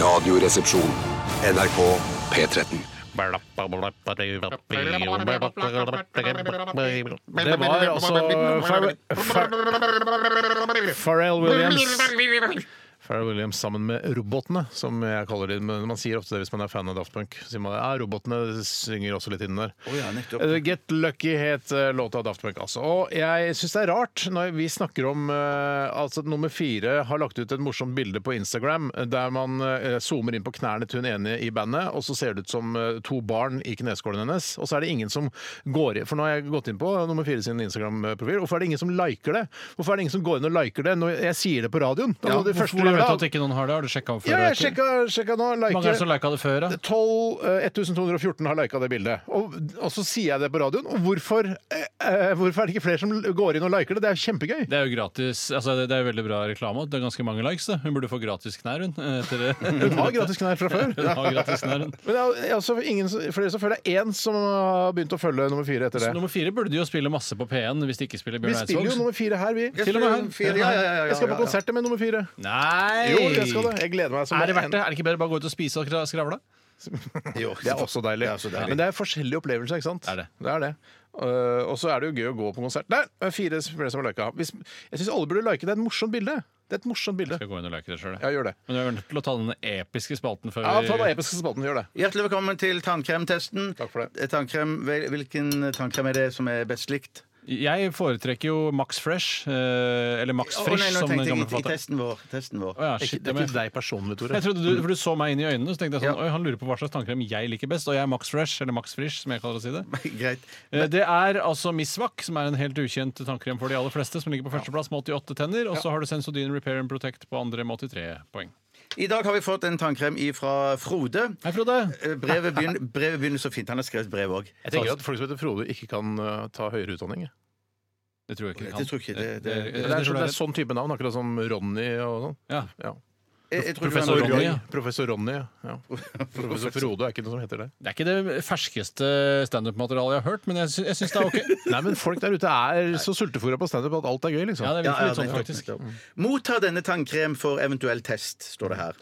B: Radioresepsjon. NRK P13.
E: Det var altså Pharrell- Phar- Pharrell Williams. Pharrell Williams sammen med robotene, som jeg kaller dem. Men man sier ofte det hvis man er fan av Daft Punk. Så Sier man, ja, robotene synger også litt inn der. Eh, Get Lucky het eh, låta av Daft Punk, altså. Og jeg syns det er rart når vi snakker om eh, Altså, nummer fire har lagt ut et morsomt bilde på Instagram eh, der man eh, zoomer inn på knærne til hun ene i bandet, og så ser det ut som eh, to barn i kneskålen hennes. Og så er det ingen som går i For nå har jeg gått inn på nummer fire sin Instagram-profil. Hvorfor er det ingen som liker det? Hvorfor er det ingen som går inn og liker det når jeg sier det på radioen? Da må de
F: Hvorfor
E: første
F: vet du
E: gjøre
F: at
E: det.
F: ikke noen har det? Har du sjekka før?
E: Ja,
F: og
E: jeg
F: etter?
E: sjekka, sjekka nå.
F: Mange er det som
E: Liker.
F: liket det før, da?
E: 12, eh, 1214 har lika det bildet. Og, og så sier jeg det på radioen. Og hvorfor, eh, eh, hvorfor er det ikke flere som går inn og liker det? Det er jo kjempegøy.
F: Det er jo gratis, altså det, det er jo veldig bra reklame. og Det er ganske mange likes. Det. Hun burde få gratis knær, hun. Etter det.
E: Hun har gratis knær fra før.
F: Hun har gratis knær, hun.
E: Men det er jo- altså ingen, som- flere som følger én som har begynt å følge nummer fire etter
F: Så
E: det.
F: nummer fire burde de jo spille masse på P1 hvis de ikke spiller
E: Vi
F: Bjørn
E: spiller jo
F: Eidsvåg.
E: nummer fire her, vi.
G: Til og med her. Ja, ja, ja, ja, ja,
E: Jeg skal på
G: ja.
E: konsertet med nummer fire.
F: Nei!
E: Jo, jeg skal det. Jeg gleder meg. som
F: er det
E: en-
F: verdt det? Er det ikke bedre bare å gå ut og spise og skra- skravle?
G: Jo,
E: Det er også deilig.
G: det er så deilig.
E: Men det er forskjellige opplevelser, ikke sant?
F: Det er det.
E: er det. Eh, og så er det jo gøy å gå på konsert. Der! det er Fire flere som har lika. Hvis- Jeg syns alle burde like. Det er et morsomt bilde. Det er et morsomt bilde.
F: Skal jeg gå inn og like det sjøl,
E: Ja, gjør det.
F: Men du er nødt til å ta den episke spalten før
E: Ja, ta den episke spalten. Gjør det.
G: Hjertelig velkommen til tannkremtesten.
E: Takk for det.
G: Eh, Tannkrem, vel- hvilken tannkrem er det som er best likt?
F: Jeg foretrekker jo Max Fresh, eh, eller Max
G: Å,
F: Fresh,
G: nei, nå
F: som den
G: tenkte jeg
F: gamle
G: i, i
F: forfatteren.
G: testen vår. Testen vår.
F: Å ja, shit,
E: Det er ikke deg personlig, Tore.
F: Jeg trodde du, for du så meg inn i øynene, så tenkte jeg sånn,
G: Ja.
F: Oi, han lurer på hva slags tannkrem jeg liker best. Og jeg er Max Fresh, eller Max Frisch, som jeg kaller å si det.
G: Greit.
F: Eh, Det er altså Misvak, som er en helt ukjent tannkrem for de aller fleste, som ligger på førsteplass med 88 tenner. Og så har du Sensodyne Repair and Protect på andre med 83 poeng.
G: I dag har vi fått en tannkrem fra Frode.
F: Hei, Frode.
G: Eh, Brevet begynner, brevet begynner så fint. Han har skrevet brev òg.
E: Jeg tenker at folk som heter Frode, ikke kan eh, ta høyere utdanning. jeg.
F: Det tror jeg ikke vi kan.
G: Det tror jeg ikke, det- det-
F: Eh, eh,
E: Det er,
F: det tror
E: sånn,
F: jeg
E: det er sånn type navn, akkurat som Ronny og sånn.
F: Ja.
E: Ja.
F: Professor Ronny,
E: Roy.
F: ja.
E: Professor Ronny, ja. ja. Professor Frode er ikke noe som heter det.
F: Det er ikke det ferskeste standup-materialet jeg har hørt, men jeg, sy jeg syns det er OK.
E: Nei, men folk der ute er så sultefòra på standup at alt er gøy, liksom.
F: Ja, det
G: Ja,
F: virker
G: ja,
F: litt sånn,
G: nettopp,
F: faktisk.
G: nettopp. Motta denne tannkrem for eventuell test, står det her.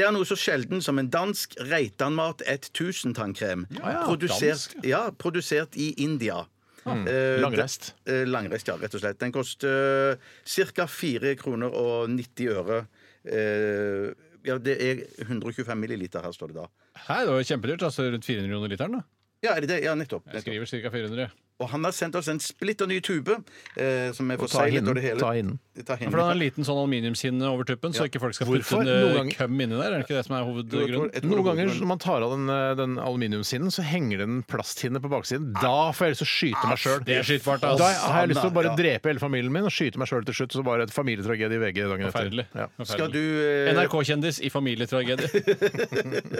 G: Det er noe så sjelden som en dansk Reitanmat 1000-tannkrem. Produsert, ja, produsert i India.
F: Ah,
G: Eh,
E: Langreist.
G: d- eh, langreist, ja, rett og slett. Den koster ca. 4 kroner og 90 øre. Eh, ja, det er 125 milliliter her, står det da.
F: Hei, det var jo kjempedyrt. Altså rundt 400 kroner literen. da.
G: Ja, er det det? Ja, nettopp.
F: Jeg
G: nettopp.
F: skriver ca. 400.
G: Og han har sendt oss en splitter ny tube, eh, som er
E: ta
G: forseglet og det hele.
E: Ta hinnen.
G: Ta hinnen.
F: For den har en liten sånn aluminiumshinne over tuppen, så ikke folk skal
E: Hvorfor?
F: putte en
E: Noen
F: eh,
E: ganger-
F: køm inni der. Er det ikke det som er hovedgrunnen?
E: Noen
G: Jeg tror det går
E: ganger
G: grønn.
E: når man tar av den, eh, den aluminiumshinnen, så henger det en plasthinne på baksiden. Da får jeg lyst til å skyte meg sjøl.
F: Det er altså. skytbart, ass.
E: Da har jeg lyst til å bare
G: Ja.
E: drepe hele familien min og skyte meg sjøl til slutt. Så bare et familietragedie i VG dagen etter.
F: Forferdelig.
E: Ja.
G: Skal
F: Forferdelig.
G: du eh,
F: NRK-kjendis i familietragedie.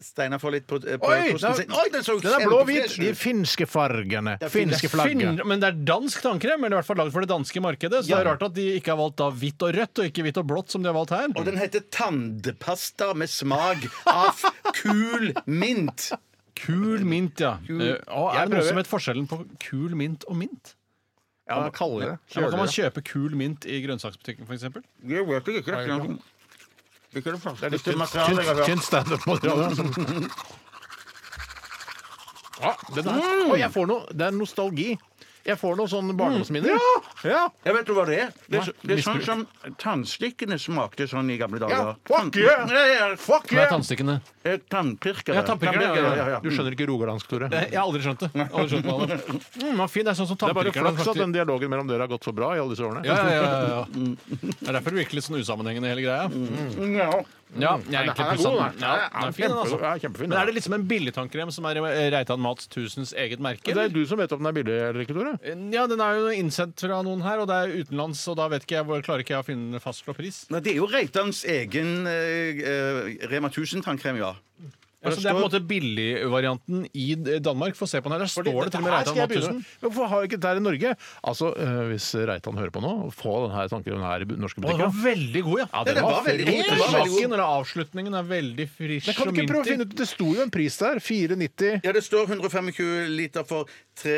G: Steinar får litt på, eh, på
E: Oi,
G: kosten
E: den,
G: sin. Oi, den så
E: den er blå-hvit!
G: kjempefresh
E: De
G: ut.
E: finske fargene.
G: fin-
E: Finske flagget.
F: Finn- Men det er dansk tannkrem, eller i hvert fall lagd for det danske markedet. Så det er rart at de ikke har valgt da hvitt og rødt, og ikke hvitt og blått, som de har valgt her.
G: Og den heter tannpasta med smak av kul mint.
F: Kul mint, ja. Eh, og
E: Jeg
F: er det noe
E: prøver.
F: som het forskjellen på kul mint og mint?
E: Ja, man kaller det.
F: Ja, men kan man
E: Kjøler det.
F: kjøpe kul mint i grønnsaksbutikken, f.eks.?
G: Jeg vet ikke. Ikke det franskeste materialet
E: Tynt- Tynt standup-materiale. Ja, den er,
F: Mm.
E: Oi, Mm. jeg får noe. Det er nostalgi. Jeg får noe sånn barndomsminner. Ja.
G: Jeg vet du hva det er? Det er, så- det er sånn
E: misbruk.
G: som tannstikkene smakte sånn i gamle dager.
E: Ja, fuck yeah!
G: Nei, ja, fuck
F: Hva er
G: yeah!
F: tannstikkene?
G: Eh, Tannpirkere.
F: Ja, tannpirkere, ja,
G: Tannpirkere,
F: ja,
E: Du skjønner ikke rogalandsk, Tore.
F: Eh, Jeg har aldri skjønt det. Aldri skjønt noe av det. Mm, den var fin. Det er sånn som
E: Det er bare
F: tannpirkeren.
E: flaks at
F: faktisk-
E: den dialogen mellom dere har gått så bra i alle disse årene.
F: ja, ja, ja, ja, ja. Det er derfor det virker litt sånn usammenhengende, hele greia.
E: Mm.
G: Ja.
F: Ja, jeg Mm. er egentlig
E: Den er
F: på
E: god,
F: samme-
E: den er-
F: ja, den er fin, den,
E: kjempegod.
F: altså.
E: Ja, kjempefin,
F: Men
E: den.
F: er det liksom en billigtannkrem som er i Reitan Mats 1000s eget merke?
E: Det er du som vet om den er billig eller ikke, Tore.
F: Ja, den er jo innsendt fra noen her, og det er utenlands, og da vet ikke jeg, hvor- klarer ikke jeg å finne fastslå pris.
G: Nei, det er jo Reitans egen eh, eh, Rema 1000-tannkrem, ja.
F: Altså, det er på en måte billigvarianten i Danmark. Få se på den her. Der står det til og med
E: Her
F: Reitan
E: skal jeg
F: Mats
E: begynne.
F: 1000.
E: Men Hvorfor har vi ikke dette her i Norge? Altså, øh, Hvis Reitan hører på nå, få den her tanken her i bu- norske
F: Og den
E: butikker.
F: var veldig god, ja.
E: den
G: var veldig god. Den var veldig god.
F: Smaken eller avslutningen er veldig frisk
E: Men kan du ikke prøve å finne ut, Det sto jo en pris der. 4,90.
G: Ja, det står 125 liter for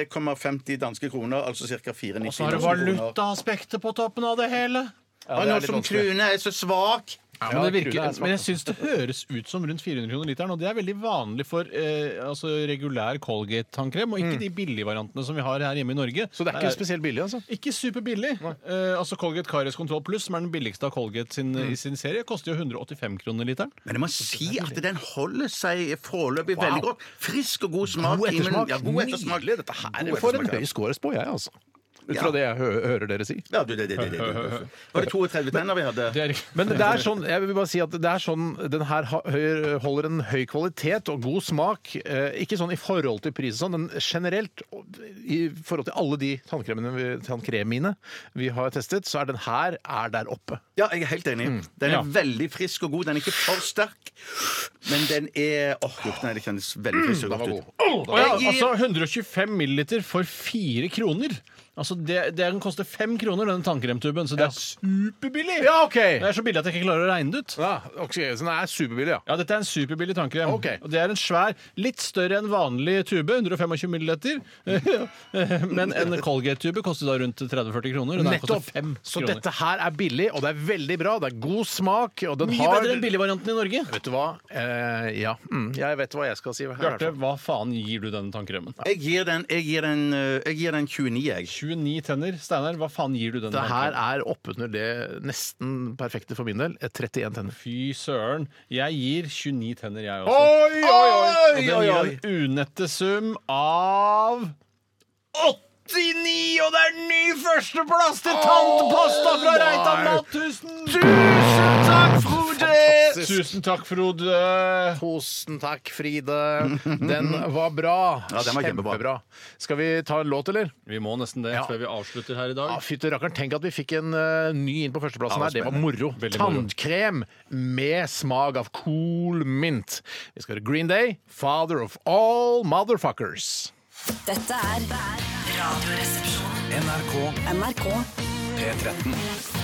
G: 3,50 danske kroner, altså ca. 4,90
F: Og så har du valutaaspektet på toppen av det hele.
G: Ja, nå som Krune er så svak!
F: Ja, men, det
E: krone er
F: virker,
E: svakt.
F: men jeg syns det høres ut som rundt 400 kroner literen, og det er veldig vanlig for eh, altså regulær Colgate-tannkrem, og ikke de billigvariantene som vi har her hjemme i Norge. Eh,
E: Så det er ikke spesielt billig, altså.
F: Ikke superbillig. Eh, altså Colgate Karies Kontroll Pluss, som er den billigste av Colgate sin, i sin serie, koster jo 185 kroner literen.
G: Men jeg må si at den holder seg foreløpig veldig godt. Frisk og god smak.
E: God
G: i munnen.
E: ettersmak.
G: Ja, god ettersmak.
E: Nydelig.
G: Dette her
E: Jeg får en høy score, spår jeg, altså. Ut fra
G: Ja.
E: det jeg hø hører dere si.
G: Ja, du, det, det, det, det, det. Var det 32 tenner vi hadde?
F: Det er,
E: Men det er sånn, jeg vil bare si at det er sånn den her ha- høy- holder en høy kvalitet og god smak. eh, Ikke sånn i forhold til pris og sånn, men generelt og i forhold til alle de tannkremene vi, tannkremene vi har testet, så er den her er der oppe.
G: Ja, jeg er helt enig. Den er
F: Ja.
G: veldig frisk og god. Den er ikke for sterk, men den er Åh, lukten her, det kjennes veldig frisk
E: Den
G: og
E: var
G: godt
E: god.
G: ut.
F: Å ja,
G: Jeg
F: altså
G: gir-
F: 125 milliliter for fire kroner. Altså det, det Den koster fem kroner, denne tannkremtuben, så det er superbillig!
E: Ja, OK!
F: Det er så billig at jeg ikke klarer å regne det ut.
E: Ja, ok, så den er superbillig, ja.
F: Ja, dette er en superbillig tannkrem.
E: Ok.
F: Og det er en svær, litt større enn vanlig tube, 125 ml. Men en Colgate-tube koster da rundt 30-40 kroner. Den her koster
E: Nettopp!
F: 5
E: Så
F: kroner.
E: dette her er billig, og det er veldig bra. Det er god smak, og den
F: Mye
E: har
F: bedre enn billigvarianten i Norge.
E: Vet du hva? Eh, ja. Mm, jeg vet hva jeg skal si. her, sånn. i hvert
F: Bjarte,
E: fall.
F: hva faen gir du denne tannkremen?
G: Jeg gir den, jeg gir den, øh, jeg gir den 29, jeg.
F: 29 tenner. Steinar, hva faen gir du denne
E: Det her
F: tannkremen?
E: er oppunder det nesten perfekte for min del. Eh, 31 tenner.
F: Fy søren. Jeg gir 29 tenner, jeg også.
E: Oi, oi,
F: Og den gir en unette sum av 89! Og det er ny førsteplass til Tantpasta fra Reitan Mathusen!
E: Tusen takk, Frode!
F: Tusen takk, Frode.
E: Tusen takk, Fride. Den var bra.
G: Ja, den var kjempebra.
E: Skal vi ta en låt, eller?
F: Vi må nesten det
E: Ja.
F: før vi avslutter her i dag.
E: Ja, Fytti rakkeren, tenk at vi fikk en eh, ny inn på førsteplassen
G: Ja,
E: her.
G: det
E: Det
G: var
E: var moro.
F: Veldig moro.
E: Tannkrem med smak av cool mint. Vi skal til Green Day, father of all motherfuckers.
H: Dette er Radioresepsjonen.
D: NRK
H: NRK.
D: P13.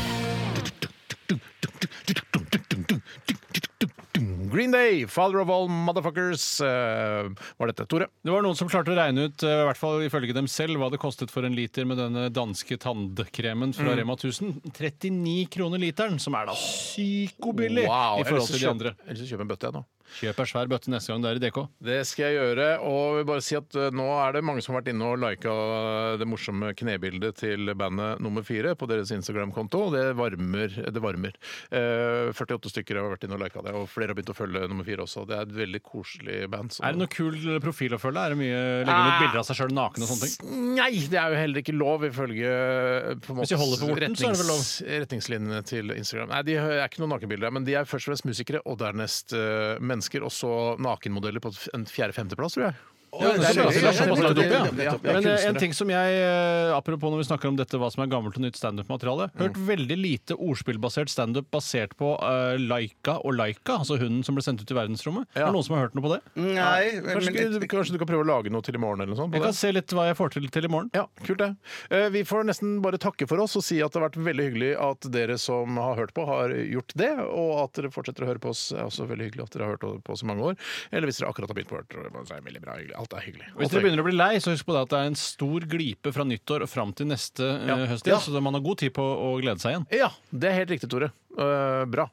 E: Green Day, father of all motherfuckers, eh, var dette. Tore?
F: Det var noen som klarte å regne ut, eh, i hvert fall ifølge dem selv, hva det kostet for en liter med denne danske tannkremen fra Rema 1000. 39 kroner literen, som er da psykobillig i forhold til de andre.
E: Ellers så kjøper jeg en bøtte, jeg nå.
F: Kjøp ei svær bøtte neste gang du er i DK.
E: Det skal jeg gjøre. Og vil bare si at eh, nå er det mange som har vært inne og lika det morsomme knebildet til bandet nummer fire på deres Instagram-konto. og Det varmer. Det varmer. Eh, 48 stykker har vært inne og lika det, og flere har begynt å følge nummer fire også. Det er et veldig koselig band. så-
F: Er det noe kul profil å følge? Er det mye Legger ut bilder av seg sjøl naken og sånne ting?
E: Nei, det er jo heller ikke lov ifølge eh, på en måte,
F: Hvis de holder på vorten, så er det vel lov?
E: retningslinjene til Instagram. Nei, de er ikke noen nakenbilder, der, men de er først og fremst musikere, og dernest eh, mennesker, og så nakenmodeller på en fjerde-femteplass, tror jeg.
F: Ja, det er bra.
E: det er
F: Det er såpass
E: såpass
F: lagt opp, ja.
E: ja.
F: Men eh, en ting som jeg, eh, apropos når vi snakker om dette, hva som er gammelt og nytt standup-materiale, hørt veldig lite ordspillbasert standup basert på eh, Laika og Laika, altså hunden som ble sendt ut i verdensrommet. Er det noen som har hørt noe på det?
G: Nei, men
E: Kanskje, du- kanskje du kan prøve å lage noe til i morgen? eller noe sånt? på
F: Jeg kan
E: det?
F: se litt hva jeg får til til i morgen.
E: Ja, Kult, det. Eh, Vi får nesten bare takke for oss og si at det har vært veldig hyggelig at dere som har hørt på, har gjort det. Og at dere fortsetter å høre på oss, er også veldig hyggelig at dere har hørt på oss i mange år. Eller hvis dere akkurat har begynt på å høre på, så er det veldig bra. hyggelig. Alt er hyggelig.
F: Hvis
E: Alt
F: dere
E: er hyggelig.
F: begynner å bli lei, så husk på det at det er en stor glipe fra nyttår og fram til neste eh, høst. igjen, Så man har god tid på å glede seg igjen.
E: Ja, det er helt riktig, Tore. Eh, bra.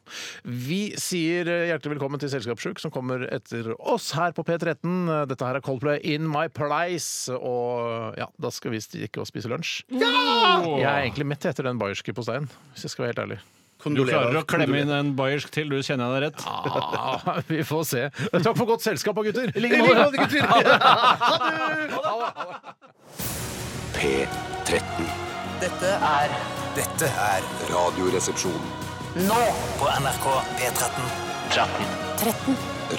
E: Vi sier eh, hjertelig velkommen til Selskapssjuk, som kommer etter oss her på P13. Eh, Dette her er Coldplay In My Place, og eh, ja, da skal vi stikke og spise lunsj. Jeg er egentlig mett etter den bayerske posteien, hvis jeg skal være helt ærlig.
F: Du klarer å klemme inn en bayersk til, du kjenner jeg deg rett.
E: Ah, vi får se. Takk for godt selskap, da, gutter. I like
B: P13.
C: Dette er
D: Dette er
B: Radioresepsjon.
C: nå
D: på NRK P13.
H: 13.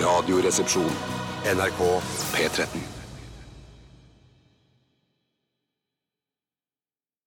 B: Radioresepsjon. NRK P13.